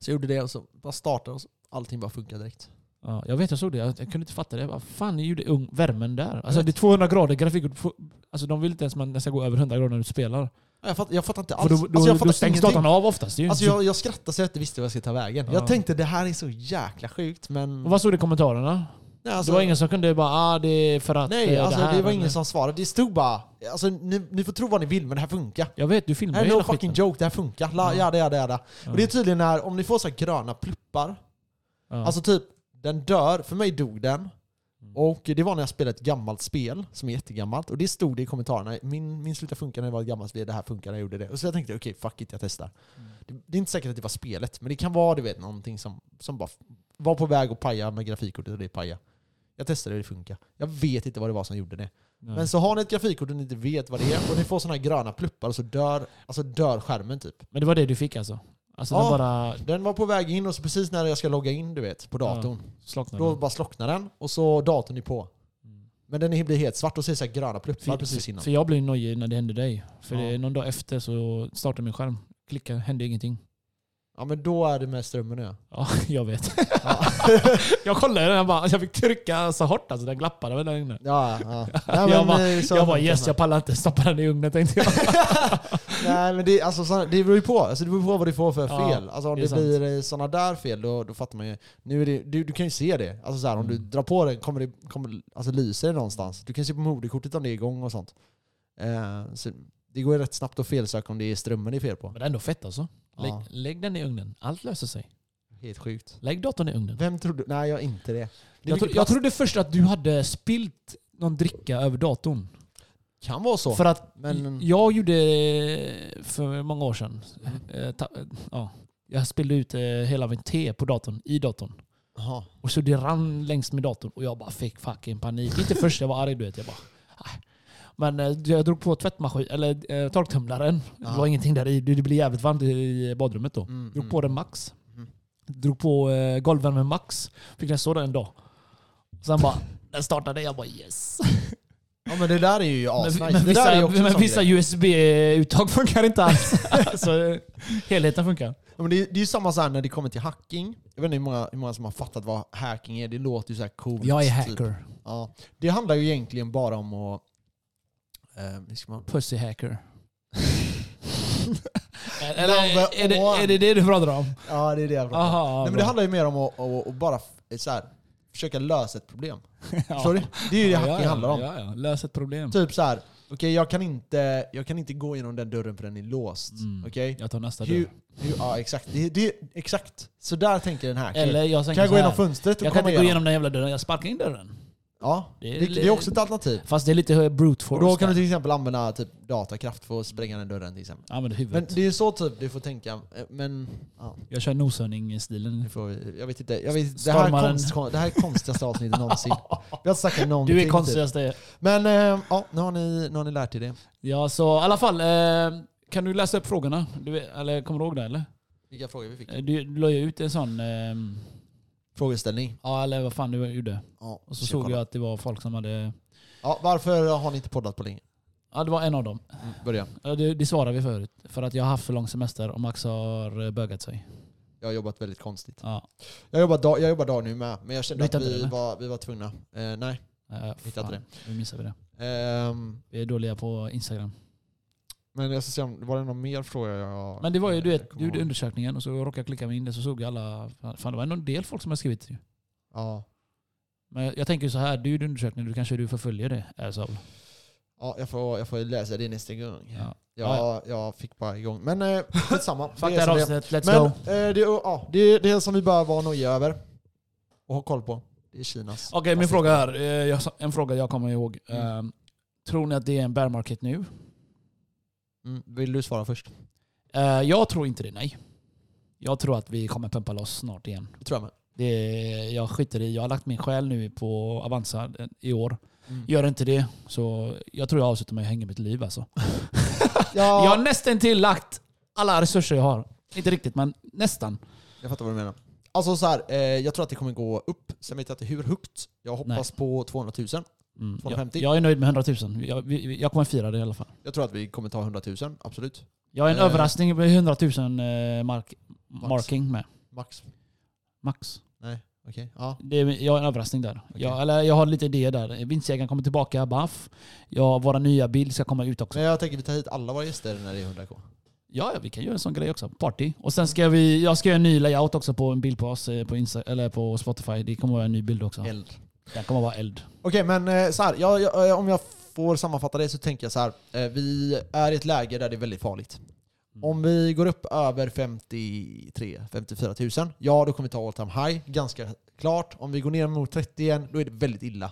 [SPEAKER 4] Så jag gjorde det och så bara startade och så, allting bara funkade direkt.
[SPEAKER 3] Ja, jag vet, jag såg det. Jag, jag kunde inte fatta det. Jag bara, fan, ni gjorde ung, värmen där. Alltså,
[SPEAKER 4] vet.
[SPEAKER 3] det är 200 grader grafikkort. Alltså, de vill inte ens att man ska gå över 100 grader när du spelar.
[SPEAKER 4] Ja, Jag fattar, jag fattar inte alls.
[SPEAKER 3] För då, då,
[SPEAKER 4] alltså jag
[SPEAKER 3] då
[SPEAKER 4] fattar
[SPEAKER 3] stängs
[SPEAKER 4] ingenting.
[SPEAKER 3] datorn av oftast. Det är ju
[SPEAKER 4] Alltså
[SPEAKER 3] inte så-
[SPEAKER 4] jag, jag skrattade så jag inte visste vad jag skulle ta vägen.
[SPEAKER 3] Ja.
[SPEAKER 4] Jag tänkte det här är så jäkla sjukt men...
[SPEAKER 3] Och vad stod det i kommentarerna?
[SPEAKER 4] Nej, alltså-
[SPEAKER 3] det var ingen som kunde bara ah, det är för att eh,
[SPEAKER 4] Nej, alltså,
[SPEAKER 3] här,
[SPEAKER 4] det var ingen
[SPEAKER 3] men-
[SPEAKER 4] som svarade. Det stod bara, alltså, ni, ni får tro vad ni vill men det här funkar.
[SPEAKER 3] Jag vet, du
[SPEAKER 4] Det
[SPEAKER 3] filmar
[SPEAKER 4] här
[SPEAKER 3] ju
[SPEAKER 4] är no
[SPEAKER 3] hela
[SPEAKER 4] fucking
[SPEAKER 3] skiten.
[SPEAKER 4] joke, det här funkar. La,
[SPEAKER 3] Ja.
[SPEAKER 4] jada, jada, jada.
[SPEAKER 3] Ja.
[SPEAKER 4] Och det är tydligen när, om ni får så här gröna pluppar,
[SPEAKER 3] Ja. Mm.
[SPEAKER 4] alltså typ den dör, för mig dog den. Och det var när jag spelade ett gammalt spel som är jättegammalt och det stod det i kommentarerna. Min, min slutade funka när det var ett gammalt spel, det här funkar när jag gjorde det. Och så jag tänkte okej, fuck it, jag testar.
[SPEAKER 3] Mm.
[SPEAKER 4] Det, det är inte säkert att det var spelet, men det kan vara du vet, någonting som, som bara f- var på väg att paja med grafikkortet och det paja. Jag testade och det funkar. Jag vet inte vad det var som gjorde det.
[SPEAKER 3] Nej.
[SPEAKER 4] Men så har ni ett grafikkort och ni inte vet vad det är och ni får såna här gröna pluppar och så dör, alltså dör skärmen typ.
[SPEAKER 3] Men det var det du fick alltså? Alltså
[SPEAKER 4] Ja.
[SPEAKER 3] den bara
[SPEAKER 4] Den var på väg in och så precis när jag ska logga in du vet, på datorn,
[SPEAKER 3] Mm. slocknade?
[SPEAKER 4] då bara slocknar den och så datorn är på.
[SPEAKER 3] Mm.
[SPEAKER 4] Men den blir helt svart och ser så här gröna pluppar
[SPEAKER 3] för,
[SPEAKER 4] precis innan.
[SPEAKER 3] för jag blev nojig när det hände dig. För
[SPEAKER 4] Ja.
[SPEAKER 3] det, någon dag efter så startade min skärm. Klicka, hände ingenting.
[SPEAKER 4] Ja men då är det med strömmen ja.
[SPEAKER 3] Ja, jag vet. jag kollade den och bara, jag fick trycka så hårt alltså, den glappade väl där inne.
[SPEAKER 4] ja, ja. Nej,
[SPEAKER 3] jag bara,
[SPEAKER 4] eh, så
[SPEAKER 3] jag bara
[SPEAKER 4] funkar
[SPEAKER 3] yes,
[SPEAKER 4] det.
[SPEAKER 3] jag pallar inte stoppa den i ugnen tänkte jag.
[SPEAKER 4] Nej men det, alltså, så- det beror ju på. Alltså, det beror på vad du får för
[SPEAKER 3] Ja,
[SPEAKER 4] fel. Alltså, om
[SPEAKER 3] det är
[SPEAKER 4] det,
[SPEAKER 3] sant.
[SPEAKER 4] blir sådana där fel då, då fattar man ju. Nu är det, du, du kan ju se det. Alltså, så här, om du
[SPEAKER 3] Mm.
[SPEAKER 4] drar på den, kommer det, kommer, alltså, lyser det någonstans? Du kan se på moderkortet om det är igång och sånt. Eh, så det går ju rätt snabbt att felsöka om det är strömmen det är fel på.
[SPEAKER 3] Men det är ändå fett alltså. Lägg,
[SPEAKER 4] Ja.
[SPEAKER 3] lägg den i ugnen. Allt löser sig.
[SPEAKER 4] Helt sjukt.
[SPEAKER 3] Lägg datorn i ugnen.
[SPEAKER 4] Vem trodde... Nej, jag inte det. det är
[SPEAKER 3] Jag, tro,
[SPEAKER 4] mycket
[SPEAKER 3] jag
[SPEAKER 4] plast.
[SPEAKER 3] trodde först att du hade spilt någon dricka över datorn.
[SPEAKER 4] kan vara så.
[SPEAKER 3] För att
[SPEAKER 4] Men-
[SPEAKER 3] jag gjorde eh, för många år sedan.
[SPEAKER 4] Mm.
[SPEAKER 3] eh, ta, ja, jag spillde ut eh, hela min te på datorn, i datorn.
[SPEAKER 4] Jaha.
[SPEAKER 3] Och så det rann längs med datorn och jag bara fick fucking panik. Inte först jag var arg du vet. Jag bara, "Aj." men eh, jag drog på tvättmaskin, eller eh, torktumlaren. Det var
[SPEAKER 4] Ja.
[SPEAKER 3] ingenting där i. Det det blev jävligt varmt i badrummet då.
[SPEAKER 4] Mm,
[SPEAKER 3] Drog
[SPEAKER 4] mm.
[SPEAKER 3] på den max.
[SPEAKER 4] Mm.
[SPEAKER 3] Drog på eh, golvvärmen max. Fick den stå där en dag. Sen bara, den startade. Jag bara yes.
[SPEAKER 4] Ja men det där är ju asnice.
[SPEAKER 3] men, men
[SPEAKER 4] det där är ju
[SPEAKER 3] vissa,
[SPEAKER 4] också en
[SPEAKER 3] men
[SPEAKER 4] sån
[SPEAKER 3] vissa
[SPEAKER 4] grej.
[SPEAKER 3] USB-uttag funkar inte alls. alltså, eh, helheten funkar.
[SPEAKER 4] Ja, men det, är- det är ju samma så här när det kommer till hacking. Jag vet inte hur många, hur många som har fattat vad hacking är. Det låter ju så här coolt.
[SPEAKER 3] Jag är
[SPEAKER 4] typ.
[SPEAKER 3] hacker.
[SPEAKER 4] Ja, det handlar ju egentligen bara om att... Eh, hur ska man,
[SPEAKER 3] Pussy hacker. Eller
[SPEAKER 4] Number
[SPEAKER 3] är det,
[SPEAKER 4] one.
[SPEAKER 3] är det det du pratar om?
[SPEAKER 4] ja, det är det jag pratar om.
[SPEAKER 3] Aha,
[SPEAKER 4] Nej, men det handlar ju mer om att, att, att bara f- så här, försöka lösa ett problem. Förstår du? Det är ju det hacking handlar om.
[SPEAKER 3] Ja, ja. Lös ett problem.
[SPEAKER 4] Typ så här, okej jag kan inte jag kan inte gå igenom den dörren för den är låst.
[SPEAKER 3] Mm.
[SPEAKER 4] Okej?
[SPEAKER 3] Jag tar nästa
[SPEAKER 4] Hur,
[SPEAKER 3] dörr.
[SPEAKER 4] hur, ja, exakt. Det, det, exakt. Så där tänker den här.
[SPEAKER 3] Eller jag
[SPEAKER 4] kan jag
[SPEAKER 3] tänker så
[SPEAKER 4] gå
[SPEAKER 3] här,
[SPEAKER 4] igenom fönstret och
[SPEAKER 3] Jag kan
[SPEAKER 4] komma
[SPEAKER 3] inte gå
[SPEAKER 4] igenom?
[SPEAKER 3] igenom den jävla dörren. Jag sparkar in dörren.
[SPEAKER 4] Ja,
[SPEAKER 3] Det
[SPEAKER 4] det,
[SPEAKER 3] är
[SPEAKER 4] det,
[SPEAKER 3] li-
[SPEAKER 4] är också ett alternativ.
[SPEAKER 3] Fast det är lite brute
[SPEAKER 4] Och
[SPEAKER 3] force.
[SPEAKER 4] då kan du
[SPEAKER 3] där.
[SPEAKER 4] till exempel använda typ, datakraft för att spränga den dörren till exempel.
[SPEAKER 3] Använd
[SPEAKER 4] Men
[SPEAKER 3] huvudet.
[SPEAKER 4] det är ju så typ du får tänka. eh, Men ja,
[SPEAKER 3] Jag kör noshörning-stilen.
[SPEAKER 4] det får, vi- jag vet inte. Jag vet, inte. det, här är
[SPEAKER 3] Stormaren.
[SPEAKER 4] konst, det här är konstigaste avsnittet någonsin. Vi har inte snackat någonting.
[SPEAKER 3] Du är
[SPEAKER 4] typ.
[SPEAKER 3] konstigaste.
[SPEAKER 4] Men eh, ja, nu har, ni, nu har ni lärt er det.
[SPEAKER 3] Ja, så i alla fall. Eh, kan du läsa upp frågorna? Du, vet- eller kommer du ihåg det eller?
[SPEAKER 4] Vilka frågor vi fick?
[SPEAKER 3] Eh, Du la ju ut en sån... ehm,
[SPEAKER 4] Frågeställning.
[SPEAKER 3] Ja, eller vad fan du gjorde.
[SPEAKER 4] Ja,
[SPEAKER 3] Och
[SPEAKER 4] ska
[SPEAKER 3] så
[SPEAKER 4] jag
[SPEAKER 3] såg
[SPEAKER 4] kolla.
[SPEAKER 3] jag att det var folk som hade...
[SPEAKER 4] Ja, varför har ni inte poddat på länge?
[SPEAKER 3] Ja, det var en av dem.
[SPEAKER 4] Mm, börja.
[SPEAKER 3] Ja, Det, det svarade vi förut. För att jag har haft för lång semester och Max har eh, bögat sig.
[SPEAKER 4] Jag har jobbat väldigt konstigt.
[SPEAKER 3] Ja.
[SPEAKER 4] Jag jobbar dag, jag jobbar dag nu med, men jag kände
[SPEAKER 3] Hittar
[SPEAKER 4] att
[SPEAKER 3] inte
[SPEAKER 4] vi
[SPEAKER 3] det,
[SPEAKER 4] var, vi var tvungna. Eh, nej.
[SPEAKER 3] Eh, fan,
[SPEAKER 4] inte
[SPEAKER 3] Nu missar vi det.
[SPEAKER 4] Ehm,
[SPEAKER 3] Vi är dåliga på Instagram.
[SPEAKER 4] Men jag ska se om, var det någon mer fråga jag...
[SPEAKER 3] Men det var ju, du vet,
[SPEAKER 4] jag kommer
[SPEAKER 3] du gjorde
[SPEAKER 4] ihåg?
[SPEAKER 3] undersökningen och så råkade jag klicka mig in där så såg jag alla... Fan, fan, det var ändå en del folk som har skrivit. ju.
[SPEAKER 4] Ja.
[SPEAKER 3] Men jag, jag tänker ju så här, du gjorde undersökningen, du kanske du förföljer det. Alltså.
[SPEAKER 4] Ja, jag får, jag får läsa det nästa gång.
[SPEAKER 3] Ja.
[SPEAKER 4] Jag, jag fick bara igång. Men eh, skitsamma.
[SPEAKER 3] Fuck
[SPEAKER 4] är
[SPEAKER 3] det här
[SPEAKER 4] som det är.
[SPEAKER 3] avsnittet, let's
[SPEAKER 4] Men
[SPEAKER 3] go.
[SPEAKER 4] eh, det, ja, det, är- det är som vi bör vara nojiga över och ha koll på. Det är Kinas.
[SPEAKER 3] Okej, min fråga här. eh, Jag, sa- en fråga jag kommer ihåg.
[SPEAKER 4] Mm.
[SPEAKER 3] Eh, tror ni att det är en bear market nu?
[SPEAKER 4] Mm, vill du svara först?
[SPEAKER 3] Eh, jag tror inte det, nej. Jag tror att vi kommer pumpa loss snart igen.
[SPEAKER 4] Det tror jag med.
[SPEAKER 3] Det är, jag skiter i. Jag har lagt min själ nu på Avanza eh, i år.
[SPEAKER 4] Mm.
[SPEAKER 3] Gör inte det, så jag tror jag avslutar med att hänga mitt liv alltså.
[SPEAKER 4] Ja,
[SPEAKER 3] Jag
[SPEAKER 4] jag,
[SPEAKER 3] har nästan till lagt alla resurser jag har. Inte riktigt, men nästan.
[SPEAKER 4] fattar vad du menar. Alltså så här, eh, jag tror att det kommer gå upp. Sen vet jag inte hur högt. Jag hoppas på 200 000.
[SPEAKER 3] Mm. Jag,
[SPEAKER 4] 250.
[SPEAKER 3] jag är nöjd med 100 000. Jag, vi- vi- jag kommer fira det i alla fall.
[SPEAKER 4] Jag tror att vi kommer ta 100 000, absolut.
[SPEAKER 3] Jag är en
[SPEAKER 4] Eh.
[SPEAKER 3] överraskning med 100 000 eh, mark, marking med.
[SPEAKER 4] Max.
[SPEAKER 3] Max.
[SPEAKER 4] Nej, okej. Ja.
[SPEAKER 3] Det är, jag har en överraskning där. Jag, eller jag har lite idéer där. Vinstjägaren kommer tillbaka, baff. Jag, våra nya bil ska komma ut också.
[SPEAKER 4] Men jag tänker vi tar hit alla våra gäster när det är 100k.
[SPEAKER 3] Ja, ja, vi kan göra en sån grej också. Party. Och sen ska vi, jag ska göra en ny layout också på en bild på oss eh, på, Insta, eller på Spotify. Det kommer vara en ny bild också.
[SPEAKER 4] Eld.
[SPEAKER 3] Den kommer vara eld.
[SPEAKER 4] Okej, men eh, så här, jag, jag, eh, om jag får sammanfatta det så tänker jag så här. eh, Vi är i ett läge där det är väldigt farligt. Om vi går upp över 53 54 000, ja då kommer vi ta all time high, ganska klart. Om vi går ner mot 30 igen, då är det väldigt illa.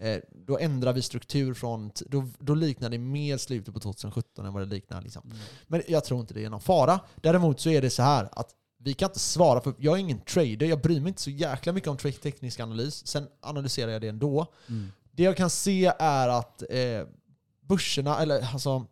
[SPEAKER 4] Eh, Då ändrar vi struktur från... t- Då, då liknar det mer slutet på 2017 än vad det liknar. Liksom. Men jag tror inte det är någon fara. Däremot så är det så här att vi kan inte svara för jag är ingen trader. Jag bryr mig inte så jäkla mycket om trade- teknisk analys. Sen analyserar jag det ändå.
[SPEAKER 3] Mm.
[SPEAKER 4] Det jag kan se är att eh, börserna, eller alltså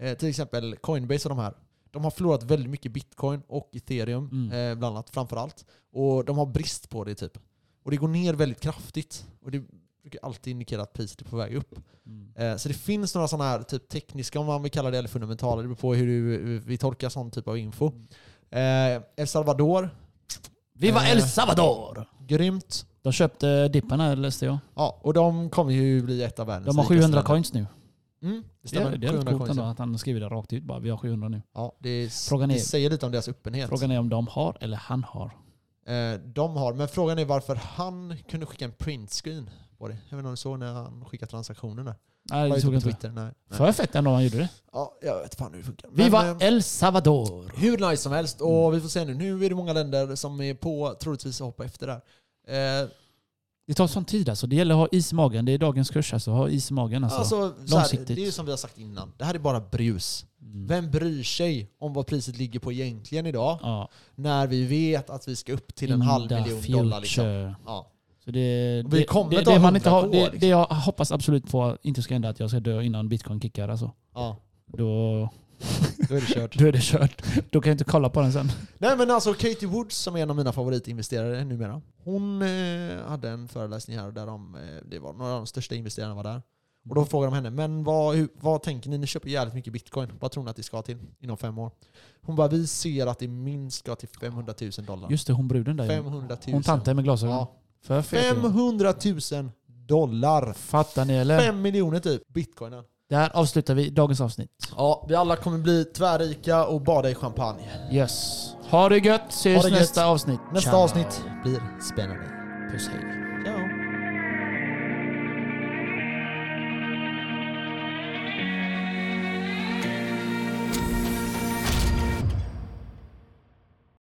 [SPEAKER 4] eh, till exempel Coinbase och de här, de har förlorat väldigt mycket bitcoin och ethereum
[SPEAKER 3] Mm.
[SPEAKER 4] eh, bland annat, framförallt. Och de har brist på det typ. Och det går ner väldigt kraftigt. Och det brukar alltid indikera att priset är på väg upp.
[SPEAKER 3] Mm.
[SPEAKER 4] Eh, Så det finns några sådana här typ tekniska, om man vill kalla det, eller fundamentala. Det beror på hur, du, hur vi tolkar sån typ av info. Eh, El Salvador,
[SPEAKER 3] Viva
[SPEAKER 4] Eh.
[SPEAKER 3] El Salvador!
[SPEAKER 4] grymt.
[SPEAKER 3] De köpte dippen här läste jag.
[SPEAKER 4] Ja, och de kommer ju bli ett av världens
[SPEAKER 3] De har
[SPEAKER 4] rikaste
[SPEAKER 3] 700
[SPEAKER 4] länder.
[SPEAKER 3] coins nu.
[SPEAKER 4] Mm, det
[SPEAKER 3] Det
[SPEAKER 4] stämmer.
[SPEAKER 3] är, det är rätt
[SPEAKER 4] 700
[SPEAKER 3] coolt
[SPEAKER 4] coins.
[SPEAKER 3] ändå
[SPEAKER 4] ja.
[SPEAKER 3] att han skriver det rakt ut bara. Vi har 700 nu.
[SPEAKER 4] Ja, det, är,
[SPEAKER 3] Frågan är-
[SPEAKER 4] det säger lite om deras öppenhet.
[SPEAKER 3] Frågan är om de har eller han har.
[SPEAKER 4] Eh, de har, men frågan är varför han kunde skicka en printscreen på det. Jag vet inte om du såg när han skickade transaktionerna.
[SPEAKER 3] Nej,
[SPEAKER 4] Var
[SPEAKER 3] det
[SPEAKER 4] det
[SPEAKER 3] såg jag
[SPEAKER 4] på
[SPEAKER 3] inte.
[SPEAKER 4] Twitter? Nej. Nej.
[SPEAKER 3] För fett ändå han gjorde det.
[SPEAKER 4] Ja, jag vet fan hur det funkar. Men,
[SPEAKER 3] Viva
[SPEAKER 4] eh,
[SPEAKER 3] El Salvador!
[SPEAKER 4] hur nice som helst.
[SPEAKER 3] Mm.
[SPEAKER 4] Och vi får se nu. Nu är det många länder som är på troligtvis att hoppa efter där. Eh,
[SPEAKER 3] Det tar sån tid alltså. Det gäller att ha is i magen. Det är dagens kurs alltså. Ha is i magen alltså.
[SPEAKER 4] alltså, så här, det
[SPEAKER 3] långsiktigt. Mm.
[SPEAKER 4] är ju som vi har sagt innan. Det här är bara brus. Vem bryr sig om vad priset ligger på egentligen idag?
[SPEAKER 3] ja.
[SPEAKER 4] När vi vet att vi ska upp till en
[SPEAKER 3] In
[SPEAKER 4] halv
[SPEAKER 3] the
[SPEAKER 4] miljon dollar. Liksom.
[SPEAKER 3] future.
[SPEAKER 4] Ja.
[SPEAKER 3] Så det,
[SPEAKER 4] Och vi
[SPEAKER 3] det,
[SPEAKER 4] kommer
[SPEAKER 3] det,
[SPEAKER 4] ta
[SPEAKER 3] det, man inte har,
[SPEAKER 4] 100 på,
[SPEAKER 3] det,
[SPEAKER 4] liksom.
[SPEAKER 3] det jag hoppas absolut på inte ska hända att jag ska dö innan bitcoin kickar alltså.
[SPEAKER 4] Ja,
[SPEAKER 3] Då,
[SPEAKER 4] då är det kört.
[SPEAKER 3] då är det kört. Då kan jag inte kolla på den sen.
[SPEAKER 4] Nej men alltså Katie Woods som är en av mina favoritinvesterare numera. Hon eh, hade en föreläsning här där de, eh, det var några av de största investerarna var där. Och då frågade de henne, men vad, hur, vad tänker ni? Ni köper jävligt mycket bitcoin. Vad tror ni att det ska till inom fem år? Hon bara, vi ser att det minst ska till 500 000 dollar.
[SPEAKER 3] Just det, hon bruden där. ju.
[SPEAKER 4] 500 000.
[SPEAKER 3] Hon tanten med glasögon.
[SPEAKER 4] Ja.
[SPEAKER 3] För fet. ju.
[SPEAKER 4] 500 000 dollar!
[SPEAKER 3] Fattar ni eller?
[SPEAKER 4] Fem miljoner typ, bitcoinen.
[SPEAKER 3] Där avslutar vi dagens avsnitt.
[SPEAKER 4] Ja, vi alla kommer bli tvärrika och bada i champagne.
[SPEAKER 3] Yes. Ha det gött. Ses
[SPEAKER 4] Ha det gött.
[SPEAKER 3] nästa avsnitt.
[SPEAKER 4] Nästa
[SPEAKER 3] Ciao.
[SPEAKER 4] avsnitt blir spännande.
[SPEAKER 3] Puss hej.